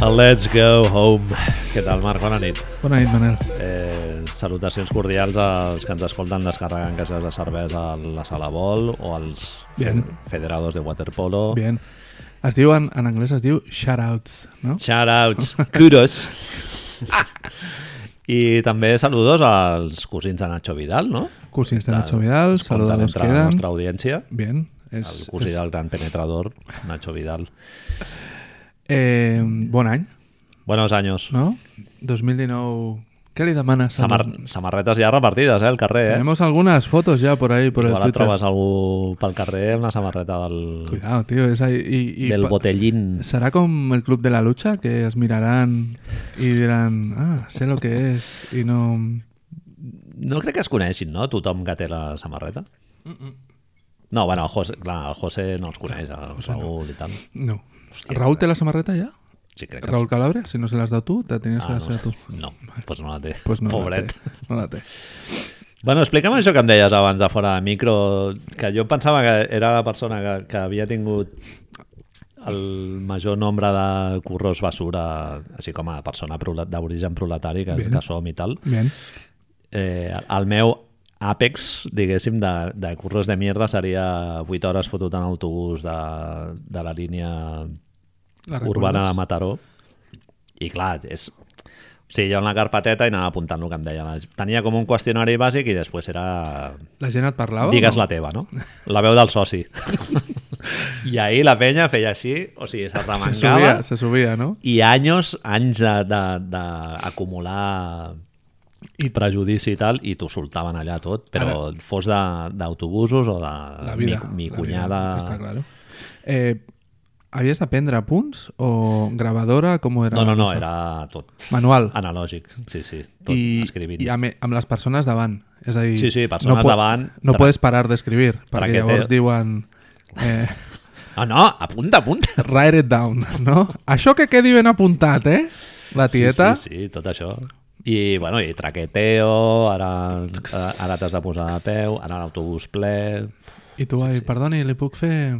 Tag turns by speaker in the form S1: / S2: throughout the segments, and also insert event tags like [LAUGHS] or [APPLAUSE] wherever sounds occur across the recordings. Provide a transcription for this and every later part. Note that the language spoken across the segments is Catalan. S1: El Let's Go Home. Què tal, Marc? Bona nit.
S2: Bona nit, Manel.
S1: Eh, salutacions cordials als que ens escolten descarregant cases de cervesa a la sala vol o als
S2: Bien.
S1: federados de waterpolo.
S2: Bien. Es diu, en, en anglès es diu shoutouts, no? [LAUGHS]
S1: Shoutouts, kudos. I també saludos als cosins de Nacho Vidal, no?
S2: Cosins de Nacho Vidal, saludados
S1: entre la
S2: quedan.
S1: nostra audiència.
S2: Bien. És,
S1: El cosí del gran penetrador, Nacho Vidal.
S2: eh, bon any,
S1: Buenos años.
S2: no? 2019... Què li demanes? a
S1: Samar
S2: dos-
S1: samarretes ja repartides, eh, al carrer, eh?
S2: Tenemos algunas fotos ya por ahí, por el
S1: Igual et
S2: Twitter.
S1: trobes algú pel carrer amb la samarreta del,
S2: Cuidado, tío. Es ahí, y, y
S1: del
S2: pa-
S1: botellín.
S2: ¿Será con el Club de la Lucha? Que es mirarán y dirán, ah, sé lo que es. Y no...
S1: No crec que es coneixin, no?, tothom que té la samarreta. No, bueno, el José, clar, el José no els coneix, el Raül i tal.
S2: No.
S1: Hòstia,
S2: ¿Raúl te la samarreta ya?
S1: Sí, crec que
S2: Raúl Calabria, si no se las da tú, te la tenías que
S1: Ah,
S2: hacer
S1: no,
S2: tú.
S1: no, doncs no la té.
S2: Pues no
S1: Pobret.
S2: La té, no la té.
S1: Bueno, explica'm això que em deies abans de fora de micro, que jo pensava que era la persona que, que havia tingut el major nombre de curros basura, així com a persona prola- d'origen proletari que,
S2: Bien.
S1: que som i tal.
S2: Bien.
S1: Eh, el meu àpex, diguéssim, de, de curros de mierda seria 8 hores fotut en autobús de, de la línia
S2: La
S1: urbana de
S2: recordes?
S1: Mataró. I clar, és... O sigui, jo en la carpeteta i anava apuntant el que em deia. la- Tenia com un qüestionari bàsic i després era...
S2: La gent et parlava?
S1: Digues
S2: Oh, no?
S1: la teva, no? La veu del
S2: [LAUGHS]
S1: soci. I ahir la penya feia així, o sigui,
S2: Se subia,
S1: s'arremangava.
S2: se subia, no?
S1: I anys, anys d'acumular
S2: I-
S1: prejudici i tal, i t'ho soltaven allà tot, però Ara... fos de- d'autobusos o de
S2: La vida.
S1: mi, mi
S2: la
S1: cunyada...
S2: Vida, està claro. Eh, havies d'aprendre punts o gravadora? Com era?
S1: no, no,
S2: la
S1: no,
S2: cosa?
S1: era tot
S2: Manual.
S1: analògic, sí, sí, tot
S2: I,
S1: escrivint.
S2: i amb, amb les persones davant. És a dir,
S1: Sí, sí, persones
S2: no po-
S1: davant,
S2: No
S1: tra-
S2: podes parar d'escriure, perquè
S1: Traqueter.
S2: llavors diuen... Eh,
S1: No, Ah, no, apunta,
S2: [LAUGHS]
S1: apunta.
S2: write it down, no? Això que quedi ben apuntat, eh? La tieta...
S1: Sí, sí, sí, tot això. I, bueno, i traqueteo, ara, ara t'has de posar de peu, ara l'autobús ple...
S2: I tu, ai, perdoni, li puc fer...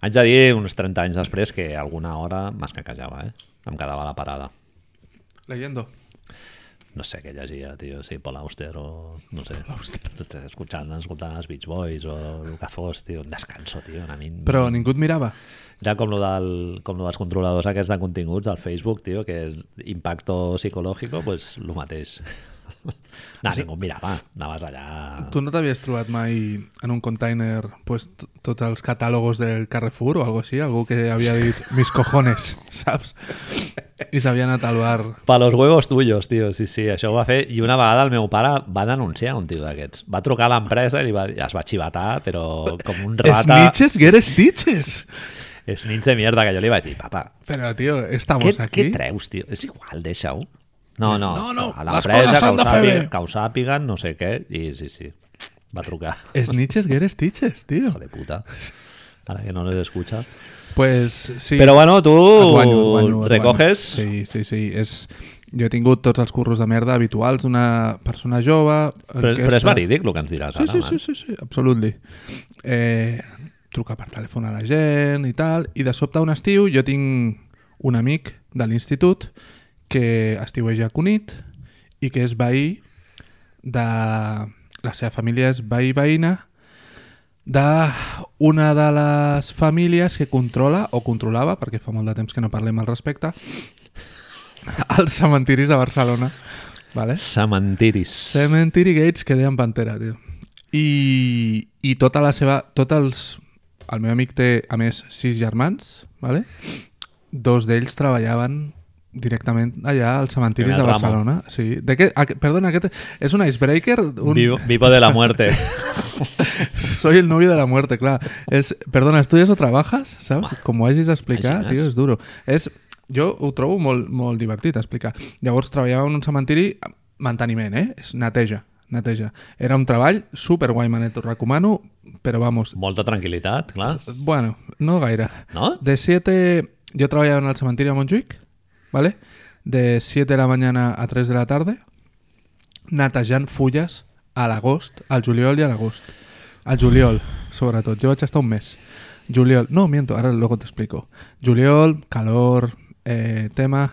S1: Haig de dir, uns 30 anys després, que alguna hora m'escaquejava, eh? Em quedava a la parada.
S2: Leyendo.
S1: No sé què llegia, tio, si Paul Auster o... No sé, escoltant, escoltant els Beach Boys o el que fos, tio, un descanso, tio, a mi... Però...
S2: Però ningú et mirava.
S1: Era com lo, del, com lo dels controladors aquests de continguts del Facebook, tio, que és impacto psicológico, pues lo [LAUGHS] mateix. No, ningú em mirava, anaves allà...
S2: Tu no t'havies trobat mai en un container pues, t- tots els catàlogos del Carrefour o algo així? Algú que havia dit mis
S1: [LAUGHS]
S2: cojones, saps? I s'havia anat al bar.
S1: Pa los huevos tuyos, tio, sí, sí, això ho va fer. I una vegada el meu pare va denunciar un tio d'aquests. Va trucar a l'empresa i li va, es va xivatar, però com [LAUGHS] un rata...
S2: Snitches get stitches!
S1: Snitch de mierda, que jo li vaig dir, papa,
S2: Però, tio, estamos
S1: què, què
S2: aquí.
S1: treus, tio? És igual, deixa-ho. No, no,
S2: No, no,
S1: a
S2: les
S1: l'empresa
S2: coses
S1: que,
S2: s'han
S1: ho
S2: de fer
S1: sàpiguen-
S2: bé.
S1: que ho sàpiguen, no sé què, i sí, sí, va trucar.
S2: Snitches get stitches, tio.
S1: Hijo de puta. Ara que no les escucha.
S2: Pues sí.
S1: Però bueno, tu
S2: Et guanyo, et guanyo, et
S1: recoges...
S2: Guanyo. Sí, sí, sí. És... Jo he tingut tots els curros de merda habituals d'una persona jove...
S1: Però, però és
S2: aquesta-
S1: verídic el que ens diràs
S2: Sí,
S1: ara,
S2: sí,
S1: man.
S2: sí, sí, sí, absolutely. Eh, trucar per telèfon a la gent i tal, i de sobte un estiu jo tinc un amic de l'institut que estiueja a Cunit i que és veí de... La seva família és veí veïna d'una de les famílies que controla o controlava, perquè fa molt de temps que no parlem al respecte, [LAUGHS] als cementiris de Barcelona. Vale?
S1: Cementiris.
S2: Cemetery Gates que deien Pantera, tio. I, i tota la seva... Tot els, el meu amic té, a més, sis germans, vale? dos d'ells treballaven directament allà al cementiri
S1: En el
S2: de
S1: ramo.
S2: Barcelona. Sí. De què, a, perdona, aquest és un icebreaker? Un,
S1: Vivo, vivo de la muerte.
S2: [LAUGHS] Soy el novio de la muerte, claro. Es, perdona, ¿estudias o trabajas? ¿Sabes? Como hagis d'explicar,
S1: així
S2: tio,
S1: és.
S2: és duro. És, jo ho trobo molt, molt divertit a explicar. Llavors treballava en un cementiri, manteniment, eh? És neteja, neteja. Era un treball superguai, manet, ho recomano, però vamos...
S1: Molta tranquil·litat, clar.
S2: Bueno, no gaire.
S1: No?
S2: De 7... Yo trabajaba en el cementerio de Montjuic, ¿vale? De 7 de la mañana a 3 de la tarde, netejant fulles a l'agost, al juliol i a l'agost. Al juliol, sobretot. Jo vaig estar un mes. Juliol... No, miento, ara luego t'explico. Juliol, calor, eh, tema...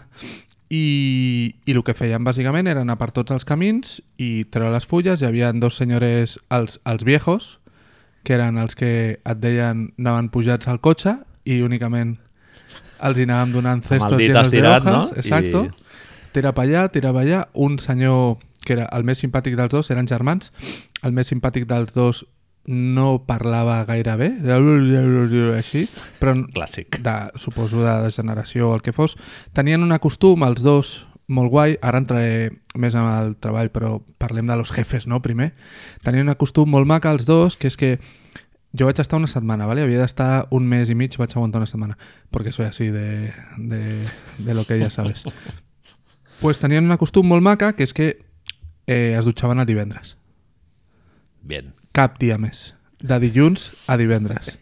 S2: I, I el que feien bàsicament era anar per tots els camins i treure les fulles. Hi havia dos senyores, els, els viejos, que eren els que et deien anaven pujats al cotxe i únicament els hi anàvem donant cestos
S1: dit
S2: llenos de
S1: estirat,
S2: hojas.
S1: no?
S2: Exacto.
S1: I-
S2: Tira pa allà, tira pa allà. Un senyor que era el més simpàtic dels dos, eren germans, el més simpàtic dels dos no parlava gaire bé, així, però
S1: Clàssic.
S2: de, suposo de degeneració o el que fos, tenien un acostum, els dos, molt guai, ara entraré més en el treball, però parlem de los jefes, no?, primer. Tenien un acostum molt maca els dos, que és que jo vaig estar una setmana, ¿vale? havia d'estar un mes i mig, vaig aguantar una setmana, perquè soy así de, de, de lo que ya sabes. pues tenien un acostum molt maca, que és que eh, es dutxaven el divendres
S1: Bien.
S2: cap dia més. De dilluns a divendres.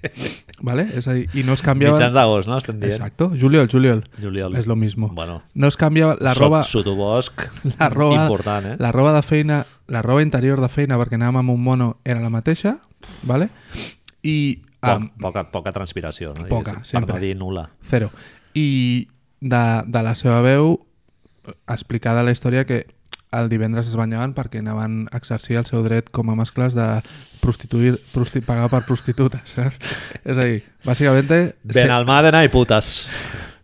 S2: ¿Vale? És a dir, I no es canviava...
S1: Mitjans d'agost, no? Estem dient.
S2: Exacto, juliol, juliol.
S1: Juliol.
S2: És lo mismo.
S1: Bueno,
S2: No es canviava la roba...
S1: Sot, sotobosc.
S2: La roba,
S1: Important, eh?
S2: la roba de feina, la roba interior de feina, perquè anàvem amb un mono, era la mateixa, ¿vale? i
S1: Poc,
S2: amb
S1: poca, poca transpiració, no?
S2: Poca,
S1: Diguéssim, Per
S2: sempre.
S1: no dir nul·la.
S2: Cero. I de, de la seva veu, explicada la història que el divendres es banyaven perquè anaven a exercir el seu dret com a mascles de prostituir, prosti, pagar per prostitutes. [LAUGHS] Saps? És a dir, bàsicament... se-
S1: Benalmádena i putes.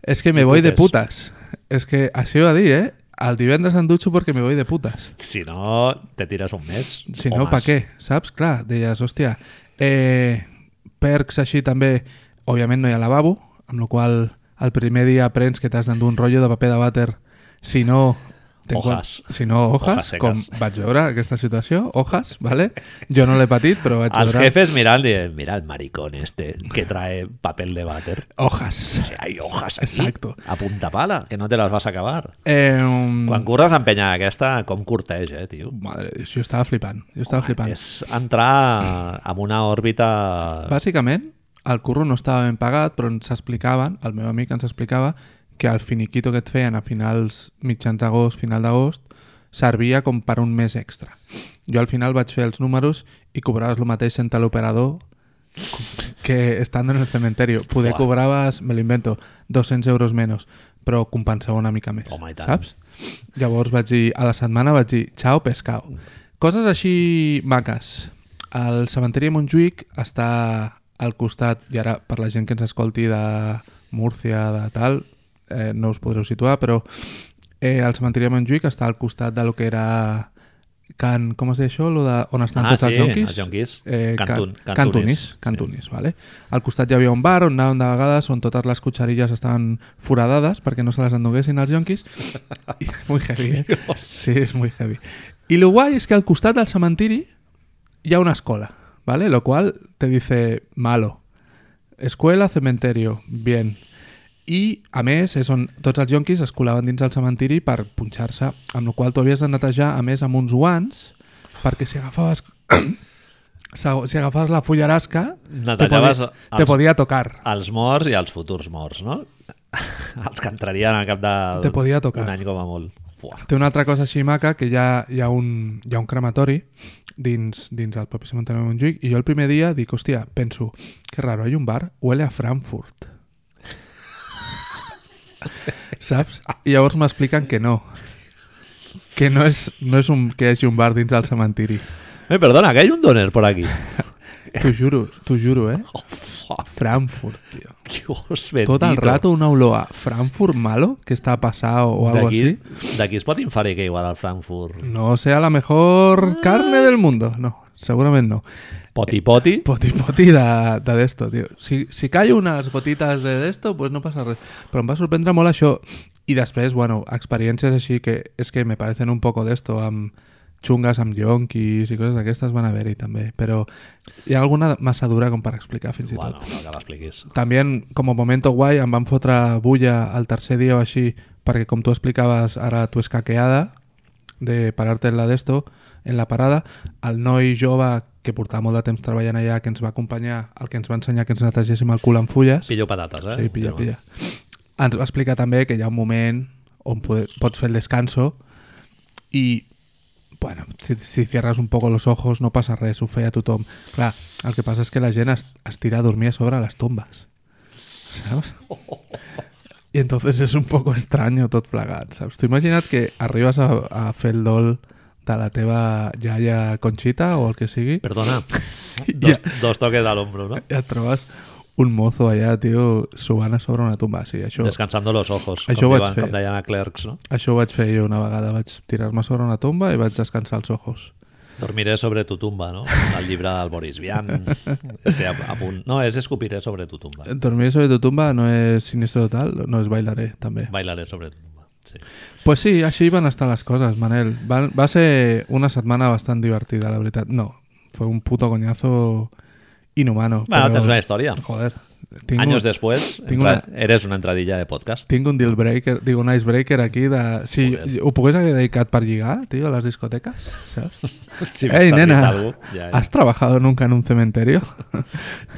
S2: es que
S1: Y
S2: me voy de
S1: putas.
S2: putas. Es que así va a dir, ¿eh? Al divendres em dutxo perquè me voy de putas.
S1: Si no, te tires un mes.
S2: Si
S1: o
S2: no,
S1: más.
S2: pa què? Saps? Clar, deies, hòstia, eh, perks així també, òbviament no hi ha lavabo, amb la qual cosa el primer dia aprens que t'has d'endur un rotllo de paper de vàter, si no... te'n quan-
S1: Hojas.
S2: Si no,
S1: Hojas
S2: hojas,
S1: seques.
S2: com vaig veure aquesta situació, hojas, ¿vale? Jo no l'he patit, però vaig
S1: Els
S2: veure...
S1: jefes mirant dient, mira el maricón este que trae papel de váter.
S2: Hojas.
S1: O sea, hay hojas aquí.
S2: Exacto.
S1: A punta pala, que no te las vas a acabar.
S2: Eh,
S1: Quan curres a empenya aquesta, com curteix, eh, tio?
S2: Madre, de Dios, jo estava flipant, jo estava flipant.
S1: És entrar en una òrbita...
S2: Bàsicament, el curro no estava ben pagat, però ens explicaven, el meu amic ens explicava, que el finiquito que et feien a finals mitjans d'agost, final d'agost, servia com per un mes extra. Jo al final vaig fer els números i cobraves el mateix entre l'operador que estando en el cementerio. Poder
S1: Fuà.
S2: cobraves, me lo invento, 200 euros menys, però compensava una mica més,
S1: Home, i tant.
S2: saps? Llavors vaig dir, a la setmana vaig dir, ciao pescao. Coses així maques. El cementiri de Montjuïc està al costat, i ara per la gent que ens escolti de Múrcia, de tal, eh, no us podreu situar, però eh, el cementiri de Montjuïc està al costat de lo que era Can, com es deia això? Lo de, on estan
S1: Ah,
S2: tots els
S1: sí,
S2: jonquis?
S1: els jonquis.
S2: ca-
S1: Cantun- cantunis.
S2: cantunis. Cantunis, vale? Al costat hi havia un bar on anàvem de vegades on totes les cotxerilles estaven foradades perquè no se les enduguessin els jonquis. I, [LAUGHS] muy heavy, eh? Sí, és muy heavy. I lo guai és que al costat del cementiri hi ha una escola, ¿vale? Lo cual te dice malo. Escuela, cementerio, bien. I, a més, és on tots els jonquis es colaven dins del cementiri per punxar-se, amb la qual cosa tu havies de netejar, a més, amb uns guants, perquè si agafaves... [COUGHS] sa- si agafaves la fullarasca, te
S1: Netejaves
S2: podia,
S1: els-
S2: te podia tocar.
S1: Els morts i els futurs morts, no? [LAUGHS] els que entrarien al cap de
S2: Te podia tocar.
S1: un any com a molt. Fuà.
S2: Té una altra cosa així maca, que hi ha, hi ha, un, hi ha un crematori dins, dins el propi cementeri de Montjuïc, i jo el primer dia dic, hòstia, penso, que raro, hi un bar, huele a Frankfurt. [LAUGHS] Saps? I llavors m'expliquen que no. Que no és, no és un, que hi hagi un bar dins del cementiri.
S1: Eh, perdona, que hay un doner por aquí.
S2: T'ho juro, t'ho juro, eh?
S1: Oh, fuà,
S2: Frankfurt, tio.
S1: [LAUGHS] Dios bendito.
S2: Tot el rato una olor a Frankfurt malo, que està passat o algo
S1: D'aquí
S2: així. Mm.
S1: d'aquí es pot inferir que igual al Frankfurt
S2: No sea la mejor carne del mundo. No, segurament no.
S1: poti poti,
S2: Poti poti de, de d'esto, tio. Si, si callo unes gotites de d'esto, pues no passa res. Però em va sorprendre molt això. I després, bueno, experiències així que és que me parecen un poco d'esto, amb xungues, amb yonquis i coses d'aquestes van haver-hi també. Però hi ha alguna massa dura com per explicar fins i tot.
S1: bueno, no que l'expliquis.
S2: También, como momento guay, em van fotre bulla al tercer dia o així, perquè com tu explicaves ara tu escaqueada, de parar-te en la d'esto, en la parada, el noi jove que portava molt de temps treballant allà, que ens va acompanyar, el que ens va ensenyar que ens netegéssim el cul amb fulles,
S1: Pillo patates, eh?
S2: sí, pilla, pilla. ens va explicar també que hi ha un moment on pode- pots fer el descanso i, bueno, si, si cierras un poco los ojos no passa res, ho feia tothom. Clar, el que passa és que la gent es, es tira a dormir a sobre les tombes. Saps? I entonces és un poco estrany tot plegat, saps? T'ho imagina't que arribes a, a fer el dol de la teva iaia Conxita o el que sigui [LAUGHS]
S1: Perdona.
S2: Ja.
S1: Dos, dos toques al hombro, ¿no?
S2: i et trobes un mozo allà, tio, suant a sobre una tomba. Sí, això,
S1: Descansando los ojos,
S2: Això ho
S1: com,
S2: vaig
S1: diuen,
S2: fer.
S1: com deien a Clerks, no?
S2: això ho vaig fer jo una vegada. Vaig tirar-me sobre una tomba i vaig descansar els ojos.
S1: Dormiré sobre tu tumba, no? El llibre del Boris
S2: [LAUGHS]
S1: Vian. Este a, a punt. No, és Escopiré sobre tu tumba.
S2: Dormir sobre tu tomba no és siniestro total, no és bailaré, també.
S1: Bailaré sobre tu tumba. Sí.
S2: Pues sí, així van estar les coses, Manel. Va, va ser una setmana bastant divertida, la veritat. No, fue un puto coñazo inhumano.
S1: Bueno,
S2: però-
S1: tens una història.
S2: Joder. Tinc
S1: Años
S2: un,
S1: después,
S2: tinc
S1: entra- eres una entradilla de podcast. [LAUGHS]
S2: tinc un deal breaker, digo, un icebreaker aquí de... Si
S1: Joder.
S2: ho pogués haver dedicat per lligar, tio, a les discoteques, saps?
S1: Si
S2: Ei,
S1: m'has servit
S2: nena,
S1: algú, ja, ja.
S2: ¿has trabajado nunca en un
S1: [LAUGHS]
S2: cementerio?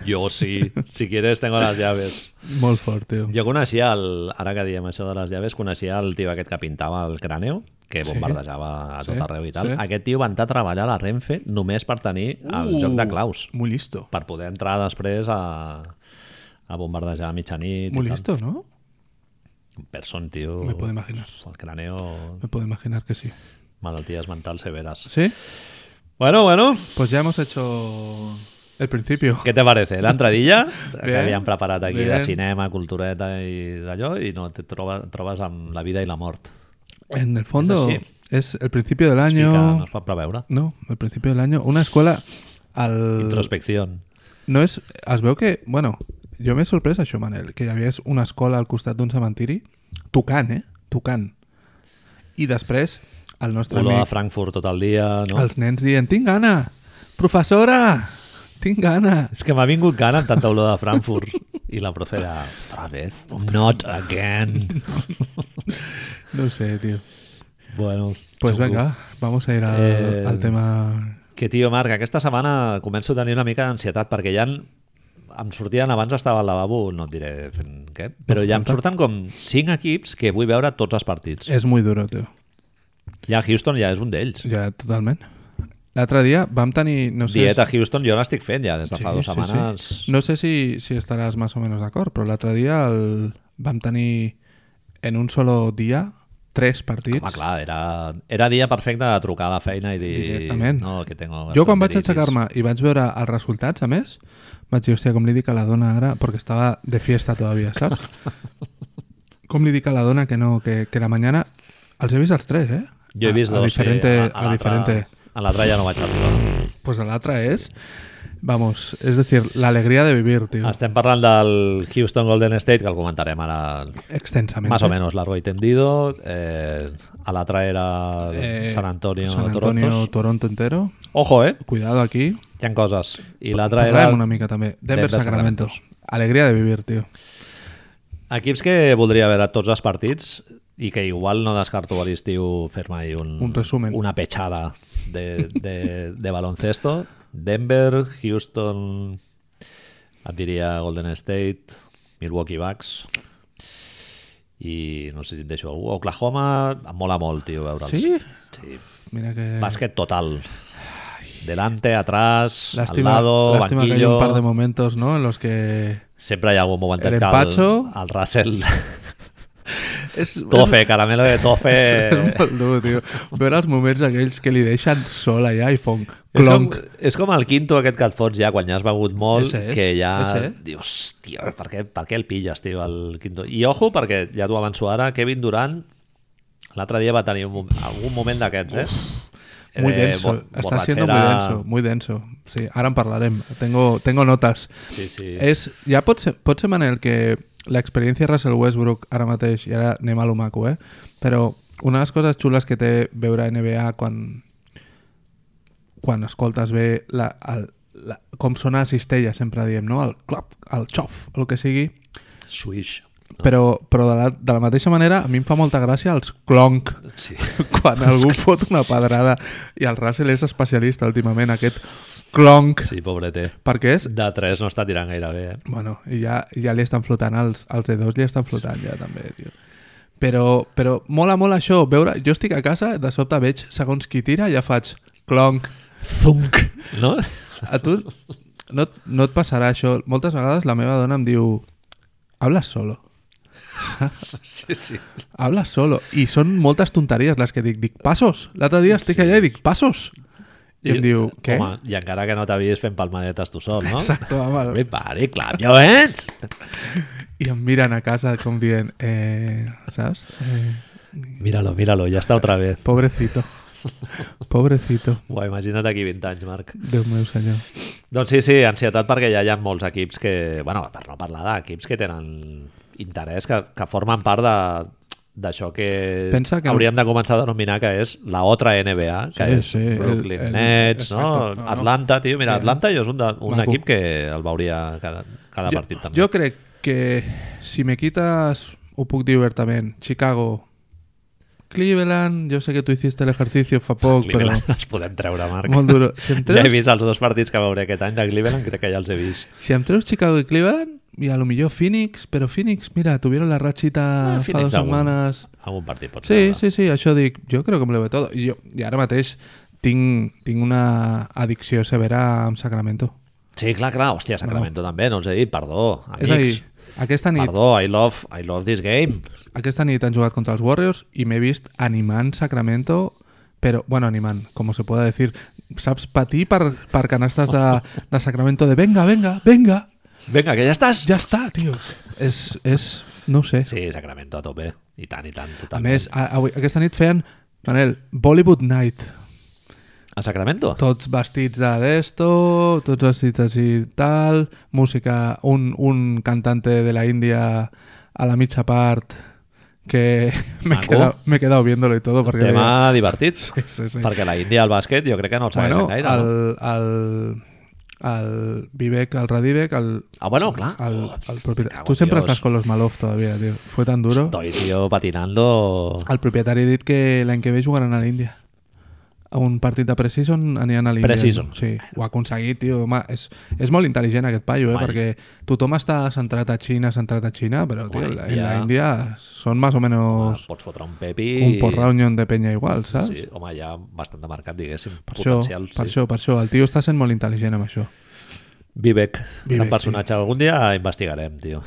S1: Jo sí. Si quieres, tengo las llaves.
S2: Molt fort, tio.
S1: Jo coneixia, el, ara que diem això de les llaves, coneixia el tio aquest que pintava el cràneo, que
S2: Sí.
S1: bombardejava a tot
S2: Sí,
S1: arreu i tal.
S2: sí.
S1: Aquest tio va entrar a treballar a la Renfe només per tenir el
S2: Uh,
S1: joc de claus,
S2: Muy listo.
S1: per poder entrar després a, a bombardejar a mitjanit.
S2: Muy
S1: i tal.
S2: listo, ¿no?
S1: Un person, tio.
S2: Me puedo imaginar.
S1: El cràneo,
S2: Me puedo imaginar que sí.
S1: malalties mentals severes.
S2: ¿Sí?
S1: Bueno, bueno,
S2: Pues ya hemos hecho el principio.
S1: què te parece? L'entradilla que
S2: Bien,
S1: havíem preparat aquí de
S2: bien.
S1: cinema, cultureta i d'allò, i no, te troba, trobes amb la vida i la mort.
S2: En el fondo
S1: Es así.
S2: es, el principio del
S1: Explica, no
S2: año.
S1: es pot preveure.
S2: No, el principio del año. Una escuela al...
S1: Introspección.
S2: No és... Es veu que... Bueno, jo m'he sorprès això, Manel, que hi hagués una escola al costat d'un cementiri, tocant, eh? Tocant. I després, el nostre
S1: Olor a
S2: amic...
S1: Frankfurt tot el dia, no? El...
S2: Els nens dient, tinc gana! Professora! Tinc gana!
S1: És que m'ha vingut gana amb tanta olor de Frankfurt. I la profe era, otra vez, not again.
S2: No ho sé, tio.
S1: bueno,
S2: Pues
S1: xulo.
S2: venga, vamos a ir al,
S1: Eh,
S2: al tema...
S1: Que tio, Marc, aquesta setmana començo a tenir una mica d'ansietat perquè ja en- em sortien, abans estava al lavabo, no et diré fent què, però ja em surten com cinc equips que vull veure tots els partits.
S2: És muy duro, tio.
S1: Ja Houston ja és un d'ells.
S2: Ja, totalment. L'altre dia vam tenir... No sé
S1: Dieta Houston jo l'estic fent ja des de fa dues setmanes.
S2: Sí. No sé si, si estaràs més o menys d'acord, però l'altre dia el... vam tenir en un solo dia tres partits.
S1: Home, clar, era, era dia perfecte de trucar a la feina i dir...
S2: Directament.
S1: No, que tengo
S2: jo quan vaig
S1: gastroenteritis".
S2: aixecar-me i vaig veure els resultats, a més, vaig dir, hòstia, com li dic a la dona ara, perquè estava de fiesta
S1: [LAUGHS]
S2: todavía, saps? com li dic a la dona que no, que, que la mañana... Els he vist els tres, eh?
S1: Jo he vist
S2: a,
S1: dos,
S2: a diferente,
S1: sí,
S2: a, diferente.
S1: A l'altre ja no vaig arribar.
S2: Pues l'altre és... Vamos, es decir, la alegría de vivir, tío.
S1: Estem parlant del Houston Golden State, que el comentarem ara
S2: Extensamente.
S1: més o menys largo i tendido. Eh, a l'altre era
S2: Eh,
S1: San Antonio,
S2: San Antonio,
S1: Toronto.
S2: Toronto entero.
S1: Ojo, eh?
S2: Cuidado aquí.
S1: Hi ha coses. I l'altre
S2: Parlem
S1: era
S2: una mica també. Denver,
S1: Denver,
S2: Sacramento. Alegria de vivir, tio.
S1: equips que voldria veure tots els partits i que igual no descarto a l'estiu fer-me un,
S2: Un resumen.
S1: una petjada de, de, de baloncesto. Denver, Houston, et diria Golden State, Milwaukee Bucks i no sé si em deixo algú. Oklahoma em mola molt, tio, veure'ls.
S2: Sí?
S1: Sí.
S2: Mira que...
S1: Bàsquet total. Delante, atrás,
S2: Lástima,
S1: al lado,
S2: lástima que hay
S1: banquillo...
S2: un par de momentos, ¿no? En los que...
S1: Sempre hi ha algun moment
S2: El
S1: que
S2: empacho.
S1: el Russell
S2: És, [LAUGHS]
S1: Tofe, caramelo de tofe.
S2: és molt dur, tio. Veure els moments aquells que li deixen sol allà i fon
S1: És com,
S2: clonc.
S1: és com el quinto aquest que et fots ja quan ja has begut molt,
S2: Ese és,
S1: que ja
S2: ese.
S1: dius, tio, per què, per què el pilles, tio, el quinto? I ojo, perquè ja t'ho avanço ara, Kevin Durant l'altre dia va tenir un, mom- algun moment d'aquests, eh?
S2: Muy
S1: Eh,
S2: denso.
S1: bo-
S2: Està sent muy
S1: borratxera.
S2: denso, muy denso. Sí, ara en parlarem. Tengo, tengo notes.
S1: Sí, sí.
S2: És, ja pot ser, pot ser Manel, que l'experiència Russell Westbrook ara mateix, i ara anem a lo maco, eh? però una de les coses xules que té veure NBA quan, quan escoltes bé la, el, la, com sona a cistella, sempre diem, no? el clap, el xof, el que sigui,
S1: Swish.
S2: però, però de, la, de la mateixa manera a mi em fa molta gràcia els
S1: [LAUGHS]
S2: clonc
S1: Sí.
S2: quan algú fot una pedrada i el Russell és especialista últimament aquest clonc
S1: sí, pobrete.
S2: perquè és
S1: De tres no està tirant gaire bé, eh?
S2: Bueno, i ja, ja li estan flotant els, els E2 li estan flotant ja també, tio. Però, però mola molt això, veure, jo estic a casa, de sobte veig segons qui tira, ja faig clonc.
S1: Zunk. No?
S2: [LAUGHS] A tu no, et- no et passarà això. Moltes vegades la meva dona em diu, hablas solo.
S1: Sí, sí.
S2: Habla solo. I són moltes tonteries les que dic. Dic, passos. L'altre dia estic
S1: Sí.
S2: allà i dic, passos. I, em diu, què?
S1: Home, i encara que no t'havies fent palmadetes tu sol, no?
S2: Exacte, home.
S1: Mi pare, Eh, clar, ja ho ets!
S2: I em miren a casa com dient, eh, saps? Eh,
S1: Míralo, míralo, ya está otra vez.
S2: pobrecito. Pobrecito.
S1: Uau, imagina't aquí 20 anys, Marc.
S2: Déu meu senyor.
S1: Doncs sí, sí, ansietat perquè ja hi ha molts equips que, bueno, per no parlar d'equips que tenen interès, que, que formen part de d'això que,
S2: Pensa que-
S1: hauríem de començar a denominar que és la otra NBA, que
S2: Sí,
S1: és
S2: sí, el-
S1: Brooklyn
S2: el-
S1: Nets, no?
S2: exacte, no, no.
S1: Atlanta, tio, mira,
S2: Sí.
S1: Atlanta jo és un, de, un
S2: Maco.
S1: equip que el veuria cada, cada partit també.
S2: Jo crec que si me quitas, ho puc dir obertament, Chicago, Cleveland, yo sé que tú hiciste el ejercicio fa poc,
S1: [LAUGHS]
S2: però
S1: Cleveland els podem treure, Marc.
S2: molt duro. Si em,
S1: Ja he
S2: treus,
S1: vist els dos partits que veuré aquest any de Cleveland, crec que ja els he vist.
S2: si em treus Chicago y Cleveland, y a lo millor Phoenix, pero Phoenix, mira, tuvieron la rachita
S1: Ah,
S2: fa
S1: Phoenix
S2: dos
S1: algun-
S2: setmanes...
S1: Algun partit pot
S2: Sí,
S1: ser,
S2: sí, sí, això dic, jo crec que me lo ve todo. I, jo, i ara mateix tinc, tinc una addicció severa amb Sacramento.
S1: Sí, clar, clar. Hòstia, Sacramento també, no us he dit, perdó. Amics,
S2: És a dir, aquesta nit,
S1: perdó, I love, I love this game.
S2: aquesta nit han jugat contra els Warriors i m'he vist animant Sacramento, però, bueno, animant, com se puede decir, saps patir per, per canastes de, de Sacramento de venga, venga, venga,
S1: Vinga, que ja estàs?
S2: ja està, tio. És, és no ho sé.
S1: Sí, Sacramento a tope. I tant, i tant.
S2: A
S1: Totalment.
S2: més, a, avui, aquesta nit feien, Manel, Bollywood Night.
S1: A Sacramento?
S2: Tots vestits de d'esto, tots vestits així tal, música, un, un cantante de la Índia a la mitja part que [LAUGHS] me he
S1: Maco.
S2: quedado, me he quedado viéndolo y todo porque
S1: Tema divertit.
S2: [LAUGHS] Sí, sí, sí.
S1: Perquè la Índia al bàsquet jo crec que no el segueixen
S2: bueno,
S1: gaire. No?
S2: el, el, el Vivek, el Radivek, el,
S1: Ah, bueno, clar.
S2: el, el propietari...
S1: cago en
S2: Tu sempre
S1: Dios.
S2: estàs con los Malov todavía, tío. Fue tan duro.
S1: Estoy, tío, patinando...
S2: El propietari ha dit que l'any que ve jugaran a l'Índia. A un partit de Precision aniran a l'Índia.
S1: Preseason.
S2: Sí, ho ha aconseguit, tio. Home, és, és molt intel·ligent aquest paio, eh?
S1: Home.
S2: Perquè tothom està centrat a Xina, centrat a Xina, però, tio,
S1: Home,
S2: la- en
S1: Índia.
S2: l'Índia són més
S1: Ah,
S2: o menys
S1: Pots fotre un pepi...
S2: un porraunion de penya igual, saps?
S1: Sí, home, hi ha bastant de mercat, diguéssim.
S2: Per això,
S1: potencial,
S2: per
S1: sí.
S2: això, per això. El tio està sent molt intel·ligent amb això.
S1: Vivek,
S2: Vivek,
S1: un personatge. Algun dia investigarem, tio.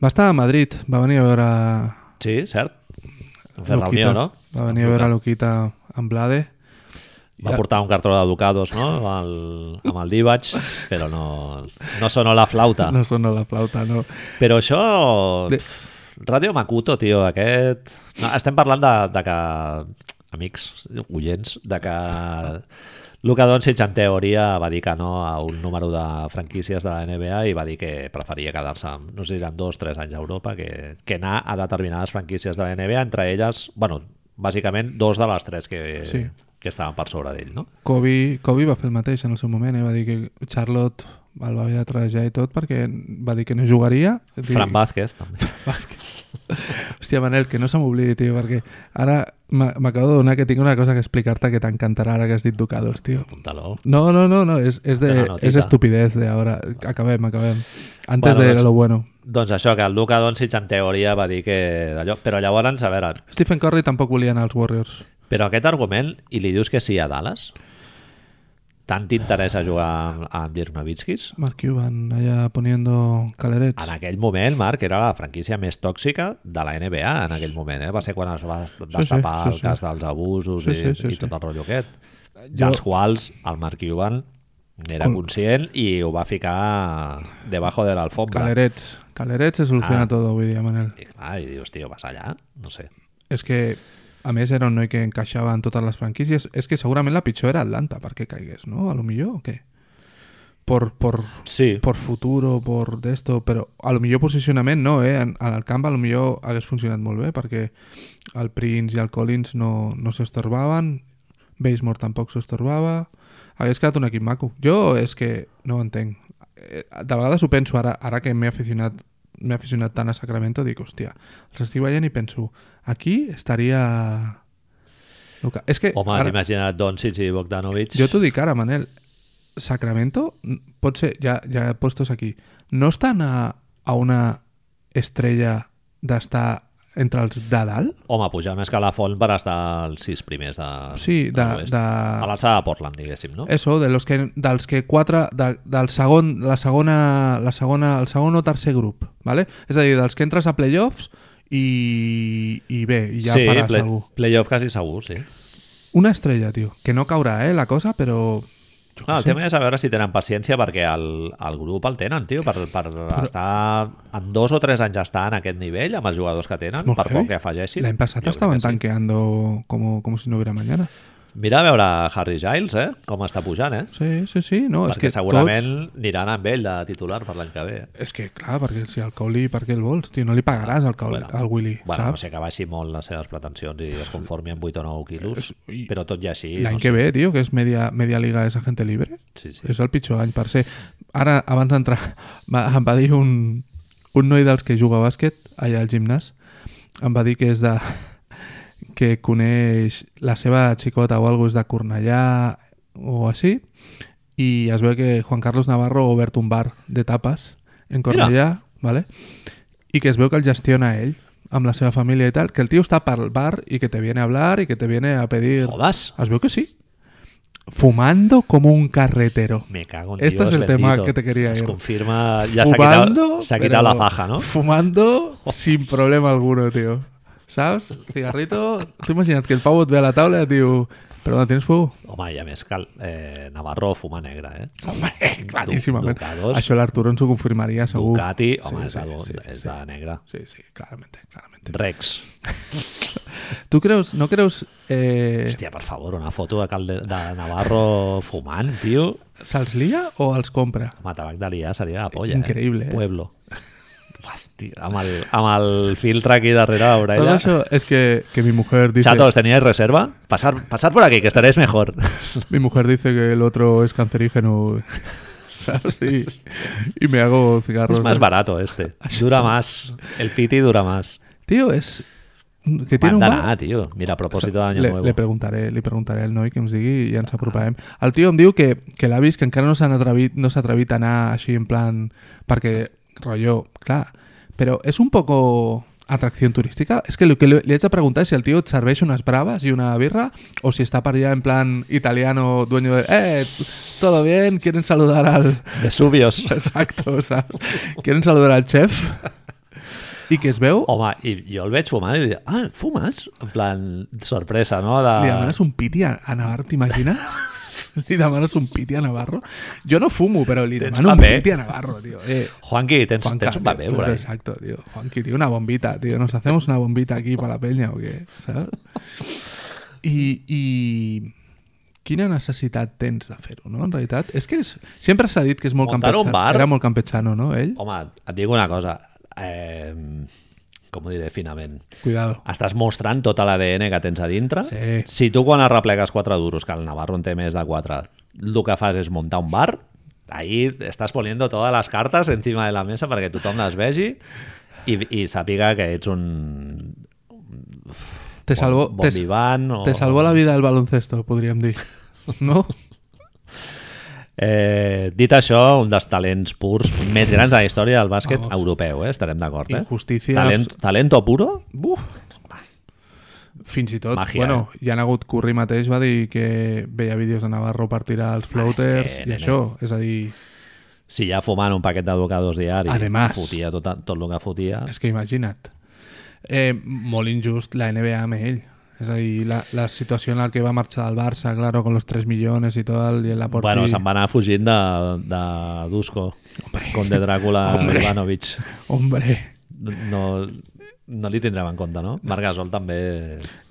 S2: Va estar a Madrid, va venir a veure
S1: Sí, cert? Vam fer reunió, no?
S2: Va venir a veure Luquita amb Blade.
S1: Va portar un cartró d'educados, no? Amb el, amb el Divac, però no, no sonó la flauta.
S2: No sona la flauta, no.
S1: Però això...
S2: De-
S1: Radio Makuto, tio, aquest... No, estem parlant de, de que... Amics, oients, de que... Luka Doncic, en teoria, va dir que no a un número de franquícies de la NBA i va dir que preferia quedar-se, amb, no sé si eren dos tres anys a Europa, que, que anar a determinades franquícies de la NBA, entre elles, bueno, bàsicament dos de les tres que,
S2: Sí.
S1: que estaven per sobre d'ell, no?
S2: Kobe, Kobe va fer el mateix en el seu moment, eh? va dir que Charlotte el va haver de trajar i tot perquè va dir que no jugaria. Dic,
S1: Fran Vázquez, també.
S2: [LAUGHS] Hòstia, Manel, que no se m'oblidi, tio, perquè ara m'a- m'acabo d'adonar que tinc una cosa que explicar-te que t'encantarà ara que has dit Ducados, tio.
S1: Apunta-lo.
S2: No, no, no, no, és, és,
S1: Una
S2: de,
S1: notita.
S2: és estupidez de ahora. Acabem, acabem. Antes
S1: Bueno,
S2: bueno, de
S1: doncs-
S2: lo bueno.
S1: Doncs això, que el Luka Doncic en teoria va dir que d'allò... Però llavors, a veure,
S2: Stephen Curry tampoc volia anar als Warriors.
S1: però aquest argument, i li dius que sí a Dallas? Tant t'interessa jugar amb- amb Dirnovitskis?
S2: Mark Cuban allà poniendo calerets.
S1: En aquell moment, Marc, era la franquícia més tòxica de la NBA en aquell moment, eh? Va ser quan es va dest- destapar
S2: sí,
S1: el
S2: sí.
S1: cas dels abusos
S2: Sí,
S1: i,
S2: sí, sí,
S1: i tot
S2: sí.
S1: el rotllo aquest,
S2: Jo-
S1: dels quals el Mark Cuban n'era conscient i ho va ficar debajo de l'alfombra.
S2: Calerets. Calerets se soluciona
S1: Ah.
S2: todo, vull dir, Manel.
S1: I, clar, I dius, tio, vas allà? No sé.
S2: És que, a més, era un noi que encaixava en totes les franquícies. És que segurament la pitjor era Atlanta, perquè caigués, no? A lo millor, o què? Por, por,
S1: Sí,
S2: por futuro, por d'esto, però a lo millor posicionament no, eh? En, en el camp a lo millor hagués funcionat molt bé, perquè el Prince i el Collins no, no s'estorbaven, Basemore tampoc s'estorbava, hagués quedat un equip maco. Jo és que no ho entenc. Eh, De vegades ho penso ara, ara que m'he aficionat m'he aficionat tant a Sacramento, dic, hòstia, els estic veient i penso, aquí estaria... Luka. És que...
S1: Home,
S2: ara-
S1: ara... imagina't Doncic i Bogdanovic.
S2: Jo t'ho dic ara, Manel. Sacramento, n- pot ser, ja, ja puestos aquí, no estan a, a una estrella d'estar entre els de dalt?
S1: Home, pujar un escalafon per estar als sis primers de...
S2: Sí, de...
S1: l'oest.
S2: de... Eh,
S1: A l'alçada de Portland, diguéssim, no?
S2: Eso, de los que, dels que quatre, de, del segon, la segona, la segona, el segon o tercer grup, Vale? És a dir, dels que entres a playoffs i, i bé, i ja
S1: sí,
S2: faràs
S1: play-
S2: alguna
S1: playoff quasi segur, sí.
S2: Una estrella, tio. Que no caurà, eh, la cosa, però... Jo
S1: No,
S2: què
S1: el
S2: sé.
S1: tema és a veure si tenen paciència perquè el, el grup el tenen, tio, per, per estar... En dos o tres anys estar en aquest nivell amb els jugadors que tenen,
S2: Molt
S1: per
S2: heavy.
S1: poc que afegeixin.
S2: L'any passat
S1: Jo crec
S2: estaven
S1: que sí.
S2: tanqueando como, como si no hubiera mañana.
S1: Mira a veure Harry Giles, eh? Com està pujant, eh?
S2: Sí, sí, sí. No, és
S1: perquè
S2: que
S1: segurament
S2: Tots...
S1: aniran amb ell de titular per l'any que ve. eh?
S2: És que, clar, perquè si el Cowley, per què el vols? Tio, no li pagaràs al, Cowley, al Willy,
S1: bueno, no
S2: saps?
S1: sé que baixi molt les seves pretensions i es conformi amb 8 o 9 quilos,
S2: i-
S1: però tot i així...
S2: L'any
S1: no
S2: que ve, tio, que és media, media liga és agente libre,
S1: Sí, sí.
S2: és el pitjor any per ser. Ara, abans d'entrar, [LAUGHS] va- em va dir un, un noi dels que juga a bàsquet allà al gimnàs, em va dir que és de... [LAUGHS] que coneix la seva xicota o alguna és de Cornellà o així, i es veu que Juan Carlos Navarro ha obert un bar de tapes en Cornellà, vale? i que es veu que el gestiona ell amb la seva família i tal, que el tio està pel bar i que te viene a hablar i que te viene a pedir...
S1: Jodas!
S2: Es veu que sí. Fumando como un carretero.
S1: Me cago en
S2: Este
S1: Dios,
S2: es el
S1: bendito.
S2: tema que te quería
S1: Es
S2: ir.
S1: confirma, ya se ha
S2: fumando,
S1: quitado, se ha
S2: pero
S1: quitado la faja, ¿no?
S2: Fumando sin problema alguno, tío. ¿Sabes? Cigarrito. Tú imaginas que el pavo te ve a la tabla, tío. Perdona, ¿tienes fuego?
S1: Home, i a més que el, eh, Navarro fuma negra, eh?
S2: Hombre, clarísimamente.
S1: Ducados.
S2: Això l'Arturo ens ho confirmaria, segur.
S1: Ducati, home,
S2: sí,
S1: és, de,
S2: sí,
S1: és de negra.
S2: Sí, sí, claramente, claramente.
S1: Rex.
S2: ¿Tú creus, no creus... Eh,
S1: Hòstia, per favor, una foto de, Calde de Navarro fumant, tio.
S2: Se'ls lia o els compra?
S1: Home, tabac de liar seria la polla,
S2: Increïble, eh?
S1: eh? Pueblo. Hòstia, amb el, amb el filtre aquí darrere la
S2: Solo
S1: orella.
S2: eso es que, que mi mujer dice...
S1: Chatos, ¿teníais reserva? Pasar, pasar por aquí, que estaréis mejor.
S2: Mi mujer dice que el otro es cancerígeno, [LAUGHS] ¿sabes? Y, y me hago cigarros.
S1: es más barato
S2: [LAUGHS]
S1: este. Dura más. El piti dura más.
S2: Tío, es... Que tiene un
S1: Manda
S2: bar...
S1: nada, tío. Mira, a propósito de año
S2: Le,
S1: nuevo.
S2: le preguntaré, li preguntaré al noi que ens digui i ens aproparem. El tio em diu que, que l'ha vist que encara no s'ha atrevit, no s'ha atrevit a anar així en plan... Perquè, rotllo, clar. Però és un poco atracció turística? És que el que li, li haig de preguntar és si el tio et serveix unes braves i una birra o si està per allà en plan italiano, dueño de... Eh, todo bien, quieren saludar al,
S1: Vesuvios. [LAUGHS]
S2: [LAUGHS] Exacto, saps? Quieren saludar al chef i que es veu...
S1: Home, i jo el veig fumant i dic, ah, fumes? En plan, sorpresa, no? De...
S2: Li demanes un piti a, a Navarro, t'imagines? [LAUGHS] li demanes un piti a Navarro? Jo no fumo, però li
S1: Tens
S2: demano un
S1: paper.
S2: piti a Navarro, tio. Eh,
S1: Juanqui, tens,
S2: Juanca,
S1: tens un paper,
S2: tio,
S1: por ahí.
S2: Exacto, tío. Juanqui, tío, una bombita, tío. Nos hacemos una bombita aquí para la peña o qué, ¿sabes? I, i quina necessitat tens de fer-ho, no? En realitat, és que és, sempre s'ha dit que és molt
S1: Muntar un
S2: campechano.
S1: bar. Oh.
S2: Era molt campechano, no? Ell?
S1: Home, et dic una cosa. Eh, com ho diré finament?
S2: Cuidado.
S1: Estàs mostrant tota l'ADN que tens a dintre.
S2: Sí.
S1: Si tu quan arreplegues 4 duros, que el Navarro en té més de 4, el que fas és muntar un bar, ahí estàs poniendo totes les cartes encima de la mesa perquè tothom les vegi i, i sàpiga que ets un
S2: Te salvó,
S1: bon, bon
S2: te,
S1: vivant o...
S2: Te salvó la vida el baloncesto, podríem dir. [LAUGHS] No?
S1: Eh, dit això, un dels talents purs més grans de la història del bàsquet
S2: Vamos.
S1: europeu, eh? estarem d'acord. Eh?
S2: Injustícia.
S1: Talent, talento puro?
S2: Buf. Fins i tot,
S1: Màgia, eh?
S2: bueno, hi ha hagut Curry mateix va dir que veia vídeos de Navarro per tirar els floaters
S1: Ah, que,
S2: i
S1: nene.
S2: això, és a dir,
S1: Si ja fumant un paquet d'educadors diari
S2: Además.
S1: fotia tot, tot el que fotia...
S2: és que imagina't. Eh, molt injust la NBA amb ell. És a dir, la, la situació en la que va marxar del Barça, claro, con los 3 millones y tal, y en la porta...
S1: Bueno, se'n va anar fugint de, de Dusko, Hombre. Conde Dràcula
S2: [LAUGHS] Hombre.
S1: Hombre. Ivanovic.
S2: Hombre.
S1: No, no li tindrem en compte, no? Marc Gasol també...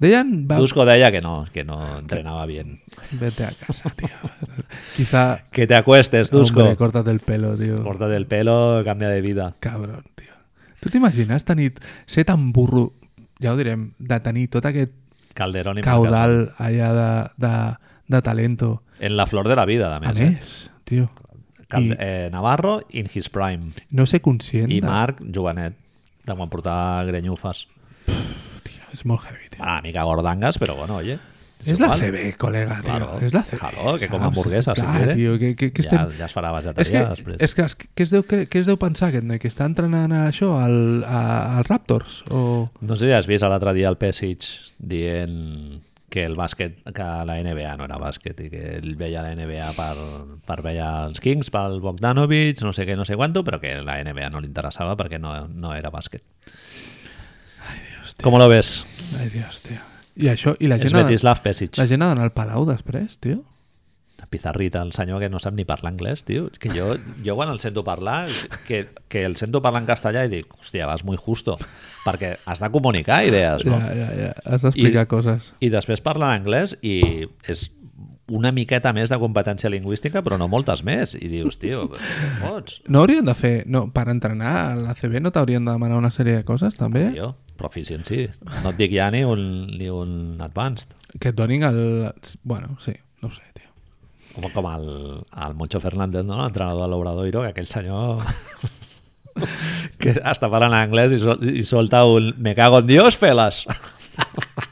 S2: Deien... Va...
S1: Dusko deia que no, que no entrenava bien.
S2: Vete a casa, tío. Quizá...
S1: Que te acuestes,
S2: Hombre,
S1: Dusko.
S2: córtate el pelo, tío.
S1: Corta del pelo, canvia de vida.
S2: Cabrón, tio. Tu t'imagines tenir, ser tan burro, ja ho direm, de tenir tot aquest
S1: Calderón i Marc Gasol.
S2: caudal allà de, de, de talento.
S1: En la flor de la vida, a
S2: A
S1: més. eh?
S2: més, tio,
S1: Cal,
S2: i-
S1: eh, Navarro in his prime.
S2: no ser conscient
S1: I
S2: de...
S1: Marc, jovenet, de quan portava grenyufes.
S2: Tio, és molt heavy, tio.
S1: Una mica gordangues, però bueno, oye.
S2: És la
S1: igual.
S2: CB, col·lega, tio.
S1: Claro.
S2: És la CB.
S1: Claro, que com
S2: saps?
S1: hamburguesa, si
S2: Clar,
S1: quiere.
S2: tio, que, eh, que, que
S1: Ja,
S2: estem...
S1: ja es farà
S2: és
S1: vegetarià
S2: que,
S1: després.
S2: és que, es- què es, deu, cre- què es deu pensar aquest noi? Que està entrenant a això al, a, als Raptors? O...
S1: No sé si has vist l'altre dia el Pessic dient que el bàsquet, que la NBA no era bàsquet i que ell veia la NBA per, per veure els Kings, pel Bogdanovic, no sé què, no sé quanto, però que la NBA no li interessava perquè no, no era bàsquet.
S2: Hòstia.
S1: Com lo ves?
S2: Ai, Dios, tio. I això, i la
S1: És
S2: gent, ha, de-
S1: Svetislav Pesic.
S2: la gent ha d'anar al Palau després, tio.
S1: Pizarrita, el senyor que no sap ni parlar anglès, tio. És que jo, jo quan el sento parlar, que, que el sento parlar en castellà i dic, hòstia, vas muy justo, perquè has de comunicar idees, no?
S2: Ja, ja, ja. Has d'explicar
S1: I-
S2: coses.
S1: I després parla anglès i és una miqueta més de competència lingüística, però no moltes més. I dius, tio, però què fots?
S2: No haurien de fer... No, per entrenar a la CB no t'haurien de demanar una sèrie de coses, també?
S1: Tio, proficiency. No et dic ja ni un, ni un advanced.
S2: Que et donin el... Bueno, sí, no ho sé, tio.
S1: Com, com el, el Moncho Fernández, no? l'entrenador de l'Obradoiro, que aquell senyor [LAUGHS] que està parlant anglès i, sol, i solta un me cago en Dios, felas. [LAUGHS]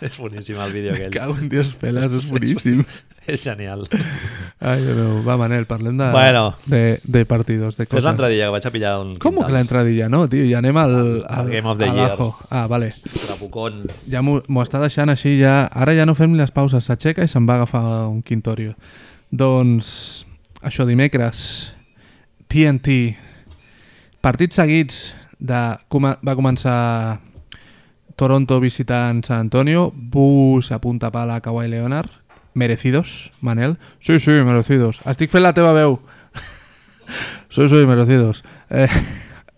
S1: és boníssim el vídeo
S2: Me
S1: aquell.
S2: cago en Dios, peles,
S1: [LAUGHS]
S2: és boníssim.
S1: És genial.
S2: Ai, Déu meu. Va, Manel, parlem de,
S1: Bueno.
S2: de, de partidos, de
S1: Fes
S2: coses.
S1: l'altre dia que vaig a pillar un
S2: Com que
S1: quintal.
S2: l'entradilla no, tio? Ja anem al... al
S1: Game of the
S2: a
S1: Year.
S2: l'ajo. Ah, vale.
S1: Trapucón.
S2: Ja m'ho m'ho està deixant així, ja... Ara ja no fem ni les pauses, s'aixeca i se'n va a agafar un quintorio. Doncs, això dimecres, TNT, partits seguits de... coma- Va començar Toronto visitant San Antonio, Bus apunta pala a Kawhi Leonard, merecidos, Manel. Sí, sí, merecidos. Estic fent la teva veu. [LAUGHS] sí, sí, merecidos. Eh,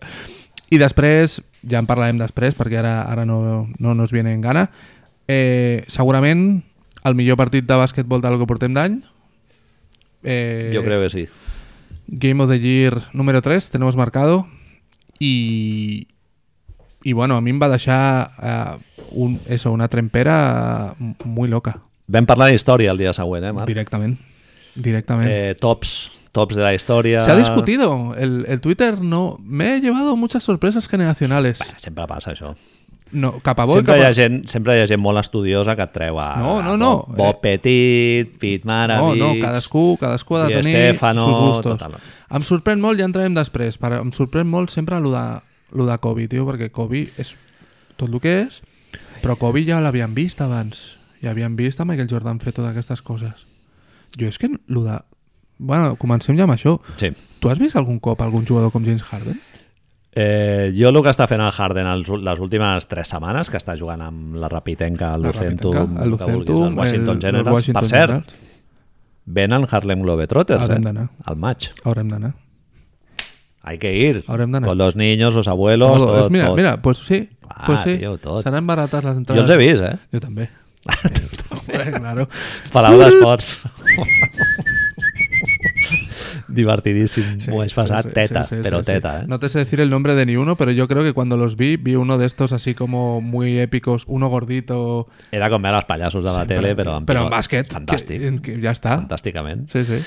S2: [LAUGHS] I després, ja en parlarem després, perquè ara, ara no, no nos viene en gana, eh, segurament el millor partit de bàsquetbol del que portem d'any. Eh,
S1: Jo crec que sí.
S2: Game of the Year número 3, tenemos marcado. Y, y bueno, a mí me va a dejar eh, un, eso, una trempera eh, muy loca.
S1: Vam parlar d'història el dia següent, eh, Marc?
S2: Directamente. Directamente.
S1: Eh, tops, tops de la història.
S2: Se ha discutido. El, el Twitter no. Me he llevado muchas sorpresas generacionales.
S1: Sempre passa això.
S2: No, Capabol,
S1: Sempre hi, ha
S2: capa-
S1: gent, sempre hi ha gent molt estudiosa que et treu a
S2: No, no, no.
S1: Bob, Bob Petit, Pete
S2: No,
S1: Maravich...
S2: no, cadascú, cadascú ha de
S1: Di
S2: tenir
S1: Stefano,
S2: sus gustos.
S1: total.
S2: Em sorprèn molt, ja entrarem després, però em sorprèn molt sempre lo de, lo de Kobe, tio, perquè Kobe és tot el que és, però Kobe ja l'havien vist abans. Ja havien vist a Michael Jordan fer totes aquestes coses. Jo és que lo de... Bueno, comencem ja amb això.
S1: Sí.
S2: Tu has vist algun cop algun jugador com James Harden?
S1: Eh, jo el que està fent el Harden els, ul- les últimes tres setmanes, que està jugant amb la Rapitenca, el Lucentum,
S2: Rapitenca, el
S1: el,
S2: Lucentum,
S1: el Washington
S2: el-
S1: Generals.
S2: el Washington
S1: per cert,
S2: Generals.
S1: venen Harlem Globetrotters,
S2: Haurem
S1: eh?
S2: d'anar.
S1: Al maig.
S2: Haurem d'anar.
S1: Hay que ir.
S2: Haurem d'anar.
S1: Con los niños, los abuelos,
S2: Todo,
S1: todo,
S2: és- mira,
S1: todo.
S2: mira, pues sí.
S1: Clar,
S2: pues sí.
S1: tio, tot.
S2: Seran barates les
S1: jo
S2: entrades.
S1: els he vist, eh?
S2: Jo
S1: [LAUGHS]
S2: també. Hombre, claro.
S1: Palau [LAUGHS] d'Esports. Divertidísimo. M'ho vaig passar Pues teta, pero teta, eh?
S2: No te sé decir el nombre de ni uno, pero yo creo que cuando los vi, vi uno de estos así como muy épicos, uno gordito.
S1: Era com veure els pallassos de la tele, però amb,
S2: pero en
S1: pilota.
S2: básquet.
S1: Fantàstic.
S2: que- que ya está.
S1: Fantàsticament.
S2: Sí, sí.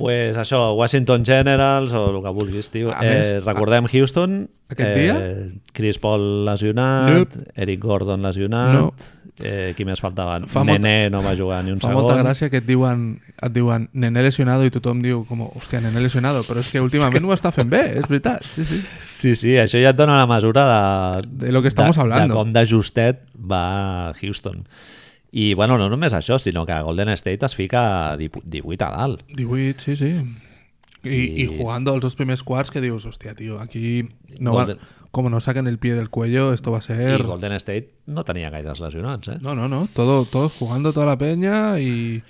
S1: pues això, Washington Generals o el que vulguis, tio.
S2: A més,
S1: Eh, recordem Houston.
S2: aquest
S1: eh,
S2: dia?
S1: Chris Paul lesionat,
S2: Nope.
S1: Eric Gordon lesionat,
S2: No.
S1: eh, qui més faltaven?
S2: Fa molta-
S1: Nené no va jugar ni un
S2: Fa
S1: segon.
S2: molta gràcia que et diuen, et diuen nené lesionado i tothom diu com, hòstia, nené lesionado, però és que últimament ho està fent bé, és veritat. Sí, sí.
S1: Sí, sí, això ja et dona la mesura de...
S2: De lo que estamos
S1: de,
S2: hablando.
S1: De com de justet va a Houston. I, bueno, no només això, sinó que Golden State es fica 18 a dalt.
S2: 18, sí, sí. Y,
S1: Sí.
S2: y jugando los dos primeros quarts que digo, hostia, tío, aquí no
S1: Golden-
S2: va, como no saquen el pie del cuello, esto va a
S1: I
S2: ser...
S1: Golden State no tenia gaires lesionats, eh?
S2: No, no, no, todo, todos jugando toda la peña y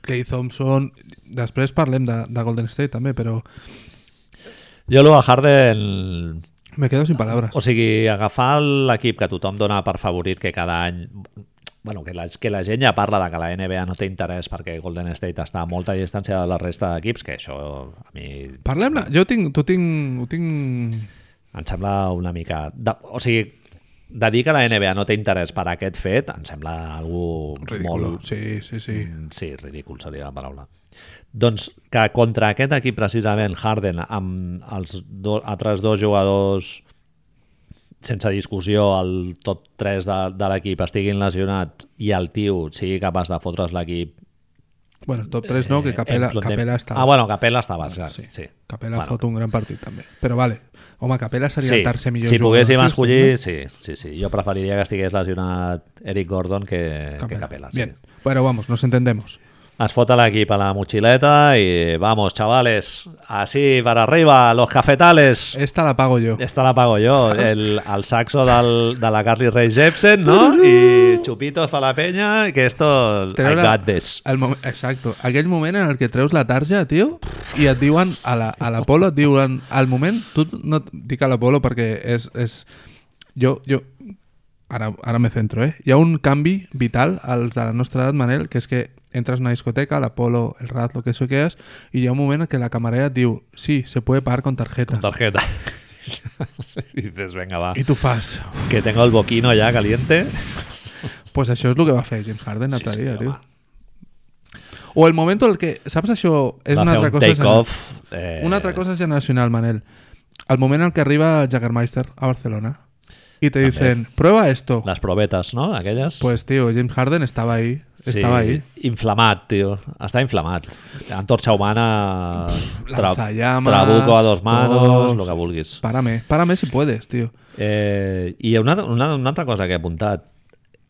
S2: Clay Thompson... Després parlem de, de Golden State també, però
S1: Jo el Harden...
S2: me quedo sin palabras.
S1: O sigui, agafar l'equip que tothom dona per favorit que cada any... Bueno, que la, que la gent ja parla de que la NBA no té interès perquè Golden State està a molta distància de la resta d'equips, que això a mi
S2: Parlem-ne, jo tinc, tu tinc, ho tinc...
S1: Em sembla una mica... De, o sigui, de dir que la NBA no té interès per aquest fet, em sembla algú
S2: Ridículo.
S1: molt...
S2: Sí, sí, sí.
S1: Mm, Sí, ridícul seria la paraula. Doncs que contra aquest equip, precisament, Harden, amb els do, altres dos jugadors sense discussió, el top 3 de, de l'equip estiguin lesionats i el tio sigui capaç de fotre's l'equip
S2: Bueno, top 3 no, que Capela,
S1: Emplon-
S2: Capela estava.
S1: Eh, Ah, bueno, Capela estava, bueno,
S2: sí.
S1: sí. sí.
S2: Capela
S1: Bueno.
S2: fot un gran partit també. Però vale, home, Capela seria
S1: Sí,
S2: el tercer millor
S1: si eh,
S2: jugador
S1: poguéssim
S2: del Houston, eh?
S1: escollir, sí, sí, sí. Jo preferiria que estigués lesionat Eric Gordon que
S2: no?
S1: Capela. Que Capela sí.
S2: Bien. Bueno, vamos, nos entendemos.
S1: Es fot a l'equip a la motxileta i vamos, chavales, así para arriba, los cafetales.
S2: Esta la pago yo.
S1: Esta la pago jo, el, el saxo del, de la Carly Rae Jepsen, no? I xupitos fa la penya, que esto... I
S2: Treure-
S1: got this.
S2: El moment, exacte, aquell moment en el que treus la tarja, tio, i et diuen, a la- a l'Apolo et diuen, al moment, tu no et- dic a l'Apolo perquè és, és... Jo, jo, ara, ara me centro, eh? Hi ha un canvi vital als de la nostra edat, Manel, que és que entres a una discoteca, l'Apolo, el Rat, lo que eso que és, i hi ha un moment en què la camarera et diu, sí, se puede pagar con tarjeta.
S1: Amb tarjeta. [LAUGHS] I dices, venga, va.
S2: I tu fas... "Uf".
S1: Que tengo el boquino ya caliente.
S2: Pues això és el que va fer James Harden l'altre
S1: Sí,
S2: sí,
S1: sí,
S2: dia, tio.
S1: home.
S2: O el moment en el que... Saps això? És
S1: va
S2: una
S1: fer
S2: altra
S1: un
S2: cosa... gener-
S1: take-off. Eh,
S2: Una altra cosa generacional, Manel. Al moment en el que arriba Jagermeister a Barcelona y te dicen, prueba esto.
S1: Las probetes, no? Aquelles.
S2: Pues tío, James Harden estaba ahí. Estaba ahí.
S1: Inflamat, tio. Està inflamat. Antorxa humana, tra
S2: lanzallamas,
S1: trabuco a dos manos,
S2: todos.
S1: el que vulguis.
S2: Párame, párame si puedes, tío.
S1: Eh, I una, una, una altra cosa que he apuntat.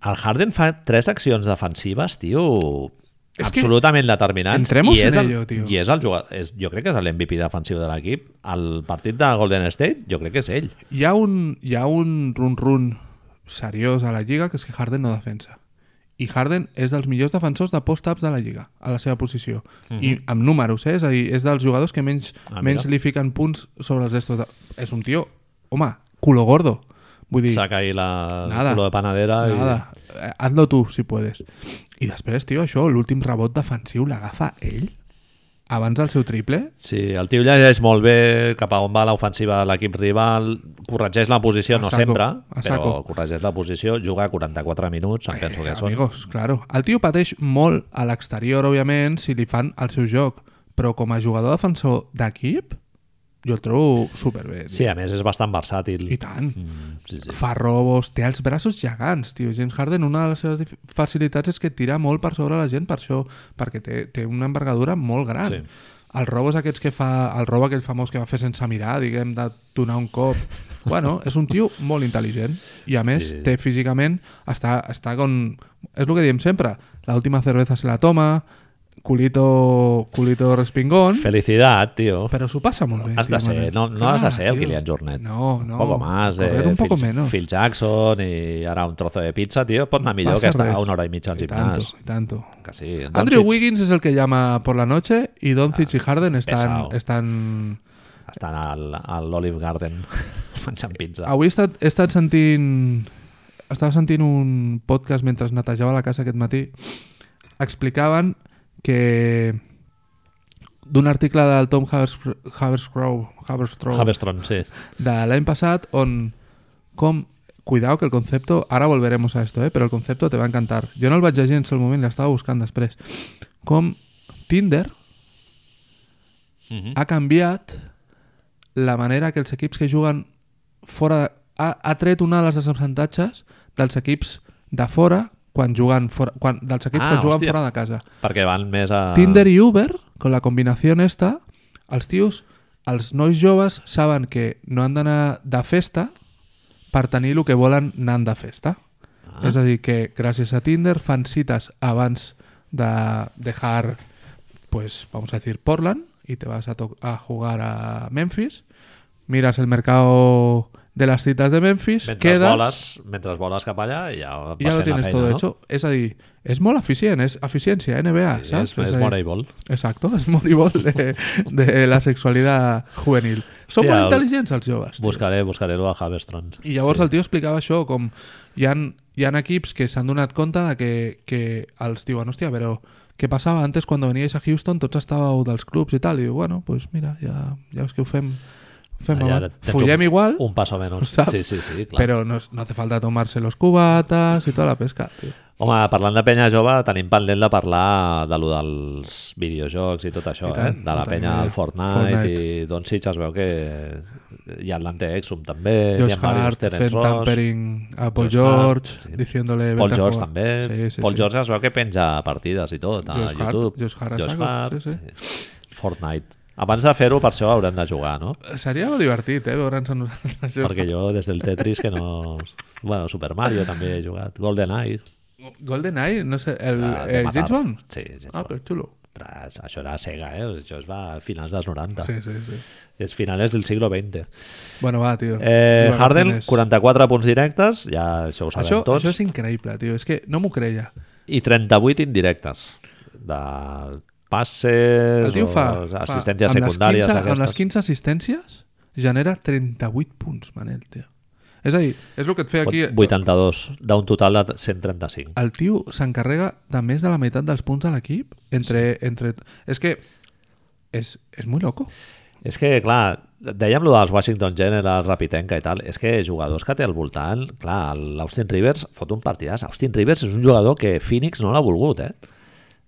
S1: El Harden fa tres accions defensives, tio,
S2: És que
S1: absolutament determinants.
S2: entremos
S1: I
S2: en
S1: és el,
S2: ello, tio.
S1: I és el jugador, és, jo crec que és l'MVP defensiu de l'equip. El partit de Golden State, jo crec que és ell.
S2: Hi ha un, hi ha un run-run seriós a la Lliga que és que Harden no defensa. I Harden és dels millors defensors de post-ups de la Lliga, a la seva posició. I amb números, eh? És a dir, és dels jugadors que menys,
S1: Mhm. Ah, mira.
S2: menys li fiquen punts sobre els estos. De... És un tio, home, culo gordo. Vull dir,
S1: Saca ahí la
S2: Nada.
S1: culo de panadera.
S2: nada. Eh, Hazlo tu, si puedes. I després, tio, això, l'últim rebot defensiu l'agafa ell abans del seu triple.
S1: I... Sí, el tio llegeix molt bé cap a on va l'ofensiva de l'equip rival, corregeix la posició,
S2: A
S1: no
S2: saco,
S1: sempre,
S2: a
S1: però
S2: saco.
S1: corregeix la posició, juga 44 minuts, em penso
S2: Eh,
S1: que són.
S2: Amigos, claro. El tio pateix molt a l'exterior, òbviament, si li fan el seu joc, però com a jugador defensor d'equip, jo el trobo superbé. tio.
S1: Sí, a més és bastant versàtil.
S2: I tant.
S1: Mm, sí, sí.
S2: Fa robos, té els braços gegants, tio. James Harden, una de les seves dif- facilitats és que tira molt per sobre la gent per això, perquè té, té una envergadura molt gran.
S1: Sí.
S2: Els robos aquests que fa, el robo aquell famós que va fer sense mirar, diguem, de donar un cop. Bueno, és un tio molt intel·ligent i a més
S1: Sí.
S2: sí. té físicament, està, està con... És el que diem sempre, l'última cervesa se la toma, culito, culito respingón,
S1: Felicitat, tio.
S2: però s'ho passa molt bé.
S1: Has de
S2: tio,
S1: ser,
S2: Manel.
S1: no, no has de
S2: Clar,
S1: ser el
S2: tio.
S1: Kilian Jornet.
S2: No, no.
S1: Un poco más, eh,
S2: Correr un poco
S1: Phil,
S2: menos.
S1: Phil Jackson i ara un trozo de pizza, tio, pot anar millor
S2: Passa
S1: que estar
S2: res.
S1: a una hora i mitja al
S2: I
S1: gimnàs.
S2: Tanto, i tanto.
S1: Que sí, en
S2: Andrew
S1: Doncic Ah,
S2: Wiggins es el que llama por la noche y Doncic y Harden están...
S1: pesado.
S2: están...
S1: Estan al, a l'Olive Garden [LAUGHS] menjant pizza.
S2: Avui he estat, he estat sentint... Estava sentint un podcast mentre es netejava la casa aquest matí. Explicaven que d'un article del Tom Havers, Haverscrow, Haverstrow
S1: Havestron, sí.
S2: de l'any passat on com cuidado que el concepto ahora volveremos a esto eh, pero el concepto te va a encantar jo no el vaig llegir en el seu moment l'estava buscant després com Tinder
S1: Mhm.
S2: ha canviat la manera que els equips que juguen fora de, ha, ha tret una de les desavantatges dels equips de fora quan juguen fora, quan, dels equips
S1: Ah,
S2: que juguen
S1: hòstia. Ah.
S2: fora de casa
S1: Perquè van més a...
S2: Tinder i Uber, con la combinació esta, els tios, els nois joves saben que no han d'anar de festa per tenir el que volen anant de festa. Ah. És a dir, que gràcies a Tinder fan cites abans de dejar, pues, vamos a decir, Portland y te vas a, to- a jugar a Memphis, miras el mercado de las citas de Memphis,
S1: Mentre
S2: quedas...
S1: voles, mentre voles cap allà, ja vas
S2: Y ya lo
S1: fent la
S2: tienes
S1: feina,
S2: todo
S1: no?
S2: hecho. Ah, Es ahí. Es mola eficiencia, es eficiencia NBA,
S1: Sí,
S2: ¿sabes?
S1: és,
S2: Es
S1: és
S2: ahí.
S1: voleibol.
S2: Exacto, es moribol de, de la sexualidad juvenil. Són
S1: Hòstia,
S2: molt
S1: el-
S2: intel·ligents els joves. Tio.
S1: Buscaré, buscaré-lo a Havestron.
S2: I llavors sí. el tio explicava això, com hi han, hi han equips que s'han donat compte de que, que els diuen, hòstia, però què passava antes quan veníais a Houston? Tots estàveu dels clubs i tal. I diu, bueno, pues mira, ja, ja veus que ho fem fem
S1: Allà
S2: amat,
S1: tens
S2: follem
S1: un,
S2: igual,
S1: Un passo menys.
S2: saps?
S1: Sí, sí, sí, clar.
S2: però no, no hace falta tomarse los cubatas y toda la pesca, tio.
S1: Home, parlant de penya jove, tenim pendent de parlar de lo dels videojocs i tot això,
S2: I tant,
S1: eh? De la
S2: no
S1: penya
S2: tenim
S1: del
S2: idea.
S1: Fortnite,
S2: Fortnite.
S1: i Don Sitch es veu que hi ha l'Ante Exum també, hi ha
S2: Josh Hart
S1: varios
S2: fent
S1: Terence Ross,
S2: tampering a Paul
S1: Josh
S2: George,
S1: Hart, sí.
S2: diciéndole...
S1: Paul
S2: "Vete a
S1: George
S2: jugar".
S1: també,
S2: Sí, sí,
S1: Paul
S2: sí.
S1: George es veu que penja partides i tot a
S2: Josh Hart,
S1: YouTube.
S2: Josh Hart a saco, sí, sí.
S1: sí. Fortnite. Abans de fer-ho, per això haurem de jugar, no?
S2: Seria divertit, eh, veure'ns a nosaltres. Jo-
S1: Perquè jo, des del Tetris, que no... Bueno, Super Mario també he jugat, GoldenEye...
S2: GoldenEye, no sé, el,
S1: eh, de
S2: eh,
S1: matar.
S2: James Bond?
S1: Sí, James
S2: Ah, que xulo.
S1: Ostres, això era Sega, eh? Això es va a finals dels 90.
S2: Sí, sí, sí.
S1: És finals del siglo XX.
S2: Bueno, va, tio.
S1: Eh,
S2: Divaga't
S1: Harden,
S2: més.
S1: 44 punts directes, ja això ho sabem
S2: Això,
S1: tots,
S2: això és increïble, tio. És que no m'ho creia.
S1: i 38 indirectes de passes
S2: El tio
S1: o
S2: fa,
S1: les
S2: fa
S1: assistències
S2: amb, les 15,
S1: secundàries
S2: amb les
S1: aquestes.
S2: 15 assistències genera 38 punts, Manel, tio. És a dir, és el que et feia aquí...
S1: 82, d'un total de 135.
S2: El tio s'encarrega de més de la meitat dels punts de l'equip. Entre, entre... És que és, és muy loco.
S1: És que, clar, dèiem lo dels Washington Generals, Rapitenca i tal, és que jugadors que té al voltant, clar, l'Austin Rivers fot un partidàs. Austin Rivers és un jugador que Phoenix no l'ha volgut, eh?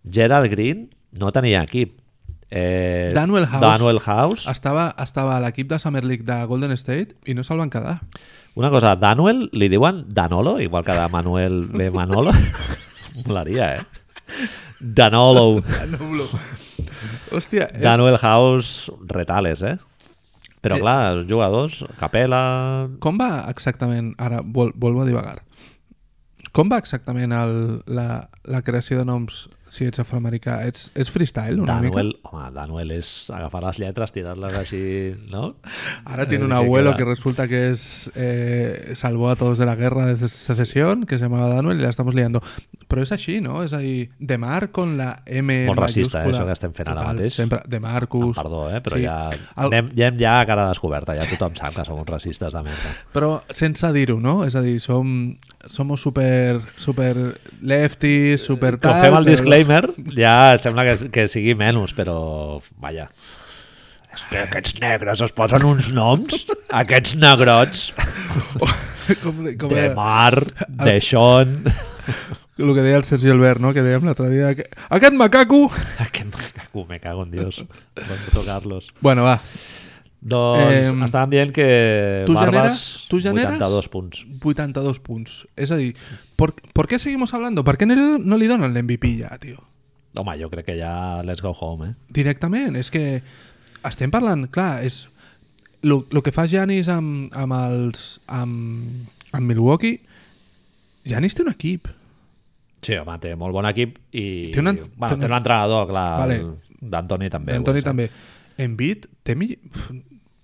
S1: Gerald Green no tenia equip. Eh,
S2: Danuel House. Ah.
S1: Danuel House.
S2: Estava, estava a l'equip de Summer League de Golden State i no se'l van quedar.
S1: Una cosa, Danuel li diuen Danolo, igual que de Manuel ve
S2: [LAUGHS]
S1: Manolo. Molaria, eh? Danolo.
S2: Hòstia, és...
S1: Danuel House, retales, eh? Però
S2: Eh.
S1: clar, els jugadors, Capela...
S2: com va exactament... Ara, vol, volvo a divagar. Com va exactament el, la, la creació de noms si ets afroamericà? Ets, ets freestyle una
S1: Danuel, home, Danuel és agafar les lletres, tirar-les així, no?
S2: mica? Ara tiene
S1: Eh,
S2: un
S1: que
S2: abuelo
S1: queda-
S2: que resulta que es eh, salvó a todos de la guerra de secesión, que se llamaba Danuel, y la estamos liando. Però és així, no? És a dir, de Mar con la M
S1: Molt racista,
S2: mayúscula.
S1: eh, això que estem fent ara
S2: Total,
S1: mateix.
S2: Sempre, de Marcus.
S1: Perdó, eh? Però
S2: Sí.
S1: ja,
S2: El-
S1: anem, ja anem ja a cara descoberta, ja tothom sap que som uns racistes de merda.
S2: Però sense dir-ho, no? És a dir, som, somos super, super lefties, super tal...
S1: Quan fem el
S2: però-
S1: disclaimer, ja sembla que, que sigui menys, però vaja. És que aquests negres es posen uns noms, aquests negrots,
S2: com, de- com
S1: de
S2: era
S1: mar, de xon...
S2: [LAUGHS] el que deia el Sergi Albert, no? que dèiem l'altre dia que... aquest macaco
S1: Aquest me cago, me cago en Dios. Pronto, Carlos.
S2: bueno va,
S1: Doncs
S2: Em,
S1: estàvem dient que
S2: tu
S1: Barbas,
S2: generes- tu generes-
S1: 82 punts.
S2: 82 punts és a dir, ¿por, ¿por qué seguimos hablando? ¿per què no, no li donen l'MVP ja, tio?
S1: Home, jo crec que ja let's go home, eh?
S2: directament, és que estem parlant, clar, és el que fa Janis amb, amb els amb, amb Milwaukee Janis té un equip
S1: Sí, home, té molt bon equip i...
S2: Té un en-
S1: bueno,
S2: té un-
S1: té un entrenador, clar,
S2: Vale.
S1: vale. d'Antoni també.
S2: Antoni
S1: vols dir.
S2: també. Envid, té mi...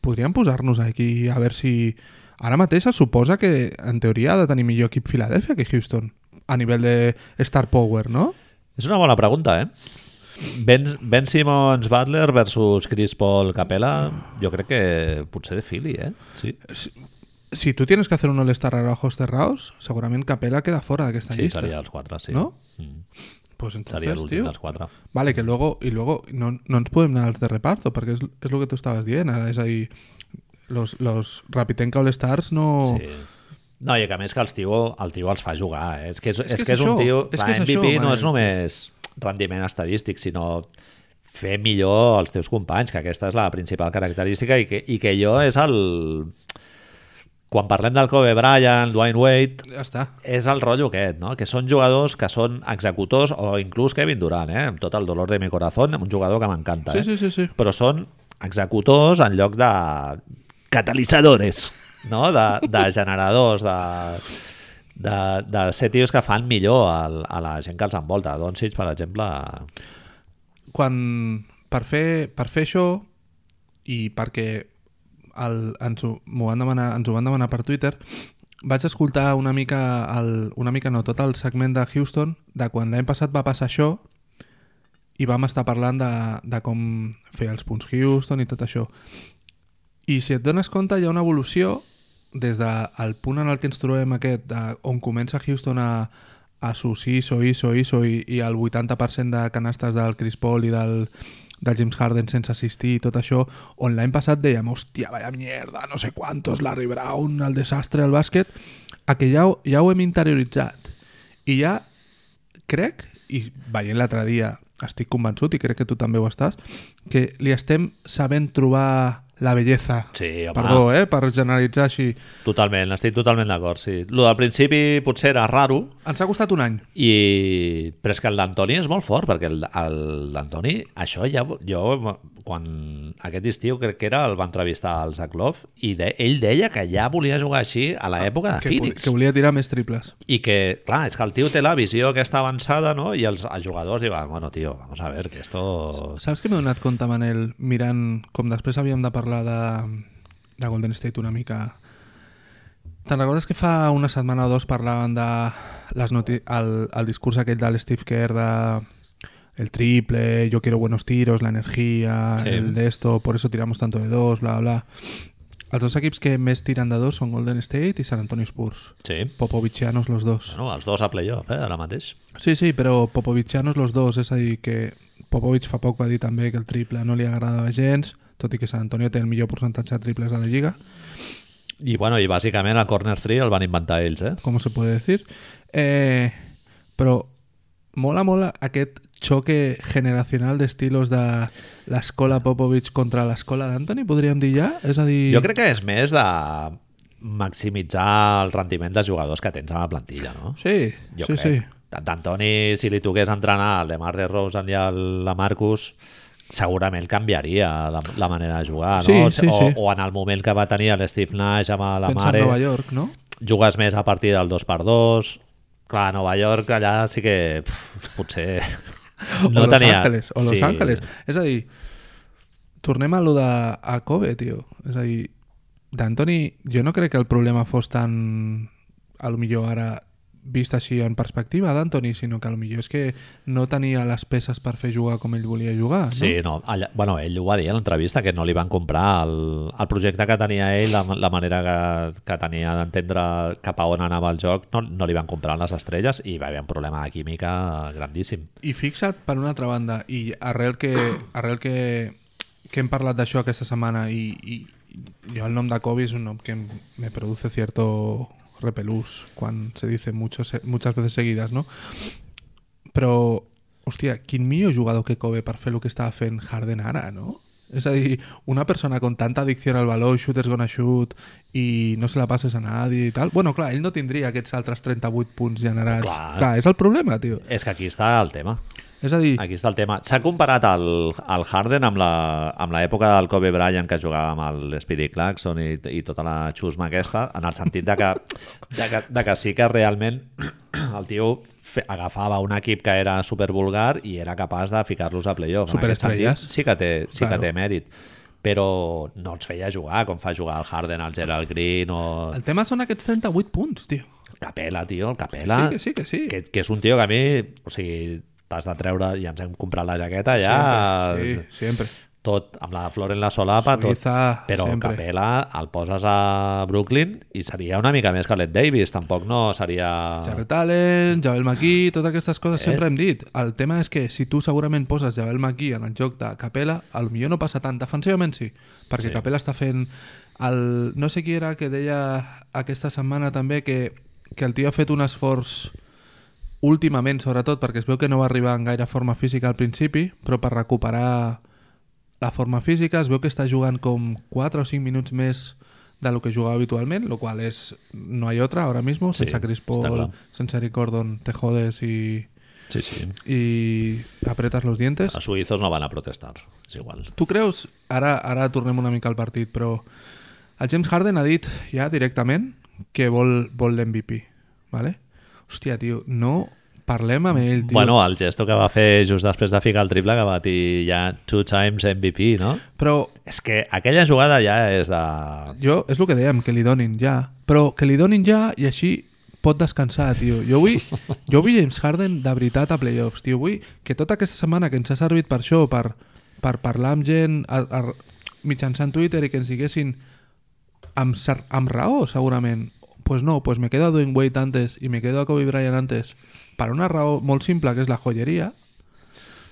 S2: podríem posar-nos aquí a veure si... Ara mateix es suposa que en teoria ha de tenir millor equip Filadèlfia que Houston a nivell de Star Power, no?
S1: És una bona pregunta, eh? Ben, ben Simmons Butler versus Chris Paul Capella, jo crec que potser de Philly, eh? Sí,
S2: Si tu tienes que hacer un All-Star a ojos cerrados, segurament Capella queda fora d'aquesta
S1: sí
S2: llista.
S1: seria els quatre, sí.
S2: No?
S1: Mm.
S2: Pues entonces,
S1: Seria l'últim
S2: tio,
S1: dels quatre.
S2: Vale, que luego, y luego no, no ens podem anar als de reparto, perquè és, és lo que tu estaves dient ara, és a dir, los, los Rapitenca All-Stars no...
S1: Sí. No, i que a més que els tio, el tio els fa jugar, eh? És que és, és,
S2: que
S1: que
S2: és
S1: és un
S2: això,
S1: tio...
S2: és
S1: clar,
S2: que és
S1: MVP
S2: això,
S1: no
S2: Manel.
S1: és només rendiment estadístic, sinó fer millor els teus companys, que aquesta és la principal característica i que, i que jo és el... Quan parlem del Kobe Bryant, Dwayne Wade,
S2: Ja està.
S1: és el rotllo aquest, no? que són jugadors que són executors o inclús Kevin Durant, eh? amb tot el dolor de mi corazón, un jugador que m'encanta,
S2: Sí,
S1: eh?
S2: sí, sí, sí.
S1: però són executors en lloc de catalitzadores, no? de, de generadors, de, de, de ser tios que fan millor al, a la gent que els envolta. Doncic, per exemple,
S2: quan per fer, per fer això i perquè el, ens, ho, m'ho van demanar, ens ho van demanar per Twitter vaig escoltar una mica, el, una mica no, tot el segment de Houston de quan l'any passat va passar això i vam estar parlant de, de com fer els punts Houston i tot això i si et dones compte hi ha una evolució des del punt en el que ens trobem aquest, de, on comença Houston a, a sus ISO, ISO, ISO i, i el 80% de canastes del Chris Paul i del, del James Harden sense assistir i tot això, on l'any passat dèiem, hòstia, vaya mierda, no sé quantos, Larry Brown, el desastre al bàsquet, a que ja, ho- ja ho hem interioritzat. I ja crec, i veient l'altre dia estic convençut, i crec que tu també ho estàs, que li estem sabent trobar la bellesa.
S1: Sí, home.
S2: Perdó, eh? Per generalitzar així.
S1: Totalment, estic totalment d'acord, sí. Lo del principi potser era raro,
S2: Ens ha costat un any.
S1: I... Però és que el d'Antoni és molt fort, perquè el- el- l'Antoni, això ja... Jo, quan aquest estiu crec que era, el va entrevistar al Zaklov, i de, ell deia que ja volia jugar així a l'època de
S2: Que, vo-
S1: Phoenix.
S2: que volia tirar més triples.
S1: I que, clar, és que el tio té la visió aquesta avançada, no? I els, els jugadors diuen, bueno, tio, vamos a ver, que esto...
S2: Saps que m'he donat compte, Manel, mirant com després havíem de parlar de, de Golden State una mica... Te'n recordes que fa una setmana o dos parlaven de les noti el, el discurs aquell de l'Steve Kerr de el triple, yo quiero buenos tiros, la energía,
S1: Sí.
S2: el de esto, por eso tiramos tanto de dos, bla, bla. Els dos equips que més tiren de dos són Golden State i San Antonio Spurs.
S1: Sí.
S2: Popovichianos los dos.
S1: Bueno, els dos a playoff, eh, ara mateix.
S2: Sí, sí, però Popovichanos los dos, és a dir, que Popovic fa poc va dir també que el triple no li agradava gens, tot i que Sant Antonio té el millor percentatge de triples de la Lliga,
S1: I, bueno, i bàsicament el corner 3 el van inventar ells, eh?
S2: com se puede decir. Eh, però mola, mola aquest xoque generacional d'estilos de l'escola Popovic contra l'escola d'Anthony, podríem dir ja? És a dir...
S1: Jo crec que és més de maximitzar el rendiment dels jugadors que tens a la plantilla, no?
S2: Sí,
S1: Jo
S2: sí,
S1: crec.
S2: sí.
S1: Tant D'Antoni, si li toqués entrenar el de Mar de Rosen i el la Marcus, segurament canviaria la, la manera de jugar, no?
S2: Sí, sí,
S1: o,
S2: sí.
S1: o en el moment que va tenir l'Steve Nash amb la
S2: Pensa en
S1: Mare,
S2: Nova York, no?
S1: jugues més a partir del 2x2... Clar, a Nova York allà sí que pf, potser...
S2: [LAUGHS]
S1: [LAUGHS]
S2: o Los Ángeles, o Los Ángeles. És a dir, tornem a lo de a Kobe, tio. És a dir, d'Antoni, jo no crec que el problema fos tan, a lo millor ara, vist així en perspectiva d'Antoni, sinó que a lo millor és que no tenia les peces per fer jugar com ell volia jugar, no?
S1: Sí, no, allà, bueno, ell ho va dir a l'entrevista, que no li van comprar el, el projecte que tenia ell, la, la manera que, que tenia d'entendre cap a on anava el joc, no, no li van comprar les estrelles i va haver un problema de química grandíssim.
S2: I fixa't, per una altra banda, i arrel
S1: [COUGHS]
S2: que, arrel que, que hem parlat d'això aquesta setmana i, i jo el nom de Kobe és un nom que em- me produce cierto repelús quan se dice muchos, muchas veces seguidas, no? Però, hòstia, quin millor jugador que Kobe per fer el que estava fent Harden ara, no? És a dir, una persona con tanta adicció al valor, shooters gonna shoot, i no se la passes a nadie i tal... Bueno, clar, ell no tindria aquests altres 38 punts generats.
S1: Clar.
S2: clar és el problema, tio.
S1: És que aquí està el tema.
S2: És a dir,
S1: Aquí està el tema. S'ha comparat el, el Harden amb la- amb l'època del Kobe Bryant que jugava amb el Speedy Clarkson i, i tota la xusma aquesta, en el sentit de que, de que, de que sí que realment [CLEARS THROAT] el tio fe, agafava un equip que era supervulgar i era capaç de ficar-los a playoff. En aquest
S2: Superestrelles.
S1: sentit, Sí que té, sí que
S2: Claro.
S1: té mèrit però no els feia jugar com fa jugar el Harden, el Gerald Green o
S2: El tema són aquests 38 punts, tio.
S1: Capela, tio, el Capela.
S2: Sí, que sí, que sí.
S1: Ah, Que, que és un tio que a mi, o sigui, t'has de treure, ja ens hem comprat la jaqueta, ja...
S2: Sempre, sí, sempre.
S1: Tot, amb la flor en la solapa,
S2: Suïssa,
S1: tot. Però
S2: sempre.
S1: Capela el poses a Brooklyn i seria una mica més que Let Davis, tampoc no seria...
S2: Jarret Allen, Javel McKee, totes aquestes coses
S1: Eh?
S2: sempre hem dit. El tema és que si tu segurament poses Javel McKee en el joc de Capella, al millor no passa tant. Defensivament sí, perquè sí. Capella està fent el... No sé qui era que deia aquesta setmana també que, que el tio ha fet un esforç últimament, sobretot, perquè es veu que no va arribar en gaire forma física al principi, però per recuperar la forma física es veu que està jugant com 4 o 5 minuts més de lo que jugava habitualment, lo qual és no hay otra ahora mismo,
S1: Sí,
S2: sense Chris
S1: està clar.
S2: Paul, sense Eric Gordon, te jodes i,
S1: Sí, sí.
S2: i apretes los dientes.
S1: Els suïssos no van a protestar, és igual.
S2: Tu creus, ara, ara tornem una mica al partit, però el James Harden ha dit ja directament que vol, vol l'MVP, vale? Hòstia, tio, no parlem amb ell, tio.
S1: Bueno, el gesto que va fer just després de ficar el triple que va dir ja two times MVP, no?
S2: però
S1: És que aquella jugada ja és de... [CLEARS THROAT]
S2: Jo, és el que dèiem, que li donin ja. Però que li donin ja i així pot descansar, tio. Jo vull, jo vull James Harden de veritat a playoffs, tio. Vull que tota aquesta setmana que ens ha servit per això, per, per parlar amb gent a, a, mitjançant Twitter i que ens diguessin amb, cer- amb raó, segurament. Pues no, pues me quedo a Dwayne Wade antes i me quedo a Kobe Bryant antes per una raó molt simple, que és la joyeria,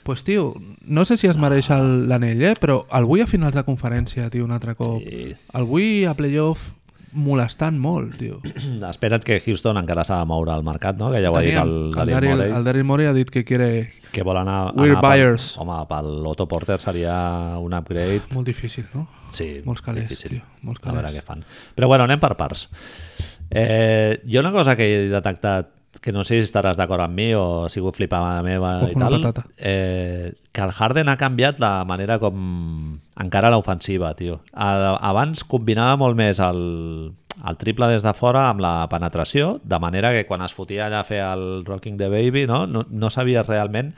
S2: pues, tio, no sé si es mereix el- l'anell, eh? però avui a finals de conferència, tio, un altre cop.
S1: Sí.
S2: Avui a playoff molestant molt, tio.
S1: Espera't que Houston encara s'ha de moure al mercat, no? Que ja ho ha dit
S2: Teníem,
S1: el,
S2: el,
S1: Daryl
S2: Daryl,
S1: Morey,
S2: el Daryl Morey ha dit que quiere...
S1: que vol anar...
S2: We're
S1: anar pel-
S2: buyers.
S1: home, pel Otto Porter seria un upgrade
S2: Molt difícil, no?
S1: Sí,
S2: Molts calés, tio, molts
S1: A veure
S2: calés.
S1: què fan. Però bueno, anem per parts. Eh, jo una cosa que he detectat, que no sé si estaràs d'acord amb mi o ha sigut flipada meva
S2: Cojo
S1: i
S2: una
S1: tal,
S2: patata.
S1: eh, que el Harden ha canviat la manera com encara l'ofensiva, tio. A- Abans combinava molt més el, el triple des de fora amb la penetració, de manera que quan es fotia allà a fer el Rocking the Baby, no, no, no sabies realment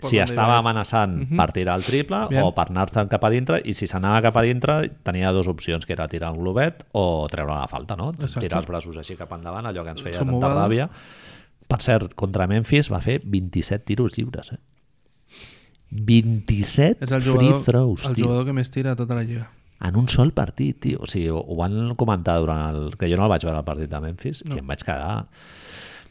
S2: Per
S1: si
S2: on
S1: estava
S2: anava.
S1: amenaçant per tirar el triple
S2: Mhm. Bien.
S1: o per anar-se'n cap a dintre i si s'anava cap a dintre tenia dues opcions que era tirar el globet o treure la falta no?
S2: Exacte.
S1: tirar els braços així cap endavant allò que ens feia
S2: Som
S1: tanta
S2: ovada.
S1: ràbia per cert, contra Memphis va fer 27 tiros lliures eh? 27
S2: És el
S1: free
S2: jugador,
S1: throws
S2: el
S1: tio,
S2: jugador que més tira a tota la lliga.
S1: en un sol partit tio. O sigui, ho- ho van comentar durant el... que jo no el vaig veure el partit de Memphis no. i em vaig quedar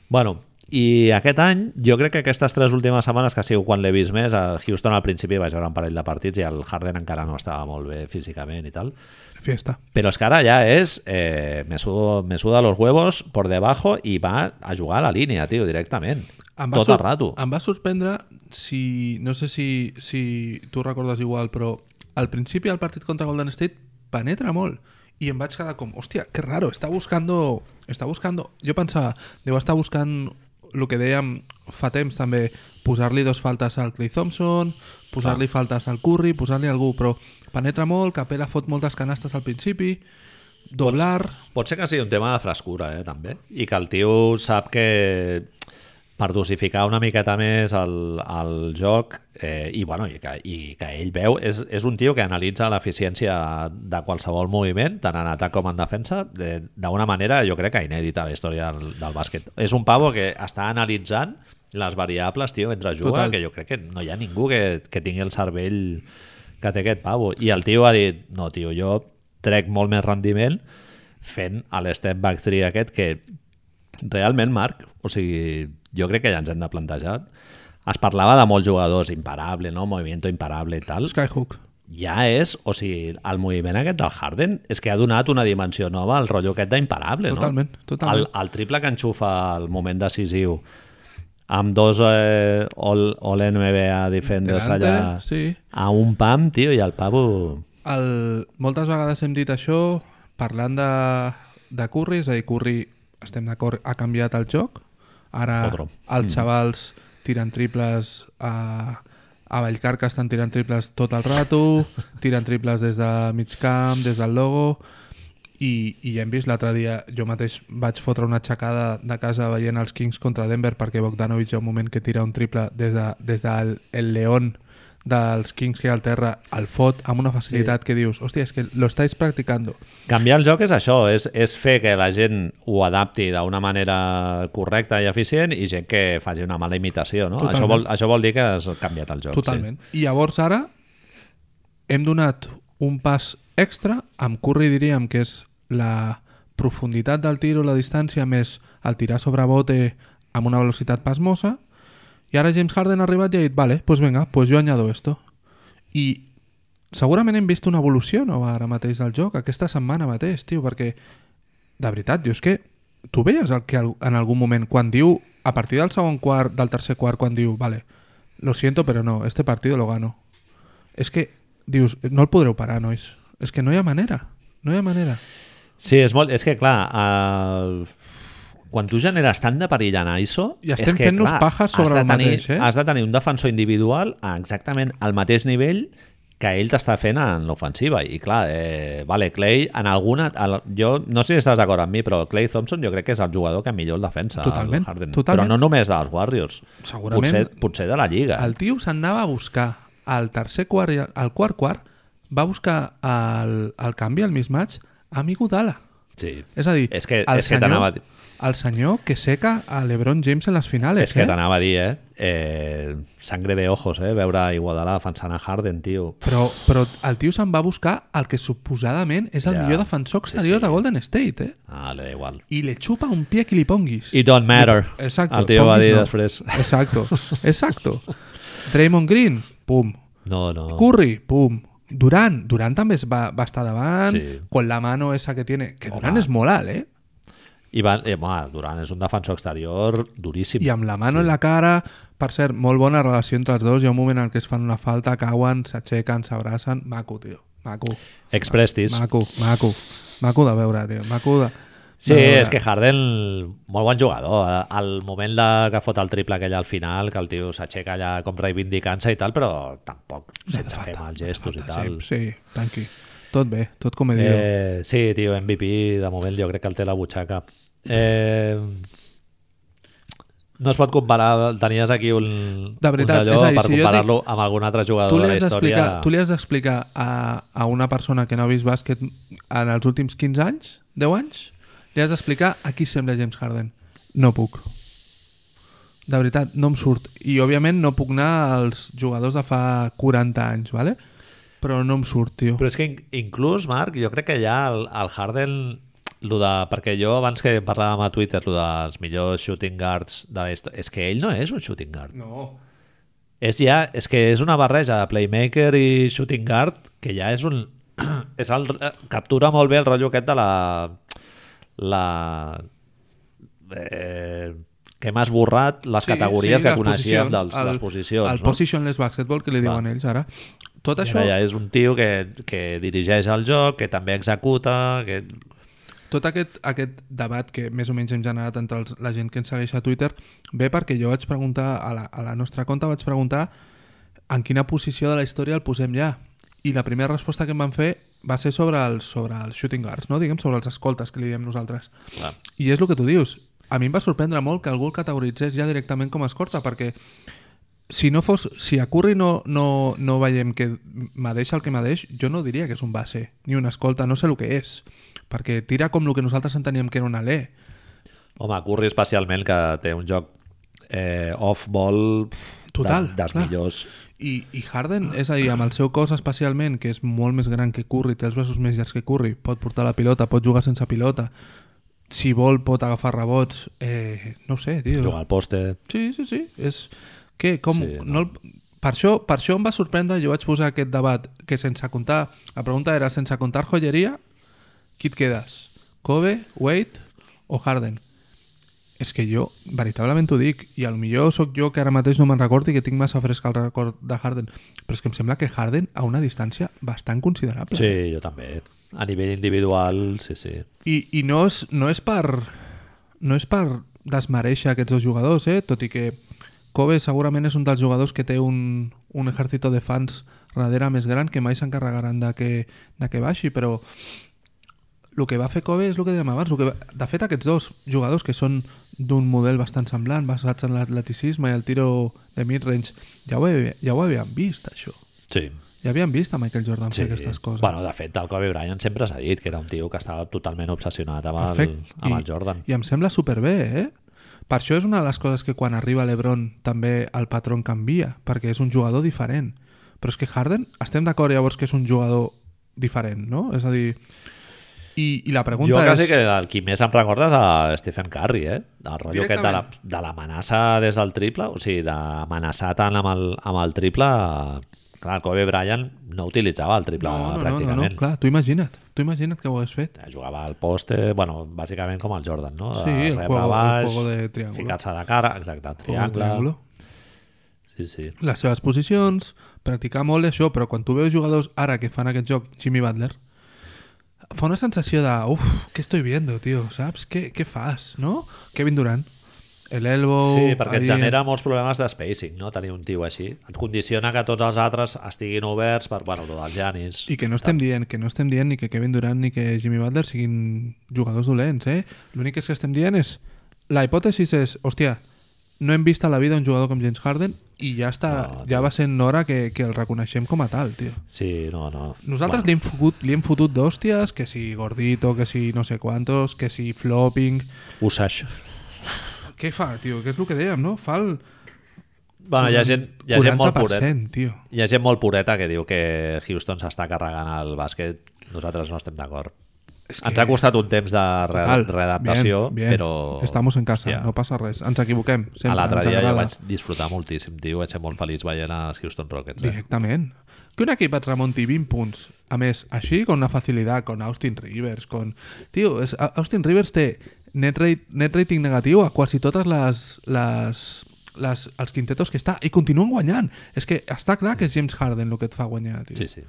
S1: Bueno, i aquest any, jo crec que aquestes tres últimes setmanes que ha sigut quan l'he vist més, a Houston al principi vaig veure un parell de partits i el Harden encara no estava molt bé físicament i tal.
S2: Fiesta.
S1: Però és que ara ja és, eh, me, sudo, me suda los huevos por debajo i va a jugar a la línia, tio, directament.
S2: Em va
S1: Tot
S2: sor-
S1: el rato.
S2: Em va sorprendre si... No sé si, si tu recordes igual, però al principi del partit contra Golden State penetra molt. I em vaig quedar com, hòstia, que raro, està buscando... Està buscando... Jo pensava, deu estar buscant el que dèiem fa temps també, posar-li dos faltes al Clay Thompson, posar-li faltes al Curry, posar-li a algú, però penetra molt, Capela fot moltes canastes al principi, doblar...
S1: Pot ser que sigui un tema de frescura, eh, també. I que el tio sap que per dosificar una miqueta més el, el joc eh, i, bueno, i, que, i que ell veu és, és un tio que analitza l'eficiència de qualsevol moviment, tant en atac com en defensa, de- d'una manera jo crec que inèdita a la història del, del bàsquet és un pavo que està analitzant les variables, tio, mentre juga
S2: Total.
S1: que jo crec que no hi ha ningú que, que tingui el cervell que té aquest pavo i el tio ha dit, no tio, jo trec molt més rendiment fent l'step back 3 aquest que realment Marc, o sigui jo crec que ja ens hem de plantejar es parlava de molts jugadors, imparable, no? movimiento imparable i tal
S2: Skyhook.
S1: ja és, o sigui, el moviment aquest del Harden és que ha donat una dimensió nova al rotllo aquest d'imparable, no?
S2: Totalment, totalment.
S1: El, el triple que enxufa al moment decisiu amb dos eh, all, all NBA defenders
S2: Delante,
S1: allà
S2: sí.
S1: a un pam, tio, i el pavo...
S2: El... Moltes vegades hem dit això parlant de, de Curry, és a dir, Curry, estem d'acord, ha canviat el joc. Ara
S1: Otro.
S2: els xavals tiren triples a, a Vallcarca, estan tirant triples tot el rato, tiren triples des de mig camp, des del logo... I, i ja hem vist l'altre dia, jo mateix vaig fotre una aixecada de casa veient els Kings contra Denver perquè Bogdanovic hi ha un moment que tira un triple des, de, des del el León dels Kings que hi ha al terra el fot amb una facilitat sí. que dius hòstia, és que lo estáis practicando
S1: Canviar el joc és això, és, és fer que la gent ho adapti d'una manera correcta i eficient i gent que faci una mala imitació, no?
S2: Totalment.
S1: Això vol, això vol dir que has canviat el joc.
S2: totalment. I llavors ara hem donat un pas extra, amb Curry diríem que és la profunditat del tiro, la distància, més el tirar sobre bote amb una velocitat pasmosa, i ara James Harden ha arribat i ha dit, vale, pues venga, pues yo añado esto. I segurament hem vist una evolució nova ara mateix del joc, aquesta setmana mateix, tio, perquè de veritat, dius que tu veies el que al- en algun moment quan diu, a partir del segon quart, del tercer quart, quan diu, vale, lo siento, pero no, este partido lo gano. És que, dius, no el podreu parar, nois. És que no hi ha manera. No hi ha manera.
S1: Sí, sí és, molt, és que clar, eh, quan tu generes tant de perill en ISO...
S2: I estem
S1: és que,
S2: fent-nos
S1: clar,
S2: paja sobre
S1: has de
S2: el
S1: tenir,
S2: mateix, eh?
S1: Has de tenir un defensor individual a exactament al mateix nivell que ell t'està fent en l'ofensiva i clar, eh, vale, Clay en alguna, el, jo no sé si estàs d'acord amb mi però Clay Thompson jo crec que és el jugador que millor el defensa el
S2: Totalment,
S1: Harden.
S2: totalment.
S1: però no només dels Warriors
S2: Segurament.
S1: potser, potser de la Lliga
S2: El tio s'anava a buscar al tercer quart i al- al quart quart, va buscar el, el canvi, el mismatch, a Migudala.
S1: sí.
S2: És a dir,
S1: És que-
S2: el,
S1: és que t'anava a
S2: senyor,
S1: dir-
S2: el senyor que seca a l'Ebron James en les finales.
S1: és que
S2: eh?
S1: t'anava a dir, eh? eh? Sangre de ojos, eh? Veure Iguadala defensant a Harden, tio.
S2: Però, però el tio se'n va buscar el que suposadament és el
S1: Ja.
S2: millor defensor
S1: Sí,
S2: exterior
S1: sí.
S2: de Golden State, eh?
S1: Ah, li da igual.
S2: I le chupa un pie que li ponguis.
S1: It don't matter.
S2: Exacto.
S1: El tio va
S2: [LAUGHS] ponguis
S1: dir
S2: no.
S1: després.
S2: Exacto, exacto. Draymond Green, pum.
S1: No, no.
S2: Curry, pum. Durant, Durant també es va, va estar davant,
S1: Sí.
S2: con la mano esa que tiene... Que
S1: Home.
S2: Durant és molt alt, eh?
S1: I va, eh, home, Durant és un defensor exterior duríssim.
S2: I amb la mano en la cara, per cert, molt bona relació entre els dos, hi ha un moment en què es fan una falta, cauen, s'aixequen, s'abracen, maco, tio, maco,
S1: Exprestis.
S2: maco, maco, maco de veure, tio, maco de...
S1: Sí,
S2: de veure.
S1: és que Harden, molt bon jugador. Al moment de, que fot el triple aquell al final, que el tio s'aixeca allà com reivindicant-se i tal, però tampoc sense fer mal gestos i tal.
S2: Sí, sí, tanqui. Tot bé, tot com he dit. Eh...
S1: Eh, sí, tio, MVP de moment jo crec que el té a la butxaca. Eh, no es pot comparar, tenies aquí un,
S2: De veritat,
S1: un
S2: és a dir,
S1: per
S2: si jo
S1: comparar-lo amb algun altre jugador
S2: Tu
S1: de
S2: li
S1: la
S2: has
S1: història.
S2: d'explicar tu li has d'explicar a, a una persona que no ha vist bàsquet en els últims 15 anys, 10 anys, li has d'explicar a qui sembla James Harden. No puc. De veritat, no em surt. I, òbviament, no puc anar als jugadors de fa 40 anys, ¿vale? però no em surt, tio.
S1: Però és que in- inclús, Marc, jo crec que ja el, el Harden... Lo de, perquè jo abans que parlàvem a Twitter lo dels millors shooting guards de la història, és que ell no és un shooting guard
S2: No.
S1: és ja, és que és una barreja de playmaker i shooting guard que ja és un [CLEARS THROAT] és el, eh, captura molt bé el rotllo aquest de la la eh, que m'has borrat les categories que
S2: les
S1: coneixíem
S2: posicions,
S1: dels,
S2: el-
S1: les posicions
S2: El
S1: no?
S2: positionless basketball que li
S1: Clar.
S2: diuen ells ara. Tot
S1: Això...
S2: això,
S1: Ja és un tio que, que dirigeix el joc, que també executa, que...
S2: tot aquest, aquest debat que més o menys hem generat entre els, la gent que ens segueix a Twitter ve perquè jo vaig preguntar a la, a la nostra conta vaig preguntar en quina posició de la història el posem ja i la primera resposta que em van fer va ser sobre els, sobre els shooting guards, no? diguem sobre els escoltes que li diem nosaltres
S1: Clar.
S2: i és el que tu dius. A mi em va sorprendre molt que algú el categoritzés ja directament com a escorta, perquè si no fos... Si a Curry no, no, no veiem que madeix el que madeix, jo no diria que és un base, ni un escolta, no sé el que és. Perquè tira com el que nosaltres enteníem que era un alè.
S1: Home, Curry especialment, que té un joc eh, off-ball pf,
S2: Total,
S1: de, dels
S2: clar.
S1: millors.
S2: I, I Harden, és a dir, amb el seu cos especialment, que és molt més gran que Curry, té els braços més llargs que Curry, pot portar la pilota, pot jugar sense pilota, si vol pot agafar rebots, eh, no ho sé, tio.
S1: Jugar al poste...
S2: Sí, sí, sí. És... Què? Com?
S1: Sí,
S2: Sí, no. el... per, això, per això em va sorprendre, jo vaig posar aquest debat, que sense comptar... La pregunta era, sense comptar joieria, qui et quedes? Kobe, Wade o Harden? És que jo, veritablement t'ho dic, i a lo millor sóc jo que ara mateix no me'n recordi que tinc massa fresca el record de Harden, però és que em sembla que Harden a una distància bastant considerable.
S1: Sí, jo també. A nivell individual, sí, sí.
S2: I, i no, és, no és per no és per desmereixer aquests dos jugadors, eh? tot i que Kobe segurament és un dels jugadors que té un, un exèrcito de fans darrere més gran que mai s'encarregaran de que, de que baixi, però el que va fer Kobe és el que dèiem abans. El que va... De fet, aquests dos jugadors que són d'un model bastant semblant, basats en l'atleticisme i el tiro de mid-range, ja, ho he, ja ho havíem vist, això.
S1: Sí.
S2: Ja havíem vist a Michael Jordan
S1: sí.
S2: fer aquestes coses.
S1: Bueno, de fet, el Kobe Bryant sempre s'ha dit que era un tio que estava totalment obsessionat amb, el,
S2: Perfecte.
S1: amb el Jordan.
S2: I em sembla superbé, eh? Per això és una de les coses que quan arriba l'Ebron també el patró canvia, perquè és un jugador diferent. Però és que Harden, estem d'acord llavors que és un jugador diferent, no? És a dir... I, i la pregunta
S1: Jo quasi
S2: és...
S1: que el qui més em recorda és a Stephen Curry, eh? El rotllo aquest de la-
S2: Directament.
S1: de l'amenaça des del triple, o sigui, d'amenaçar tant amb el, amb el triple... Clar, el Kobe Bryant no utilitzava el triple,
S2: No, no, no, no, no,
S1: pràcticament.
S2: clar, tu imagina't, tu imagina't que ho hagués fet.
S1: Jugava al poste, bueno, bàsicament com el Jordan, no? De
S2: Sí, el
S1: rebre
S2: juego- el
S1: baix,
S2: juego de triángulo.
S1: Ficar-se de cara, exacte,
S2: Com el
S1: triangle. Sí, sí.
S2: les seves posicions, practicar molt i això, però quan tu veus jugadors ara que fan aquest joc, Jimmy Butler, fa una sensació de, uf, què estoy viendo, tio, saps? Què, què fas, no? Kevin Durant, el elbow...
S1: Sí, perquè et
S2: ahí-
S1: genera molts problemes de spacing, no? Tenir un tio així. Et condiciona que tots els altres estiguin oberts per, bueno, lo dels Janis.
S2: I que no estem dient, que no estem dient ni que Kevin Durant ni que Jimmy Butler siguin jugadors dolents, eh? L'únic és que estem dient és... La hipòtesis és, hòstia, no hem vist a la vida un jugador com James Harden i ja està,
S1: No,
S2: ja va sent hora que, que el reconeixem com a tal, tio.
S1: Sí, no, no.
S2: Nosaltres li, hem fotut, li hem fotut d'hòsties, que si gordito, que si no sé quantos, que si flopping...
S1: Usage.
S2: Què fa, tio? Què és el que dèiem, no? Fa el
S1: Bueno, hi ha gent, hi ha gent molt pureta.
S2: tio.
S1: Hi ha gent molt pureta que diu que Houston s'està carregant el bàsquet. Nosaltres no estem d'acord. Ens ha costat un temps de re
S2: Total.
S1: readaptació,
S2: Bien, bien.
S1: però...
S2: Estamos en casa,
S1: hòstia,
S2: no passa res. Ens equivoquem, sempre.
S1: A l'altre
S2: ens
S1: dia jo
S2: agrada.
S1: vaig disfrutar moltíssim, tio. Vaig ser molt feliç veient els Houston Rockets. Eh?
S2: Directament. Que un equip et remunti 20 punts, a més, així, con una facilitat, con Austin Rivers, con... Tio, és, A- Austin Rivers té net, rate, net rating negatiu a quasi totes les, les, les, els quintetos que està i continuen guanyant. És que està clar que és James Harden el que et fa guanyar, tio.
S1: Sí, sí.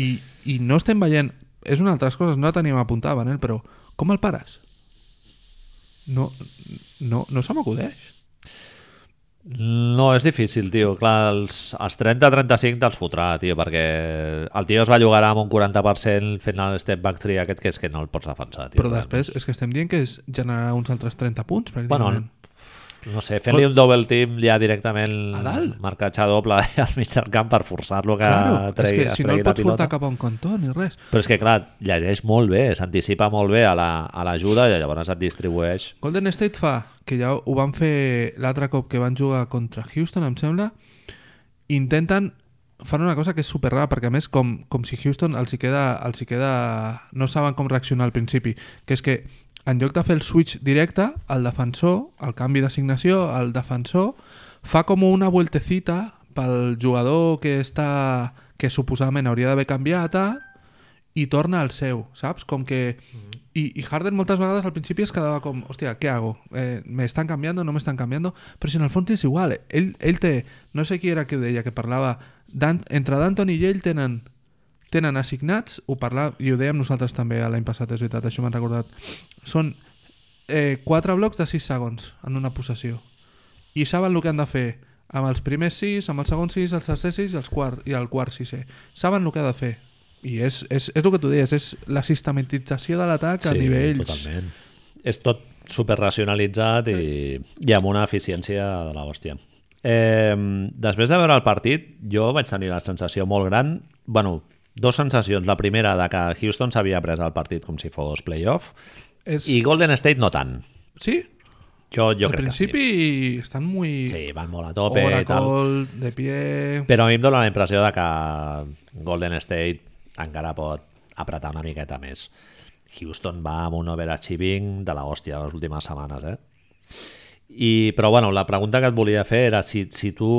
S2: I, I no estem veient... És una altra cosa, no la teníem apuntada, Manel, però com el pares? No, no, no se m'acudeix.
S1: No, és difícil, tio. Clar, els, els 30-35 te'ls fotrà, tio, perquè el tio es va llogar amb un 40% fent el step back 3 aquest que és que no el pots defensar, tio.
S2: Però després és que estem dient que es generarà uns altres 30 punts,
S1: Bueno,
S2: pràcticament.
S1: no sé, fent-li un double team ja directament
S2: eh. A dalt?
S1: marcatge doble eh, al mig del camp per forçar-lo que
S2: Claro,
S1: tregui,
S2: és que
S1: es
S2: si no
S1: tregui la
S2: el pots portar
S1: pilota.
S2: cap a un cantó ni res.
S1: Però és que, clar, llegeix molt bé, s'anticipa molt bé a la- a l'ajuda la, i llavors et distribueix.
S2: Golden State fa, que ja ho van fer l'altre cop que van jugar contra Houston, em sembla, intenten fan una cosa que és super rara, perquè a més com, com si Houston els hi, queda, els hi queda... no saben com reaccionar al principi, que és que en lloc de fer el switch directe, el defensor, el canvi d'assignació, el defensor fa com una vueltecita pel jugador que està que suposadament hauria d'haver canviat ah, a, i torna al seu, saps? Com que... I, I Harden moltes vegades al principi es quedava com, hòstia, què hago? Eh, me estan canviando, no me estan canviando? Però si en el fons és igual, eh? ell, ell té... No sé qui era que ho deia, que parlava... Dan, entre D'Anton i ell tenen tenen assignats, ho parla, i ho dèiem nosaltres també l'any passat, és veritat, això m'han recordat. Són eh, quatre blocs de 6 segons en una possessió. I saben el que han de fer amb els primers 6, amb els segons 6, els tercers 6 i, els quart, i el quart 6. Saben el que ha de fer. I és, és, és el que tu deies, és la sistematització de l'atac a nivells...
S1: Totalment. És tot superracionalitzat i, i amb una eficiència de la hòstia. Eh, després de veure el partit, jo vaig tenir la sensació molt gran... bueno, dos sensacions. La primera, de que Houston s'havia pres el partit com si fos playoff,
S2: És...
S1: i Golden State no tant.
S2: Sí?
S1: Jo, jo
S2: Al
S1: crec
S2: principi estan muy...
S1: que sí. Sí, van molt a tope i tal.
S2: Oracle, de pie...
S1: Però a mi em dóna la impressió de que Golden State encara pot apretar una miqueta més. Houston va amb un overachieving de la hòstia les últimes setmanes, eh? I, però bueno, la pregunta que et volia fer era si, si tu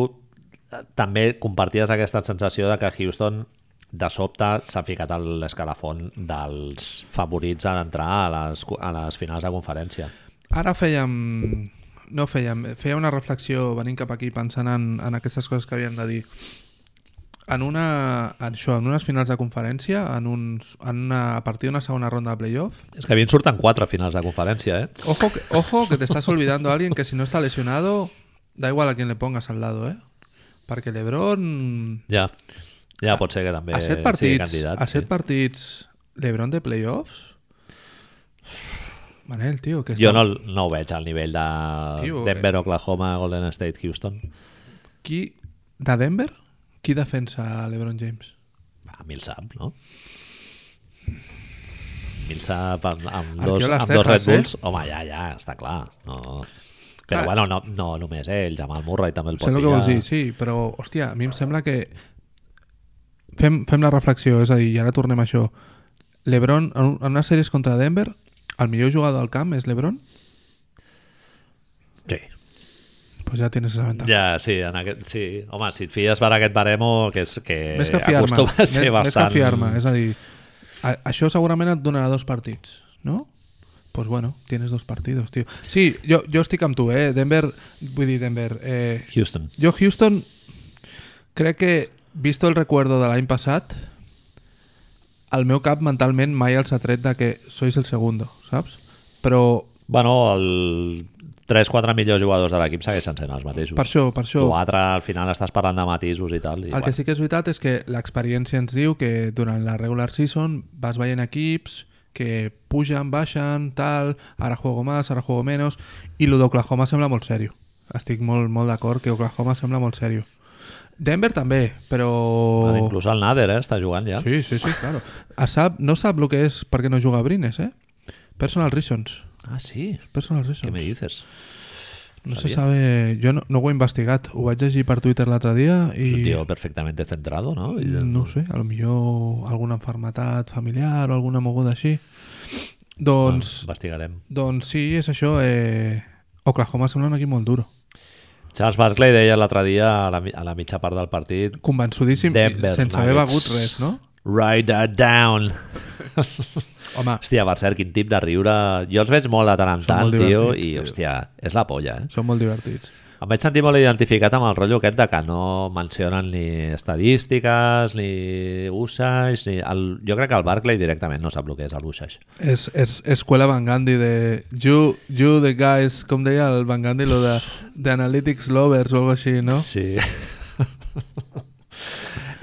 S1: eh, també comparties aquesta sensació de que Houston de sobte s'ha ficat a l'escalafon dels favorits a entrar a les, a les finals de conferència.
S2: Ara fèiem... No fèiem... Feia una reflexió venint cap aquí pensant en, en aquestes coses que havíem de dir. En una... en Això, en unes finals de conferència, en uns, en una, a partir d'una segona ronda de playoff,
S1: És que a mi em surten quatre finals de conferència, eh?
S2: ojo que, ojo que te estás olvidando a alguien que si no está lesionado, da igual a quien le pongas al lado, ¿eh? Perquè LeBron...
S1: Ja, ja pot ser que també
S2: a set
S1: sigui
S2: partits,
S1: candidat.
S2: a set partits LeBron de playoffs? Manel, tio, que
S1: Jo
S2: està...
S1: no, el- no ho veig al nivell de
S2: Tio, eh.
S1: Denver, Oklahoma, Golden State, Houston.
S2: Qui... De Denver? Qui defensa a LeBron James?
S1: Ah, A Millsap, no? Millsap amb, amb,
S2: Arqueo
S1: dos,
S2: les
S1: amb dos Red
S2: cejas, eh?
S1: Bulls. Home, ja, ja, està clar. No. Però
S2: Clar.
S1: bueno, no, no només ell, Jamal Murray també el pot
S2: Ah. Sé el que
S1: pillar.
S2: vols dir, sí, però, hòstia, a mi em sembla que... Fem, fem la reflexió, és a dir, i ara tornem a això. Lebron, en, un- en unes sèries contra Denver, el millor jugador del camp és Lebron?
S1: sí.
S2: Pues ja tienes esa ventaja.
S1: Ja, sí, en aquest, sí. Home, si et fies per aquest baremo, que és que,
S2: més que fiar-me.
S1: acostuma a
S2: Més,
S1: ser
S2: més que
S1: Eh, bastant...
S2: fiar-me, és a dir, a, això segurament et donarà dos partits, no? Pues bueno, tienes dos partidos, tio. Sí, jo, jo estic amb tu, eh? Denver, vull dir Denver, eh,
S1: Houston.
S2: Yo Houston crec que, visto el recuerdo de l'any passat, el meu cap mentalment mai els ha tret de que sois el segundo, saps? Però
S1: Bueno, el 3-4 millors jugadors de l'equip segueixen sent els mateixos.
S2: per això, per això,
S1: Tu altre, al final estàs parlant de matisos i tal. I,
S2: el que sí que és veritat és que l'experiència ens diu que durant la regular season vas veient equips que pugen, baixen, tal, ara juego más, ara juego menos, i lo d'Oklahoma sembla molt serio. Estic molt, molt d'acord que Oklahoma sembla molt serio. Denver també, però...
S1: bueno, ah, inclús el Nader eh, està jugant ja.
S2: Sí, sí, sí, claro. A sap, no sap lo que és perquè no juga a Brines, eh? Personal reasons.
S1: Ah, sí?
S2: Personal
S1: Què
S2: reasons.
S1: me dices?
S2: No se
S1: Sabia.
S2: sabe... Jo no, no ho he investigat. Ho vaig llegir per Twitter l'altre dia
S1: Es un
S2: i...
S1: tío perfectamente centrado, ¿no? Y-
S2: No ho sé, a lo millor alguna enfermetat familiar o alguna moguda així. Doncs,
S1: Investigarem.
S2: doncs sí, és això. Eh, Oklahoma sembla un equip molt duro.
S1: Charles Barkley deia l'altre dia a la, mi- a la mitja part del partit
S2: Convençudíssim, i
S1: Denver
S2: sense haver
S1: Nuggets.
S2: begut res, no?
S1: Ride that down.
S2: Home,
S1: Hòstia, per cert, quin tip de riure. Jo els veig molt de tant en
S2: Són
S1: tant,
S2: molt
S1: tio,
S2: divertits,
S1: i,
S2: tio.
S1: hòstia, és la polla, eh?
S2: són molt divertits.
S1: Em vaig sentir molt identificat amb el rotllo aquest de que no mencionen ni estadístiques, ni usage, ni... El, jo crec que el Barclay directament no sap el que és el usage.
S2: És, és escuela Van Gandhi de you, you the guys, com deia el Van Gandhi, lo de, de analytics lovers o algo així, no?
S1: Sí. [LAUGHS]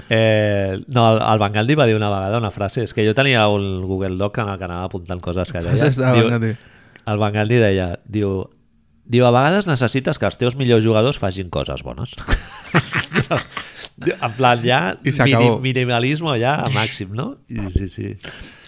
S1: Eh, no, el, el Van Gandhi va dir una vegada una frase, és que jo tenia un Google Doc en el que anava apuntant coses que deia.
S2: Frases de Van Gandhi.
S1: el Van Gandhi deia, diu, diu, a vegades necessites que els teus millors jugadors facin coses bones. [LAUGHS] Diu, en plan, ja,
S2: I s'acabó.
S1: minimalisme ja a màxim, no? I, sí, sí.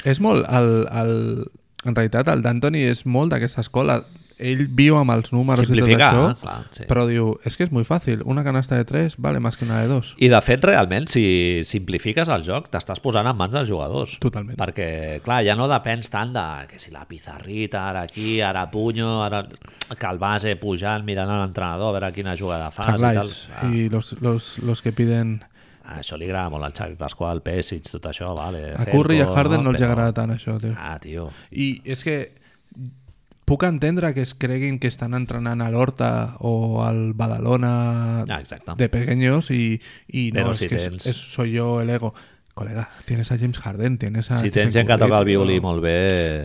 S2: És molt... El, el, en realitat, el D'Antoni és molt d'aquesta escola. Ell viu amb els números
S1: Simplificar,
S2: i tot això,
S1: eh? Clar, sí.
S2: però diu, és que és molt fàcil. Una canasta de 3 vale més que una de 2.
S1: I de fet, realment, si simplifiques el joc, t'estàs posant en mans dels jugadors.
S2: Totalment.
S1: Perquè, clar, ja no depens tant de que si la pizarrita, ara aquí, ara punyo, ara que el base pujant, mirant a l'entrenador, a veure quina jugada fas
S2: Carlisle.
S1: i tal.
S2: I los, los, los que piden...
S1: Ah, això li agrada molt al Xavi Pasqual, Pesic, tot això, vale.
S2: A Curry i a
S1: Cerco,
S2: Harden no els
S1: Però-
S2: agrada tant això, tio.
S1: Ah, tio.
S2: I és que puc entendre que es creguin que estan entrenant a l'Horta o al Badalona
S1: Ah, exacte.
S2: de pequeños i, i no,
S1: Però
S2: és
S1: si
S2: que és-
S1: tens-
S2: és, soy yo el ego. Colega, tienes a James Harden, tienes a...
S1: Si
S2: Stephen
S1: tens gent que
S2: Curry,
S1: toca el
S2: tio.
S1: violí molt bé,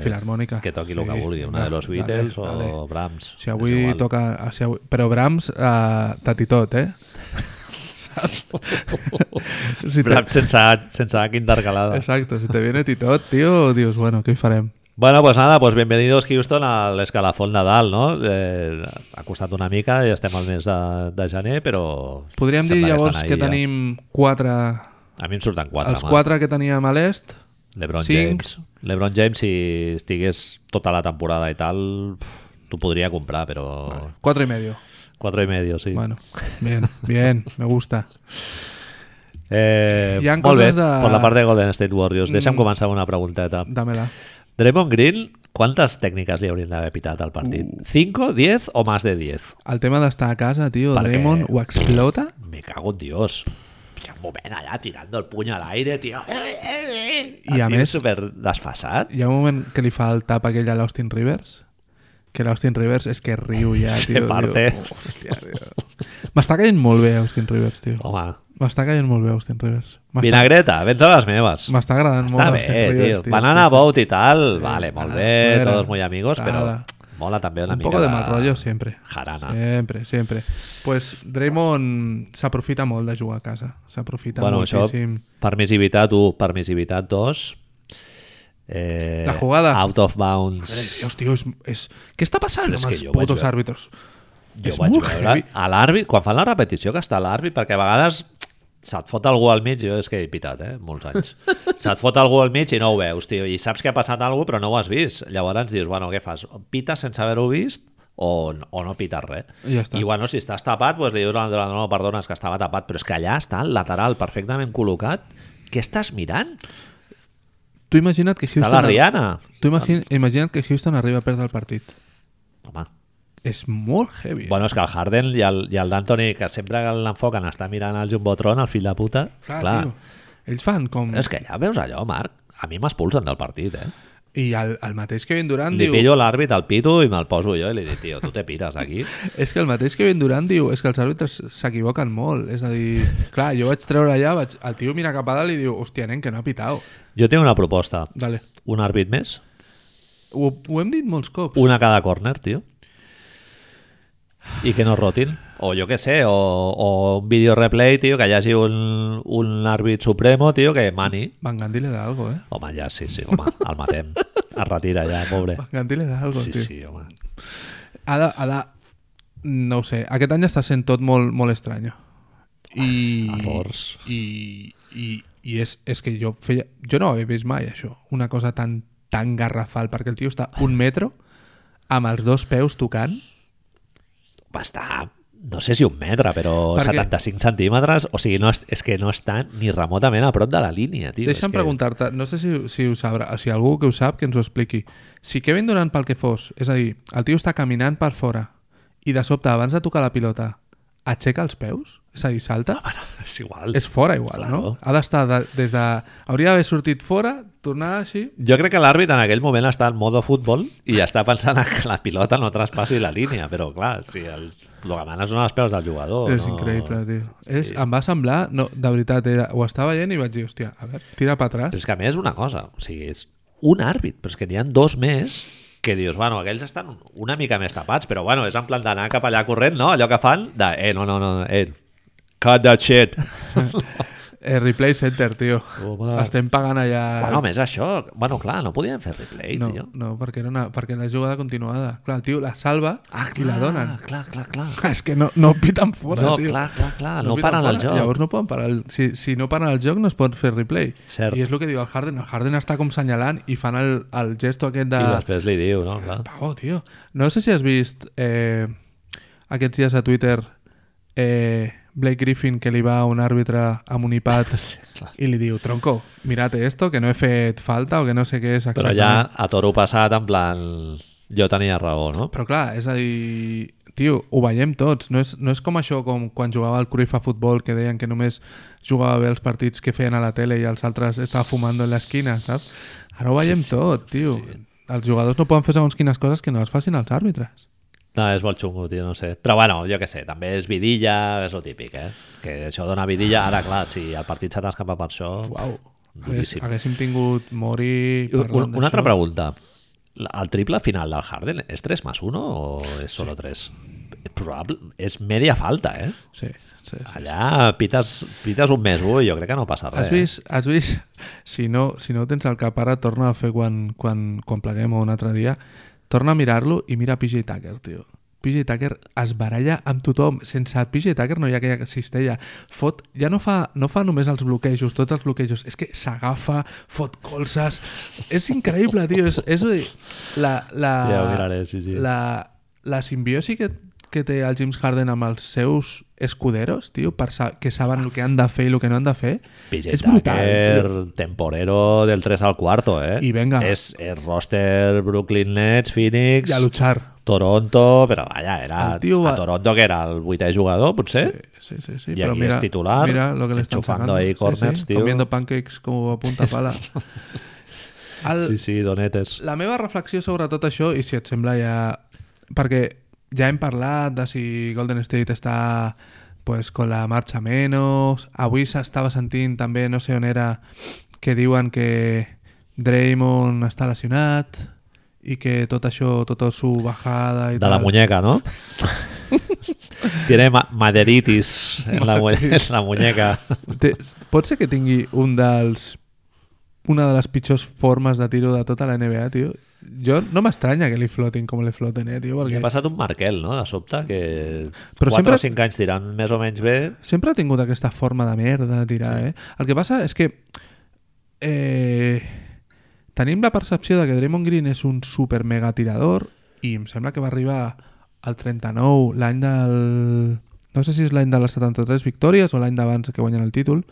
S2: Filarmònica.
S1: que toqui el
S2: Sí,
S1: que vulgui, una
S2: va,
S1: de los
S2: vale,
S1: Beatles o
S2: vale.
S1: Brahms.
S2: Si
S1: és
S2: avui
S1: igual.
S2: toca... ah, Si avui... Però Brahms, uh, tati tot,
S1: [LAUGHS]
S2: eh? Saps? si te...
S1: Brahms sense, sense H intercalada.
S2: Exacte, si te viene titot, tio, dius, bueno, què hi farem?
S1: Bueno, pues nada, pues bienvenidos Houston a l'escalafón Nadal, no? Eh, ha costat una mica, ja estem al mes de, de gener, però...
S2: Podríem dir
S1: sembla
S2: llavors
S1: estan
S2: que,
S1: ahí ja.
S2: tenim quatre
S1: A mi em surten quatre,
S2: els
S1: home.
S2: quatre que teníem a l'est
S1: LeBron
S2: cinc.
S1: James. LeBron James, si estigués tota la temporada i tal, pf, t'ho podria comprar, però... Vale.
S2: cuatro y medio
S1: Quatre i medio, sí.
S2: bueno bien bien me gusta
S1: Eh,
S2: Hi ha
S1: molt bé,
S2: coses de- Mm.
S1: per la part de Golden State Warriors. Deixa'm començar amb una pregunteta.
S2: dámela
S1: Draymond Green, quantes tècniques li haurien d'haver pitat al partit?
S2: Uh.
S1: 5, 10 o más de 10?
S2: el tema d'estar a casa tio
S1: Perquè-
S2: Draymond ho explota
S1: Me cago en Dios. Hi ha un moment allà tirando el puny a l'aire, tio.
S2: I a
S1: El tio
S2: més-
S1: super desfasat.
S2: hi ha un moment que li fa el tap aquell a l'Austin Rivers que l'Austin Rivers és que riu ja
S1: Se
S2: tio, diu,
S1: parte.
S2: hòstia tio. m'està caient molt bé Austin Rivers tio
S1: Home,
S2: m'està caient molt bé Austin Rivers m'està
S1: vinagreta, vens a les meves.
S2: m'està agradant
S1: Està bé,
S2: molt Austin Rivers
S1: tio. Banana
S2: Sí, sí.
S1: boat i tal, vale, molt
S2: nada,
S1: bé,
S2: no era.
S1: todos muy amigos, però
S2: Eh, Nada.
S1: mola també una
S2: un
S1: mica
S2: poco de mal rollo siempre.
S1: Jarana.
S2: Siempre, siempre. Pues Draymond s'aprofita molt de jugar a casa. S'aprofita
S1: Bueno, això,
S2: moltíssim.
S1: permissivitat 1, permissivitat 2. Eh,
S2: La jugada.
S1: Out of bounds.
S2: Dios, tio, és, és... Què està passant
S1: Però és
S2: amb
S1: que
S2: els
S1: jo vaig
S2: putos
S1: veure-
S2: àrbitres?
S1: Jo
S2: és
S1: vaig
S2: molt
S1: veure
S2: heavy.
S1: a l'àrbit, quan fan la repetició que està l'àrbit, perquè a vegades se't fot algú al mig, jo és que he pitat, eh? Molts
S2: [LAUGHS]
S1: anys. Se't fot algú al mig i no ho veus, tio, i saps que ha passat alguna però no ho has vist. Llavors dius, bueno, què fas? Pites sense haver-ho vist o, o no pites res.
S2: I ja està.
S1: I bueno, si estàs tapat, doncs li dius a l'entrenador, no, perdona, és que estava tapat, però és que allà està el lateral perfectament col·locat. Què estàs mirant?
S2: Tu imagina't que
S1: Està
S2: Houston...
S1: la Rihanna.
S2: Tu imagin... imagina't que Houston arriba a perdre el partit.
S1: Home,
S2: És molt heavy.
S1: Bueno, és que el Harden i el, i el d'Anthony, que sempre que l'enfoquen està mirant el Jumbotron, el fill de puta, clar, clar. Mm.
S2: Tio, ells fan com...
S1: És que ja veus allò, Marc, a mi m'expulsen del partit, eh?
S2: I el, el mateix Kevin Durant
S1: Li
S2: diu...
S1: pillo l'àrbit al pito i me'l poso jo i li dic, tio, tu te pires aquí.
S2: És que el mateix Kevin Durant diu és que els àrbitres s'equivoquen molt. És a dir, clar, jo vaig treure allà, vaig, el tio mira cap a dalt i diu hòstia, nen, que no ha pitat.
S1: Jo tinc una proposta.
S2: Dale.
S1: Un àrbit més?
S2: Ho, ho hem dit molts cops.
S1: Una a cada córner, tio. I que no rotin. O jo que sé, o, o un vídeo replay, tio, que hi hagi un, un àrbit supremo, tio, que mani.
S2: Van Gandhi le da algo, eh?
S1: Home, ja, sí, sí, home, el
S2: [LAUGHS]
S1: matem. Es retira ja, pobre.
S2: Van Gandhi le da algo,
S1: Sí,
S2: tio.
S1: sí, home.
S2: Ha de, ha de... No ho sé, aquest any està sent tot molt, molt estrany. I...
S1: Errors.
S2: I, i, i és, és que jo feia... Jo no ho havia vist mai, això. Una cosa tan, tan garrafal, perquè el tio està un metro amb els dos peus tocant
S1: va estar no sé si un metre, però
S2: Perquè-
S1: 75 centímetres, o sigui, no és, és que no està ni remotament a prop de la línia, tio. és
S2: Deixa'm
S1: que...
S2: preguntar-te, no sé si, si ho sabrà, si algú que ho sap que ens ho expliqui. Si Kevin Durant pel que fos, és a dir, el tio està caminant per fora i de sobte, abans de tocar la pilota, aixeca els peus? És a dir, salta?
S1: Bueno, [LAUGHS] és igual.
S2: és fora igual,
S1: Claro.
S2: no? Ha d'estar de, des de... Hauria d'haver sortit fora, tornar així...
S1: Jo crec que l'àrbitre en aquell moment està en modo futbol i està pensant que la pilota no traspassi la línia, però clar, si el, el que manes són els peus del jugador.
S2: és
S1: Oh, no...
S2: increïble, tio. És, em va semblar... No, de veritat, era, ho estava veient i vaig dir, hòstia, a veure, tira per
S1: Però
S2: atràs.
S1: és que a més una cosa, o sigui, és un àrbit, però és que n'hi ha dos més que dius, bueno, aquells estan una mica més tapats, però bueno, és en plan d'anar cap allà corrent, no? Allò que fan de, eh, no, no, no, eh, cut that
S2: [LAUGHS]
S1: shit.
S2: Eh, replay center, tio.
S1: Home.
S2: Estem pagant allà...
S1: bueno, a més això, bueno, clar, no podien fer replay,
S2: no,
S1: tio.
S2: no, perquè era, una, perquè era jugada continuada. Clar, el tio la salva
S1: Ah,
S2: i
S1: clar,
S2: la donen. [LAUGHS]
S1: clar, clar, clar.
S2: És que no, no piten fora,
S1: no,
S2: tio.
S1: clar, clar, clar, no,
S2: piten
S1: paren el
S2: fora.
S1: joc.
S2: Llavors no poden parar. El, si, si no paren el joc no es pot fer replay.
S1: Cert.
S2: I és el que diu el Harden. El Harden està com senyalant i fan el, el gesto aquest de...
S1: I després li diu, no?
S2: [LAUGHS]
S1: Clar.
S2: Pavo, Oh, tio. No sé si has vist eh, aquests dies a Twitter eh, Blake Griffin que li va a un àrbitre amb un iPad
S1: [LAUGHS] Sí, clar.
S2: i li diu, tronco, mirate esto, que no he fet falta o que no sé què és
S1: Però ja a toro passat, en plan, jo tenia raó, no?
S2: Però clar, és a dir... Tio, ho veiem tots. No és, no és com això com quan jugava al Cruyff a futbol que deien que només jugava bé els partits que feien a la tele i els altres estava fumando en l'esquina, saps? Ara ho
S1: Sí,
S2: veiem
S1: sí,
S2: tot,
S1: sí,
S2: tio.
S1: sí.
S2: Els jugadors no poden fer segons quines coses que no les facin els àrbitres.
S1: No, és molt xungo, tio, no sé. Però bueno, jo què sé, també és vidilla, és el típic, eh? Que això dona vidilla, ara clar, si el partit s'ha d'escapar per això...
S2: Uau. Hagués,
S1: Duríssim.
S2: haguéssim tingut Mori...
S1: I un-
S2: parlant
S1: una altra
S2: d'això.
S1: pregunta. La- El triple final del Harden és 3 más 1 o és solo 3? Probable, és media falta, eh?
S2: Sí, sí, sí.
S1: Allà pites, pites un més 1 i jo crec que no passa res.
S2: Has vist, has vist, si no, si no ho tens al cap ara, torna a fer quan, quan, quan pleguem o un altre dia, torna a mirar-lo i mira PJ Tucker, tio. PJ Tucker es baralla amb tothom. Sense PJ Tucker no hi ha aquella cistella. Fot, ja no fa, no fa només els bloquejos, tots els bloquejos. És que s'agafa, fot colzes... És increïble, tio. És, és a dir, la, la,
S1: Ja ho miraré, sí, sí.
S2: la, la simbiosi que, que té el James Harden amb els seus escuderos, tio, per sa que saben el que han de fer i el que no han de fer,
S1: PJ
S2: és brutal.
S1: Tucker,
S2: tio.
S1: temporero del 3 al cuarto, ¿eh?
S2: Y venga.
S1: Es, es roster Brooklyn Nets, Phoenix,
S2: I a luchar.
S1: Toronto, però vaja, era
S2: El tio va-
S1: a Toronto que era el vuitè jugador, potser.
S2: Sí, sí,
S1: Y
S2: sí. Però
S1: aquí
S2: mira,
S1: es titular,
S2: mira lo que le están
S1: enchufando
S2: sacando.
S1: ahí
S2: Sí,
S1: corners,
S2: sí,
S1: tio.
S2: Comiendo pancakes como a
S1: [LAUGHS]
S2: punta pala. El,
S1: Sí, sí, donetes.
S2: La meva reflexió sobre tot això, i si et sembla ja... Perquè ja hem parlat de si Golden State està pues, con la marxa menos... Avui s'estava sentint també, no sé on era, que diuen que Draymond està lesionat i que tot això, tota su bajada i
S1: De la
S2: tal...
S1: muñeca, ¿no?
S2: [LAUGHS]
S1: Tiene ma- maderitis en la, mu- en la
S2: [LAUGHS]
S1: muñeca.
S2: Té, pot ser que tingui un dels una de les pitjors formes de tiro de tota la NBA, tio. Jo no m'estranya que li flotin com li floten, eh, tio,
S1: Li
S2: perquè...
S1: ha passat un Markel, no?, de sobte, que
S2: Però
S1: 4
S2: sempre-
S1: o 5 anys tirant més o menys bé,
S2: Sempre ha tingut aquesta forma de merda de tirar, eh? El que passa és que eh, tenim la percepció de que Draymond Green és un super mega tirador i em sembla que va arribar al 39 l'any del... No sé si és l'any de les 73 victòries o l'any d'abans que guanyen el títol,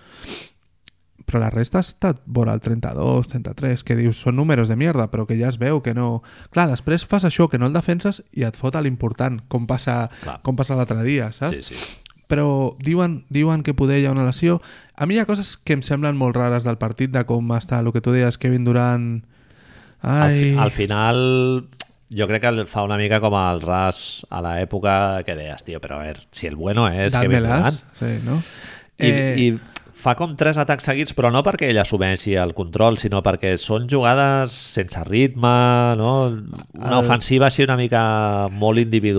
S2: però la resta ha estat vora el 32, 33, que dius, són números de mierda, però que ja es veu que no... Clar, després fas això, que no el defenses i et fot a l'important, com passa,
S1: Clar.
S2: com passa l'altre dia, saps?
S1: sí, sí.
S2: però diuen, diuen que poder hi ha una lesió. A mi hi ha coses que em semblen molt rares del partit, de com està el que tu deies, Kevin Durant...
S1: Al, fi,
S2: Ai,
S1: al final, jo crec que el fa una mica com el ras a l'època que deies, tio, però a veure, si el bueno és que
S2: dame-les",
S1: Durant.
S2: Sí, no?
S1: I,
S2: Eh,
S1: I fa com tres atacs seguits, però no perquè ell assumeixi el control, sinó perquè són jugades sense ritme, no? una
S2: El-
S1: ofensiva així una mica molt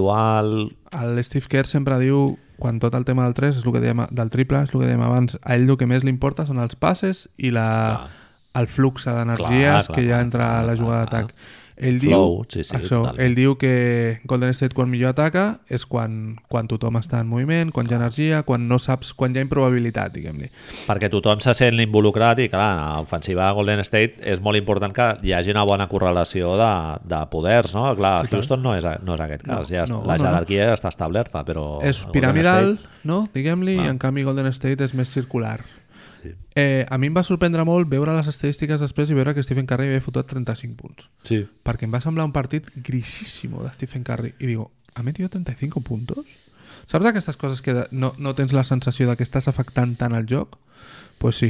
S1: individual.
S2: El Steve Kerr sempre diu, quan tot el tema del 3, és el que dèiem, del triple, és el que dèiem abans, a ell el que més li importa són els passes i la, el flux d'energies
S1: Clar, clar,
S2: que hi ha
S1: clar,
S2: entre
S1: clar,
S2: la jugada
S1: clar,
S2: d'atac. Ell
S1: Flow,
S2: diu,
S1: sí, sí,
S2: això,
S1: total.
S2: ell diu que Golden State quan millor ataca és quan, quan tothom està en moviment, quan hi ha energia, quan no saps, quan hi ha improbabilitat, diguem-li.
S1: Perquè tothom se sent involucrat i, clar, a l'ofensiva de Golden State és molt important que hi hagi una bona correlació de, de poders, no? Clar, Houston no és, no és aquest cas.
S2: No,
S1: ja,
S2: no,
S1: la
S2: no, no.
S1: jerarquia ja està establerta, però...
S2: és
S1: Golden
S2: piramidal,
S1: State-
S2: no? diguem-li, i
S1: Clar.
S2: en canvi Golden State és més circular.
S1: Sí.
S2: Eh, a mi em va sorprendre molt veure les estadístiques després i veure que Stephen Curry havia fotut 35 punts.
S1: Sí.
S2: Perquè em va semblar un partit grisíssimo de Stephen Curry. I digo, ¿ha metido 35 puntos? Saps aquestes coses que de- no, no tens la sensació de que estàs afectant tant el joc? Pues sí.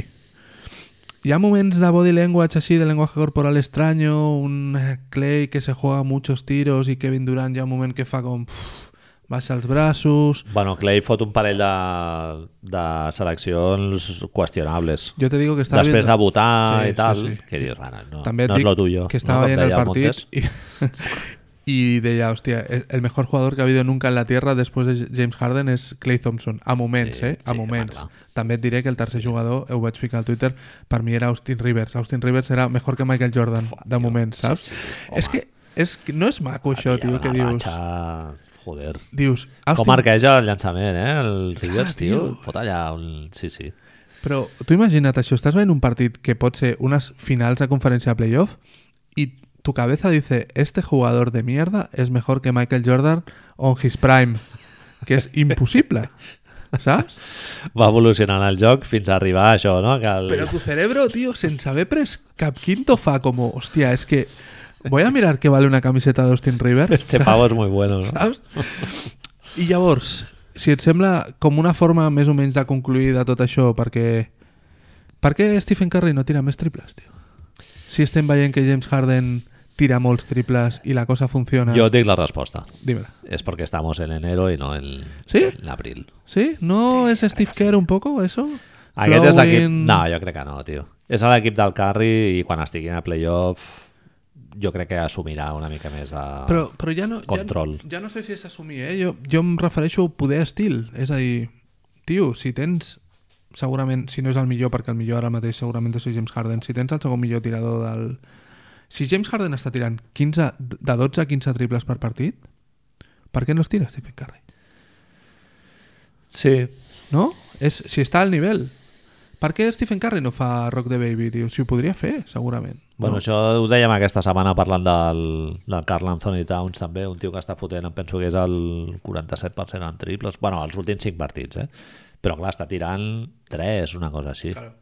S2: Hi ha moments de body language així, de lenguaje corporal extraño, un eh, Clay que se juega muchos tiros i Kevin Durant hi ha un moment que fa com... Uf, baixa els braços...
S1: Bueno, Clay fot un parell de, de seleccions qüestionables.
S2: Jo te digo que estava
S1: Després de
S2: veient-
S1: votar
S2: Sí,
S1: i tal,
S2: sí, sí.
S1: que dius, bueno, no,
S2: També et
S1: no és
S2: dic
S1: lo tuyo.
S2: que
S1: no?
S2: estaba
S1: Com
S2: ahí en el
S1: deia
S2: partido
S1: Montes.
S2: y, [LAUGHS] y de ella, hostia, el el mejor jugador que ha habido nunca en la Tierra después de James Harden es Clay Thompson. A moments,
S1: Sí,
S2: eh? A
S1: sí,
S2: moments.
S1: clar, clar.
S2: També et diré que el tercer jugador, ho vaig ficar al Twitter, per mi era Austin Rivers. Austin Rivers era mejor que Michael Jordan, de moment, saps? és que és, que no és maco això, tio, que
S1: Una
S2: dius...
S1: Ah, ratxa, Joder.
S2: Dius,
S1: Com
S2: Austin,
S1: marqueja el llançament, eh? El Rivers, tio.
S2: tio.
S1: Fot allà un... Sí, sí.
S2: Però tu imagina't això, estàs veient un partit que pot ser unes finals de conferència de playoff i tu cabeza dice, este jugador de mierda es mejor que Michael Jordan on his prime, que és impossible, saps?
S1: Va evolucionant el joc fins a arribar a això, no? Que el...
S2: Però tu cerebro, tío, sense haver pres cap quinto fa como, hostia, es que voy a mirar que vale una camiseta d'Austin Rivers,
S1: [LAUGHS] Este pavo és muy bueno, no?
S2: saps? I llavors, si et sembla com una forma més o menys de concluir de tot això, perquè... Per què Stephen Curry no tira més triples, tio? Si estem veient que James Harden tira molts triples i la cosa funciona...
S1: Jo et dic la resposta.
S2: Dime-la.
S1: Es porque estamos en enero y no en,
S2: Sí?
S1: en abril.
S2: ¿Sí? ¿No es Steve Kerr un poco eso?
S1: Aquest és l'equip...
S2: Flowing-
S1: No, jo crec que no, tio. És l'equip del Carri i quan estiguin a playoff jo crec que assumirà una mica més de...
S2: Però, però ja no... ja-
S1: Ah. Control.
S2: Ja, no sé si és assumir, eh? Jo, jo em refereixo a poder estil. És a dir, tio, si tens segurament, si no és el millor, perquè el millor ara mateix segurament és James Harden, si tens el segon millor tirador del... Si James Harden està tirant 15, de 12 a 15 triples per partit, per què no els tira Stephen Curry?
S1: Sí.
S2: No? És, si està al nivell. Per què Stephen Curry no fa Rock the Baby, tio? Si ho podria fer, segurament.
S1: Bueno,
S2: no.
S1: això ho dèiem aquesta setmana parlant del, del Carl Anthony Towns també, un tio que està fotent, em penso que és el 47% en triples, bueno, els últims 5 partits, eh? Però clar, està tirant 3, una cosa així. Claro.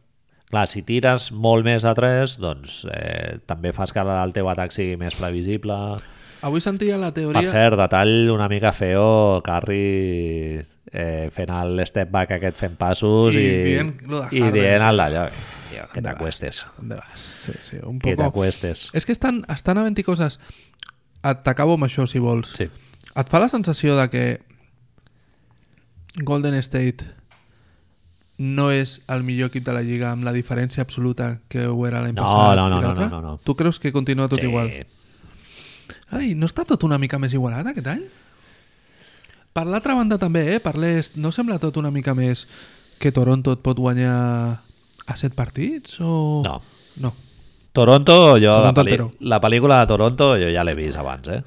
S1: Clar, si tires molt més a 3, doncs eh, també fas que el teu atac sigui més previsible.
S2: Avui sentia la teoria...
S1: Per cert, detall una mica feo, Carri eh, fent el step back aquest fent passos
S2: I
S1: i,
S2: dient lo de
S1: i
S2: Harden.
S1: dient el d'allò. Tio, Que t'acuestes,
S2: ¿Dónde vas? Sí, sí, un eh?
S1: que
S2: poco...
S1: t'acuestes.
S2: És que estan, estan havent-hi coses... Et t'acabo amb això, si vols.
S1: Sí.
S2: Et fa la sensació de que Golden State no és el millor equip de la Lliga amb la diferència absoluta que ho era l'any
S1: No,
S2: passat
S1: no, no,
S2: i
S1: no,
S2: l'altre?
S1: no, no, no.
S2: Tu creus que continua tot
S1: Sí.
S2: igual? Ai, no està tot una mica més igualat aquest any? Per l'altra banda també, eh? Per l'est, no sembla tot una mica més que Toronto et pot guanyar a set partits? O...
S1: No.
S2: No.
S1: Toronto, jo la,
S2: Toronto
S1: pel·li-
S2: entero.
S1: la pel·lícula de Toronto jo ja l'he vist abans, eh?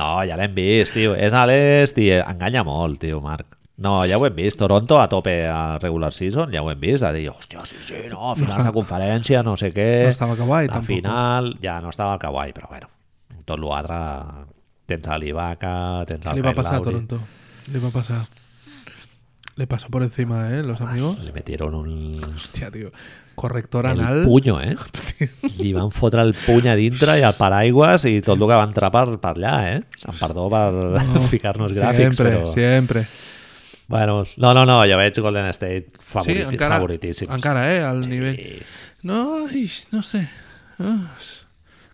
S1: No, ja l'hem vist, tio. És a l'est i enganya molt, tio, Marc. No, ja ho hem vist. Toronto a tope a regular season, ja ho hem vist. A dir, hòstia, sí, sí, no, finals de conferència, no sé què.
S2: no estava Kawhi,
S1: La
S2: tampoc.
S1: final, ja no estava el Kawhi, però bueno, tot l'altre... Tens a l'Ibaka, tens
S2: ¿Qué
S1: al
S2: le va a
S1: Kyle
S2: pasar a
S1: Lowry.
S2: Toronto? Le va a pasar. Le pasó por encima, ¿eh? Los amigos.
S1: Le metieron un...
S2: Hostia, tío. Corrector
S1: El
S2: anal.
S1: punyo,
S2: [LAUGHS]
S1: eh? Li van fotre el puny a dintre i el paraigües i tot el que va entrar per, per allà, eh? Em perdó per no, [LAUGHS] ficar-nos gràfics,
S2: Siempre,
S1: però...
S2: siempre.
S1: Bueno, no, no, no, jo veig Golden State
S2: Sí,
S1: favoriti,
S2: encara,
S1: favoritíssims.
S2: encara, eh, al nivel.
S1: Sí.
S2: No, ish, no sé. Ah, és-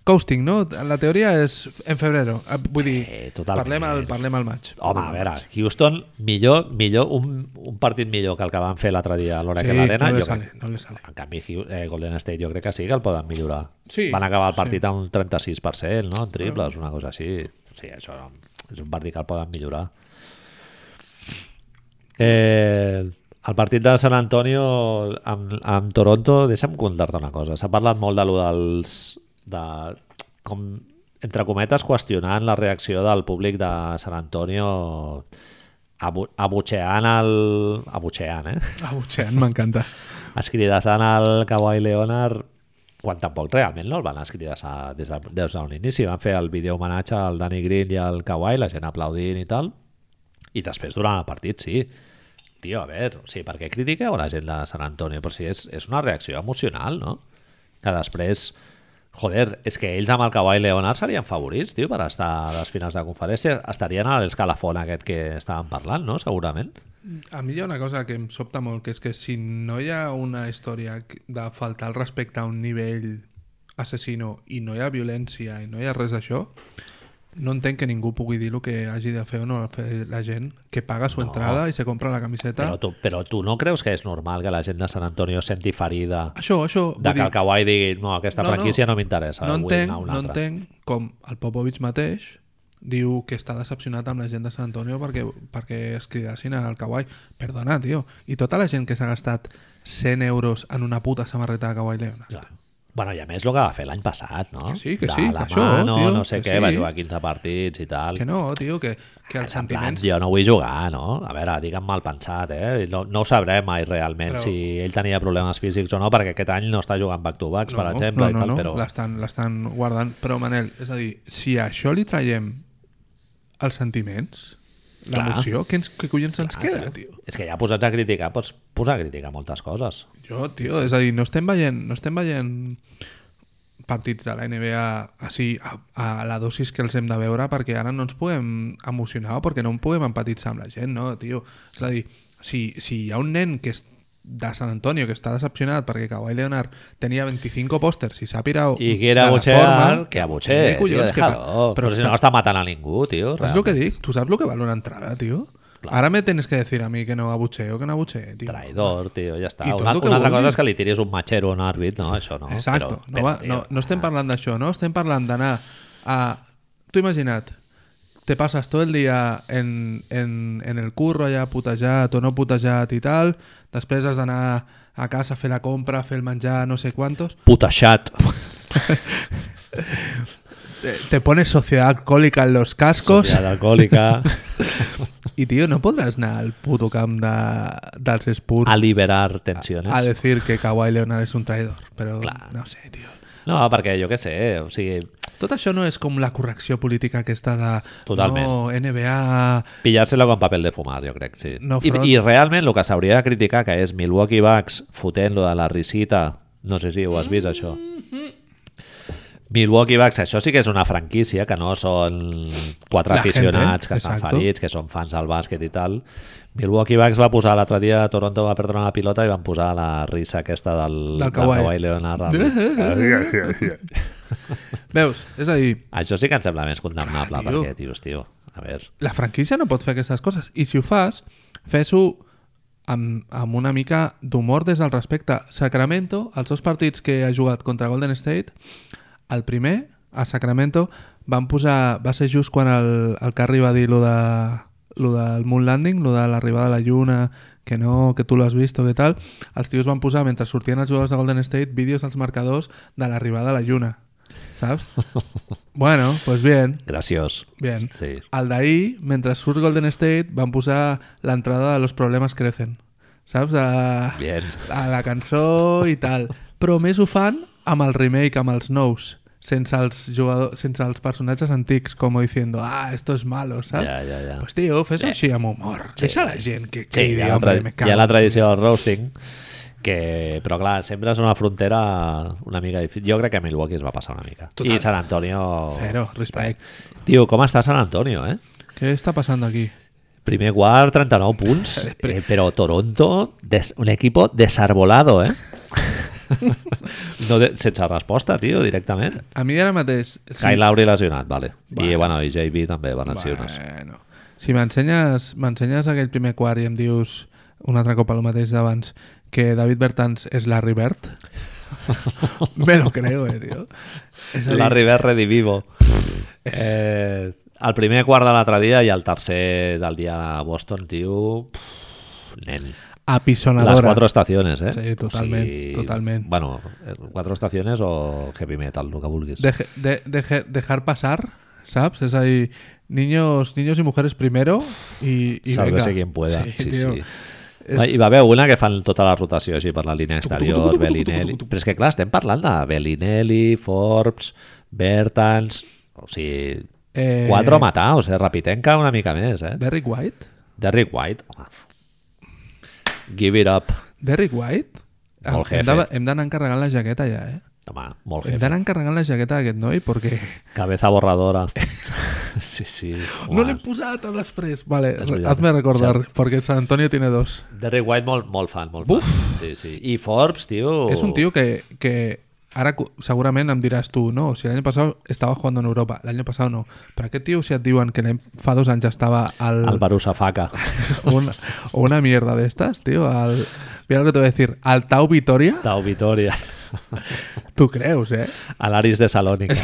S2: Coasting, no? La teoria és en febrero. Ah, Vull dir,
S1: Sí, totalment.
S2: parlem al, parlem al maig.
S1: Home, a veure, Houston, millor, millor un, un partit millor que el que van fer l'altre dia a l'hora
S2: Sí,
S1: que l'Arena.
S2: no le
S1: jo crec-
S2: sale, no le sale.
S1: En canvi, Hiu- eh, Golden State jo crec que sí que el poden millorar.
S2: Sí, Ah.
S1: Van acabar el partit amb un 36%, no? En triples, una cosa així. Sí, això és un partit que el poden millorar. Eh, el partit de San Antonio amb, amb Toronto, deixa'm contar-te una cosa. S'ha parlat molt de lo dels... De, com entre cometes, qüestionant la reacció del públic de San Antonio abu- abutxeant el... abutxeant, eh?
S2: Ah, Butxean, m'encanta.
S1: escridassant el Kawhi Leonard quan tampoc realment no el van escridassar des de, des d'un inici. Van fer el vídeo homenatge al Danny Green i al Kawhi, la gent aplaudint i tal. I després, durant el partit, sí. Tio, a veure, o sigui, per què critiqueu la gent de San Antonio? Però si és, és una reacció emocional, no? Que després... Joder, és que ells amb el Kawhi Leonard serien favorits, tio, per estar a les finals de conferència. Estarien a l'escalafon aquest que estàvem parlant, no? Segurament.
S2: A mi hi ha una cosa que em sobta molt, que és que si no hi ha una història de faltar el respecte a un nivell assassino i no hi ha violència i no hi ha res d'això, no entenc que ningú pugui dir el que hagi de fer o no fer la gent que paga su
S1: No.
S2: entrada i se compra la camiseta.
S1: Però tu, però tu no creus que és normal que la gent de Sant Antonio senti ferida
S2: Això, això...
S1: de
S2: vull
S1: que
S2: dir-
S1: el Kawhi digui no, aquesta
S2: No, no.
S1: franquícia no, m'interessa,
S2: no
S1: vull
S2: entenc,
S1: anar a una
S2: no
S1: altra.
S2: entenc com el Popovich mateix diu que està decepcionat amb la gent de Sant Antonio perquè, perquè es cridassin al Kawhi. Perdona, tio. I tota la gent que s'ha gastat 100 euros en una puta samarreta de Kawhi Leonard.
S1: Clar. Bueno, i a més el que va fer l'any passat, no?
S2: Que sí, que
S1: de
S2: sí, que
S1: la
S2: això,
S1: no,
S2: tio,
S1: no sé
S2: que
S1: què, va
S2: sí.
S1: jugar 15 partits i tal.
S2: Que no, tio, que, que els
S1: En plan,
S2: sentiments...
S1: jo no vull jugar, no? A veure, digue'm mal pensat, eh? No, no ho sabrem mai realment
S2: Però-
S1: si ell tenia problemes físics o no, perquè aquest any no està jugant back-to-backs, per exemple,
S2: no, no,
S1: i tal,
S2: no,
S1: però...
S2: l'estan l'estan guardant. Però, Manel, és a dir, si a això li traiem els sentiments,
S1: Clar.
S2: l'emoció, què, ens- què collons ens
S1: Ah,
S2: queda,
S1: tio,
S2: tio?
S1: És que ja posats a criticar, pots posar a criticar moltes coses.
S2: Jo, tio, és a dir, no estem veient, no estem veient partits de la NBA així a, a la dosis que els hem de veure perquè ara no ens podem emocionar o perquè no en podem empatitzar amb la gent, no, tio? És a dir, si, si hi ha un nen que és de Sant Antonio que està decepcionat perquè Kawhi Leonard tenia 25 pòsters i s'ha pirat
S1: I que era
S2: de la
S1: butxear,
S2: forma,
S1: que
S2: què
S1: abutxer, tio,
S2: collons, que pa-
S1: déjalo. Però, però si no, no està matant a ningú, tio.
S2: és el que dic, tu saps el que val una entrada, tio? Ara me tens que decir a mi que no abucheo, que no abucheo, tio.
S1: Traïdor, tio, ja està.
S2: I tot
S1: Una,
S2: el que
S1: una altra
S2: vulguis.
S1: cosa és que li tiris un matxero a un àrbit, no? Això no.
S2: Exacto.
S1: Però,
S2: no, va,
S1: tio, Ah.
S2: no, no estem parlant d'això, no? Estem parlant d'anar a... Tu imagina't, te passes tot el dia en, en, en el curro allà putejat o no putejat i tal, després has d'anar a casa a fer la compra, a fer el menjar, no sé quantos,
S1: Puteixat.
S2: te, te pones sociedad alcohólica en los cascos
S1: Societat
S2: [LAUGHS]
S1: alcohòlica.
S2: i, tio, no podràs anar al puto camp de, dels Spurs
S1: a liberar tensiones.
S2: a decir que Kawhi Leonard és un traïdor, però
S1: Clar.
S2: no sé, tio.
S1: No, perquè jo què sé, o sigui,
S2: Tot això no és com la correcció política aquesta de
S1: Totalment.
S2: no, NBA...
S1: pillar-se-la con papel de fumar, jo crec, sí.
S2: No
S1: I,
S2: front.
S1: I realment el que s'hauria de criticar, que és Milwaukee Bucks fotent lo de la risita, no sé si ho has vist, això.
S2: Mm-hmm.
S1: Milwaukee Bucks, això sí que és una franquícia, que no són quatre
S2: La
S1: aficionats
S2: gente,
S1: que estan
S2: exacto.
S1: ferits, que són fans del bàsquet i tal. Milwaukee Bucks va posar l'altre dia a Toronto va perdre una pilota i van posar la risa aquesta del,
S2: Del Kawhi.
S1: Leonard.
S2: [LAUGHS]
S1: al-
S2: Veus? És a dir,
S1: això sí que em sembla més condemnable,
S2: Clar, tio.
S1: perquè, tios, tio, a veure...
S2: la franquícia no pot fer aquestes coses. I si ho fas, fes-ho amb, amb una mica d'humor des del respecte. Sacramento, els dos partits que ha jugat contra Golden State, el primer, a Sacramento, van posar... Va ser just quan el, el Curry va dir lo, de, lo del moon landing, lo de l'arribada a la lluna, que no, que tu l'has vist o què tal, els tios van posar, mentre sortien els jugadors de Golden State, vídeos als marcadors de l'arribada a la lluna. Saps? bueno, pues bien,
S1: Graciós.
S2: bien.
S1: Sí.
S2: Al d'ahir, mentre surt Golden State, van posar l'entrada de Los Problemes Crecen. Saps? A,
S1: Bien.
S2: a la cançó i tal. Però més ho fan amb el remake, amb els nous. Sense els, jugadors, sense els personatges antics, com diciendo, ah, esto es malo, saps?
S1: Ja, ja, ja.
S2: Pues tio, fes així amb humor.
S1: Sí.
S2: Deixa la gent que
S1: Sí, hi
S2: cridi,
S1: ha, la
S2: hombre,
S1: tra-
S2: me
S1: hi ha la
S2: cago en su-
S1: tradició del roasting, que, però clar, sempre és una frontera una mica difícil. Jo crec que Milwaukee es va passar una mica.
S2: Total.
S1: I San Antonio... eh,
S2: Cero, respect.
S1: Tio, com està San Antonio, eh?
S2: Què està passant aquí?
S1: Primer quart, 39 punts,
S2: [LAUGHS]
S1: eh, però Toronto, des, un equipo desarbolado,
S2: [LAUGHS]
S1: eh? no de, sense resposta, tio, directament.
S2: A mi ara mateix...
S1: Sí. Kyle Lowry lesionat, vale. I,
S2: Vale.
S1: bueno, i JB també van lesionar.
S2: Bueno. Si m'ensenyes m'ensenyes aquell primer quart i em dius un altre cop el mateix d'abans que David Bertans és Larry Bird [LAUGHS] me lo creo, eh, tio és a dir,
S1: Larry Bird
S2: [LAUGHS]
S1: redivivo. Eh, el primer quart de l'altre dia i el tercer del dia de Boston, tio... Pff, nen.
S2: apisonadora.
S1: Las cuatro estaciones, ¿eh?
S2: Sí, totalment, totalment.
S1: Bueno, eh, cuatro estaciones o heavy metal, el que vulguis.
S2: Deje- de- deje- dejar pasar, ¿sabes? Es ahí niños, niños y mujeres primero y, y
S1: Sálvese
S2: venga.
S1: quien pueda. Sí, sí.
S2: tío.
S1: Ah,
S2: És-
S1: Hi va haver una que fan tota la rotació així per la línia exterior,
S2: tucu, tucu, tucu, tucu,
S1: Bellinelli...
S2: tucu.
S1: Però és que, clar, estem parlant de Bellinelli, Forbes, Bertans... O sigui,
S2: Eh,
S1: quatre a matar, o sigui, Rapitenca una mica més, eh?
S2: Derrick White?
S1: Derrick White, home. Give it up.
S2: Derrick White?
S1: Molt
S2: Hem
S1: jefe.
S2: de- hem d'anar encarregant la jaqueta ja, eh?
S1: Home, molt
S2: Hem
S1: jefe.
S2: d'anar encarregant la jaqueta d'aquest noi perquè...
S1: Cabeza borradora.
S2: [LAUGHS]
S1: Sí, sí.
S2: No
S1: home.
S2: l'he posat a després. Vale,
S1: És veritat.
S2: hazme recordar, perquè San Antonio tiene dos.
S1: Derrick White molt, molt fan, molt fan. Sí, sí. I Forbes, tio...
S2: Es un tío que, que ahora cu- seguramente em dirás tú, no, si el año pasado estaba jugando en Europa, el año pasado no. Pero qué tío si et diuen que l'any- fa dos anys estaba al...
S1: El Barusa Faca.
S2: [LAUGHS] una, o una mierda de estas, tío. Al, mira lo que te voy a decir. Al Tau Vitoria,
S1: Tau Vitoria.
S2: tú crees, ¿eh?
S1: A l'Aris de Salònica.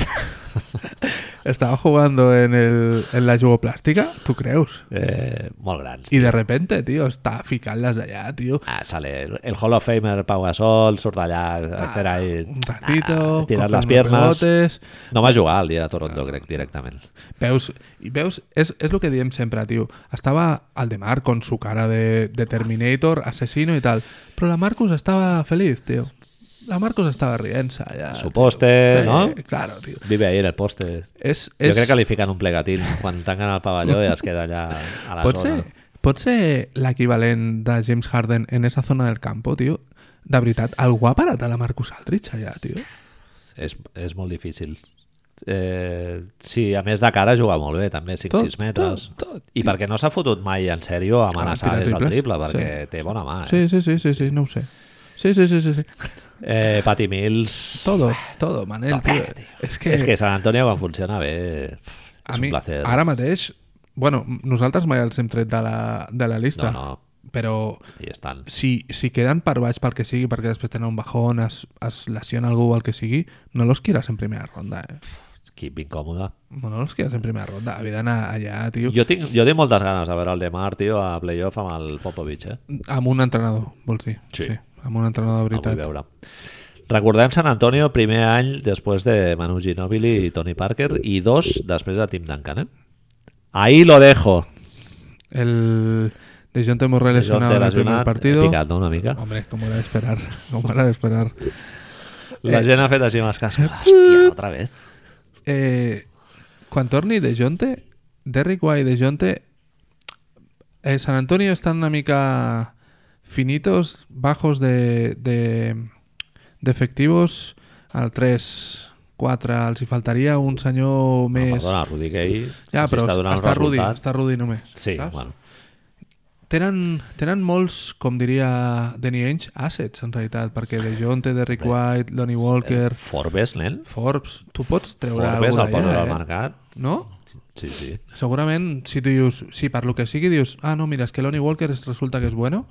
S2: Estaba jugando en, el, en la jugoplástica, tú crees.
S1: Eh, molt grans.
S2: Y de repente, tío, está ficaldas allá, tío.
S1: Ah, sale el Hall of Famer Pau Gasol, surt allà a fer ahí...
S2: Ah, Un ratito,
S1: Ah, tirar les
S2: coge unos
S1: piernas.
S2: rebotes.
S1: No va jugar el dia de Toronto, crec, directament.
S2: Veus, i veus és, és el que diem sempre, tio. Estava al de Marc con su cara de, de Terminator, asesino i tal, però la Marcus estava feliç, tio. La Marcus estava rient-se allà.
S1: Su poste,
S2: Ah, Sí,
S1: no?
S2: Claro, tio.
S1: Vive ahí en el poste.
S2: És,
S1: Jo
S2: és...
S1: crec que li fiquen un plegatín quan tanquen el pavelló i es queda allà a la
S2: pot
S1: zona.
S2: ser, pot ser l'equivalent de James Harden en esa zona del campo, tio? De veritat, algú ha parat a la Marcus Aldridge allà, tio?
S1: És, és molt difícil. Eh, sí, a més de cara juga molt bé, també, 5-6
S2: Tot,
S1: metres.
S2: tot, tot,
S1: I perquè no s'ha fotut mai en sèrio a amenaçar
S2: tirar
S1: des del
S2: triples.
S1: triple, perquè té bona mà. Eh?
S2: Sí, sí, sí, sí, sí, no ho sé. Sí, sí, sí, sí, sí.
S1: Eh, Pati Mills...
S2: Todo, todo, Manel,
S1: Tope,
S2: tio.
S1: tio.
S2: És que...
S1: És que Sant Antonio quan funciona bé és un placer.
S2: ara mateix... Bueno, nosaltres mai els hem tret de la, de la
S1: No,
S2: llista,
S1: no,
S2: però
S1: hi estan.
S2: si, si queden per baix pel que sigui, perquè després tenen un bajón, es, es lesiona algú o el que sigui, no los quieras en primera ronda, eh?
S1: Quip incòmode.
S2: No los quieras en primera ronda, havia d'anar allà, tio,
S1: Jo tinc, jo tinc moltes ganes de veure el Demar, tio, a playoff amb el Popovich, eh?
S2: amb un entrenador, vols dir?
S1: Sí.
S2: amb un entrenador
S1: El
S2: de
S1: vull
S2: veritat.
S1: veure. Recordem Sant Antonio, primer any després de Manu Ginobili i Tony Parker i dos després de Tim Duncan, eh? Ahí lo dejo.
S2: El de John Temor lesionado en el primer
S1: partido...
S2: partido.
S1: He eh, picat, no?, una mica.
S2: Hombre, com era [LAUGHS] d'esperar, com era d'esperar.
S1: La gent ha fet així amb les cases. Hòstia, otra vez.
S2: Eh, quan torni De Jonte, Derrick White De Jonte, eh, San Antonio estan una mica finitos, bajos de, de, de efectivos al 3, 4, els hi faltaria un
S1: No,
S2: senyor més...
S1: Ah, perdona, Rudy Gay
S2: ja,
S1: ens
S2: però
S1: està donant
S2: està
S1: un
S2: Rudy,
S1: resultat.
S2: està Rudy només.
S1: Sí,
S2: saps?
S1: bueno.
S2: Tenen, tenen molts, com diria Danny Ainge, assets, en realitat, perquè De Jonte, Derrick White, Lonnie Walker,
S1: Forbes, nen.
S2: Forbes, tu pots treure
S1: Forbes
S2: alguna
S1: el posa
S2: cosa
S1: al
S2: d'allà, eh?
S1: mercat.
S2: No?
S1: Sí, sí.
S2: Segurament, si tu dius, sí, per lo que sigui, dius, ah, no, mira, és que Lonnie Walker es resulta que és bueno.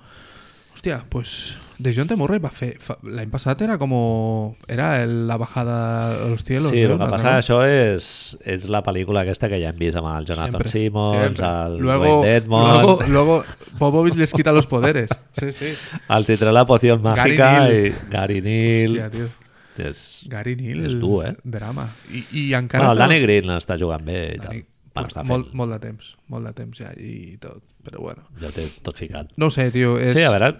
S2: Hòstia, pues De Jonte Murray va fer... fa- L'any passat era com... Era el, la bajada a los cielos.
S1: Sí,
S2: eh,
S1: el
S2: una
S1: que passa
S2: cosa.
S1: això és, és la pel·lícula aquesta que ja hem vist amb el Jonathan
S2: Siempre,
S1: Simmons,
S2: siempre.
S1: el
S2: luego,
S1: Wayne Dedmon,
S2: Luego, luego Popovich les quita los poderes. Sí, sí.
S1: el Citré la poció màgica
S2: Neal.
S1: i Gary Neal.
S2: Hòstia, tio.
S1: És...
S2: Gary Neal.
S1: És dur, eh?
S2: Drama. I, i encara...
S1: Bueno, el
S2: no-
S1: Danny Green està jugant bé i tal.
S2: Dani,
S1: Bueno, està fent...
S2: molt, molt de temps. Molt de temps ja i tot. Però bueno.
S1: Ja ho té tot ficat.
S2: No ho sé, tio. És...
S1: Sí, a veure,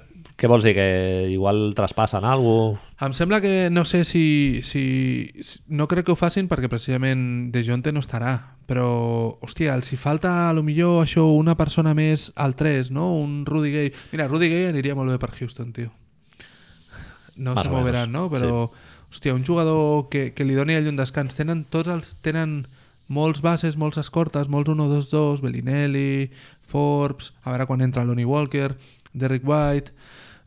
S1: què vols dir? Que igual traspassen alguna cosa?
S2: Em sembla que no sé si, si... si- No crec que ho facin perquè precisament De Jonte no estarà. Però, hòstia, els hi falta, a lo millor, això, una persona més al 3, no? Un Rudy Gay. Mira, Rudy Gay aniria molt bé per Houston, tio. No
S1: Más
S2: se
S1: o menos,
S2: moveran, no? Però, sí. hòstia, un jugador que, que li doni allò un descans. Tenen tots els... Tenen molts bases, molts escortes, molts 1-2-2, Bellinelli, Forbes, a veure quan entra Lonnie Walker, Derrick White...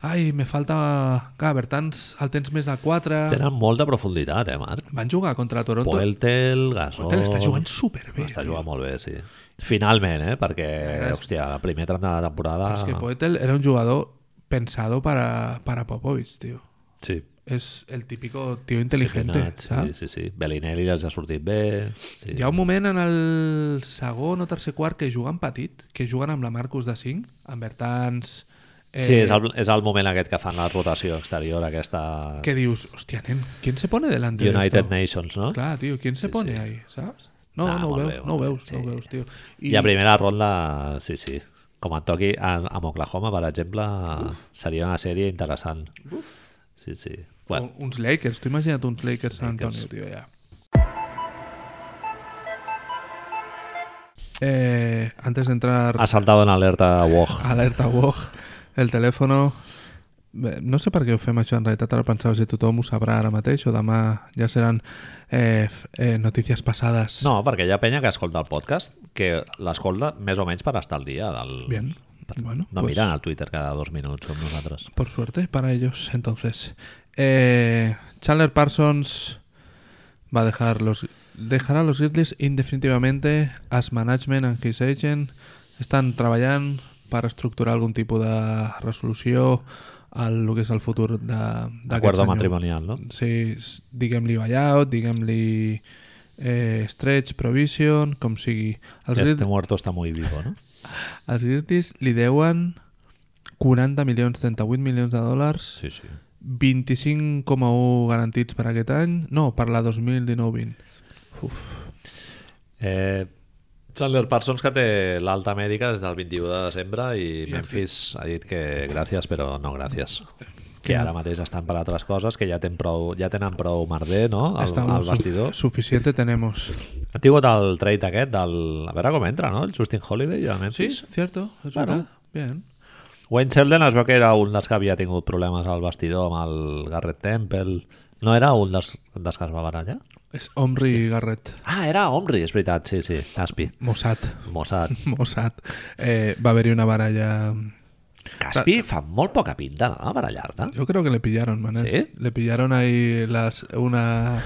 S2: Ai, me falta... Clar, Bertans el tens més a 4...
S1: Tenen molta profunditat, eh, Marc?
S2: Van jugar contra Toronto.
S1: Poeltel, Gasol...
S2: Poeltel està jugant superbé.
S1: Està jugant molt bé, sí. Finalment, eh? Perquè,
S2: Gràcies.
S1: hòstia, el primer tram de la temporada...
S2: És que Poeltel era un jugador pensado para, para Popovich, tío.
S1: Sí.
S2: És el típico tío inteligente,
S1: Serenat,
S2: saps?
S1: Sí, sí, sí. Bellinelli els ha sortit bé. Sí.
S2: Hi ha un moment en el segon o tercer quart que juguen petit, que juguen amb la Marcus de 5, amb Bertans, Eh,
S1: Sí, és el, és el moment aquest que fan la rotació exterior, aquesta
S2: Que dius, hostia, nen, ¿quién se pone delante de esto?
S1: United Nations, no?
S2: Claro, tío, ¿quién se
S1: Sí,
S2: pone
S1: sí.
S2: ahí? ¿Sabes? No,
S1: Nah,
S2: no
S1: molt
S2: veus,
S1: bé,
S2: no
S1: molt bé,
S2: veus, no
S1: sí.
S2: veus, tío.
S1: I a primera ronda, sí, sí. Com et toqui a, amb Oklahoma, per exemple, seria una sèrie interessant. Sí, sí. Bueno,
S2: Un- Uns Lakers, t'ho imagina't uns Lakers San Antonio, tio, ja. Eh, antes de entrar
S1: ha saltat en alerta Woj.
S2: alerta WOG, el telèfono... Bé, No sé per què ho fem això, en realitat ara pensava si tothom ho sabrà ara mateix o demà ja seran eh, f- eh, notícies passades.
S1: No, perquè hi ha penya que escolta el podcast que l'escolta més o menys per estar al dia del...
S2: Bien. Bueno,
S1: No
S2: pues-
S1: miren al Twitter cada dos minuts com nosaltres.
S2: Por suerte para ellos, entonces. Eh, Chandler Parsons va a dejar los dejará los Grizzlies indefinitivamente as management and his agent estan treballant per estructurar algun tipus de resolució al lo que és el futur de este d'aquest
S1: Acuerdo
S2: any.
S1: matrimonial, no?
S2: Sí, s- diguem-li buyout, diguem-li eh, stretch, provision, com sigui. Els,
S1: Este
S2: Grizzlies,
S1: muerto está muy vivo,
S2: [LAUGHS]
S1: no?
S2: els Grizzlies li deuen 40 milions, 38 milions de dòlars
S1: Sí, sí.
S2: 25,1 garantits per aquest any. No, per la 2019-20.
S1: Eh, Chandler Parsons, que té l'alta mèdica des del 21 de desembre i Memphis ha dit que gràcies, però no gràcies. Que ara mateix estan per altres coses, que ja, ten prou, ja tenen prou merder, no? Al, al
S2: su-
S1: vestidor.
S2: Suficiente tenemos.
S1: Ha tingut el trade aquest del... A veure com entra, no? El Justin Holiday a
S2: Sí,
S1: Memphis.
S2: cierto, es
S1: Claro.
S2: verdad. Bien.
S1: Wayne Selden es veu que era un dels que havia tingut problemes al vestidor amb el Garrett Temple. No era un dels, dels que es va barallar?
S2: És Omri Garrett.
S1: Ah, era Omri, és veritat, sí, sí, Caspi.
S2: Mossad. [LAUGHS]
S1: Mossad.
S2: Mossad. Eh, va haver-hi una baralla...
S1: Caspi fa molt poca pinta, no?, de barallar-te.
S2: Yo creo que le pillaron, Manel.
S1: ¿Sí?
S2: Le pillaron ahí las una...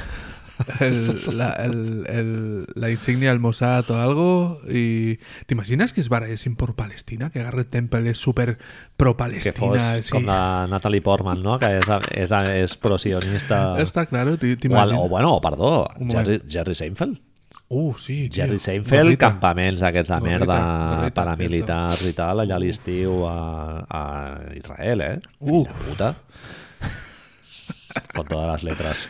S1: [LAUGHS]
S2: el- la, el- el- la insignia del Mossad o algo y ¿te imaginas que es sin por Palestina? Que Garrett Temple es súper pro
S1: Que
S2: Palestina
S1: fos
S2: sí.
S1: com la Natalie Portman, no?, que és, és, és prosionista...
S2: Está claro, te, te
S1: O, el,
S2: imagino.
S1: o, bueno, perdó,
S2: Un moment.
S1: Jerry, Jerry Seinfeld.
S2: Uh, sí, tío.
S1: Jerry Seinfeld,
S2: Gorrita.
S1: campaments aquests de
S2: Gorrita,
S1: merda
S2: gorrita,
S1: paramilitars i tal, allà a l'estiu a, a Israel, eh?
S2: Uh.
S1: Filla puta. Con totes les letres.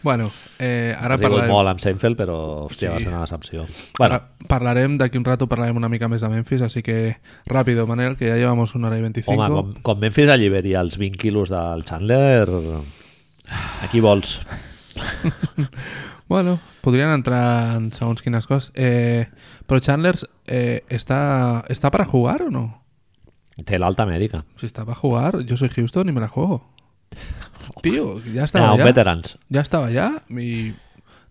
S2: Bueno, eh, ara
S1: Ha rigut
S2: parlarem...
S1: molt amb Seinfeld, però, hòstia, va
S2: Sí.
S1: ser una decepció. Bueno,
S2: Bueno. Parlarem, d'aquí un rato parlarem una mica més de Memphis, así que ràpido, Manel, que ya llevamos una hora y 25.
S1: home, com, com Memphis alliberi els 20 quilos del Chandler, aquí vols.
S2: Bueno, podrien entrar en segons quines coses. Eh, però Chandler eh, està, està para jugar o no?
S1: Té l'alta mèdica.
S2: Si está para jugar, yo soy Houston y me la juego. Tío, ya
S1: Ah,
S2: estaba
S1: un
S2: allá.
S1: veterans.
S2: Ya estaba allá i...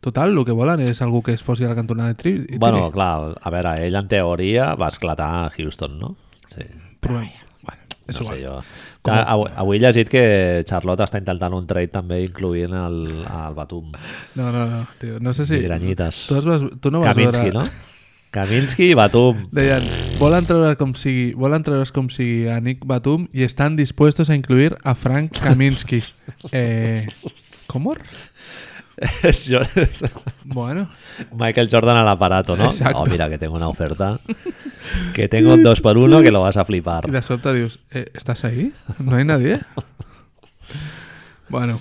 S2: Total, lo que volen és algú que es fossi a la cantonada de Tri. i Tiri.
S1: Bueno, clar, a veure, ell en teoria va esclatar a Houston, no? Sí.
S2: Provem. Bueno, és
S1: no
S2: igual.
S1: sé jo.
S2: Com-
S1: Com... Avui, avui he llegit que Charlotte està intentant un trade també incloent el, el Batum.
S2: No, no, no, tio. No sé si...
S1: Sí. Migranyites.
S2: Tu, es vas, tu no vas
S1: Kaminsky,
S2: veure...
S1: no? Kaminsky i Batum.
S2: [LAUGHS] Deien, volen treure com sigui, volen treure's com sigui a Nick Batum i estan dispuestos a incluir a Frank Kaminsky. Eh, ¿Comor?
S1: És jo-
S2: Bueno,
S1: Michael Jordan al aparato, ¿no?
S2: Exacto.
S1: Oh, mira, que tengo una oferta. Que tengo un 2 por 1 que lo vas a flipar.
S2: y de sobte dius, eh, ¿estás ahí? ¿No hay nadie? Bueno,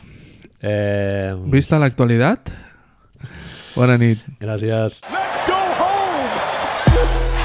S1: Eh,
S2: vista l'actualitat, bona nit.
S1: gràcies.
S3: Let's go home!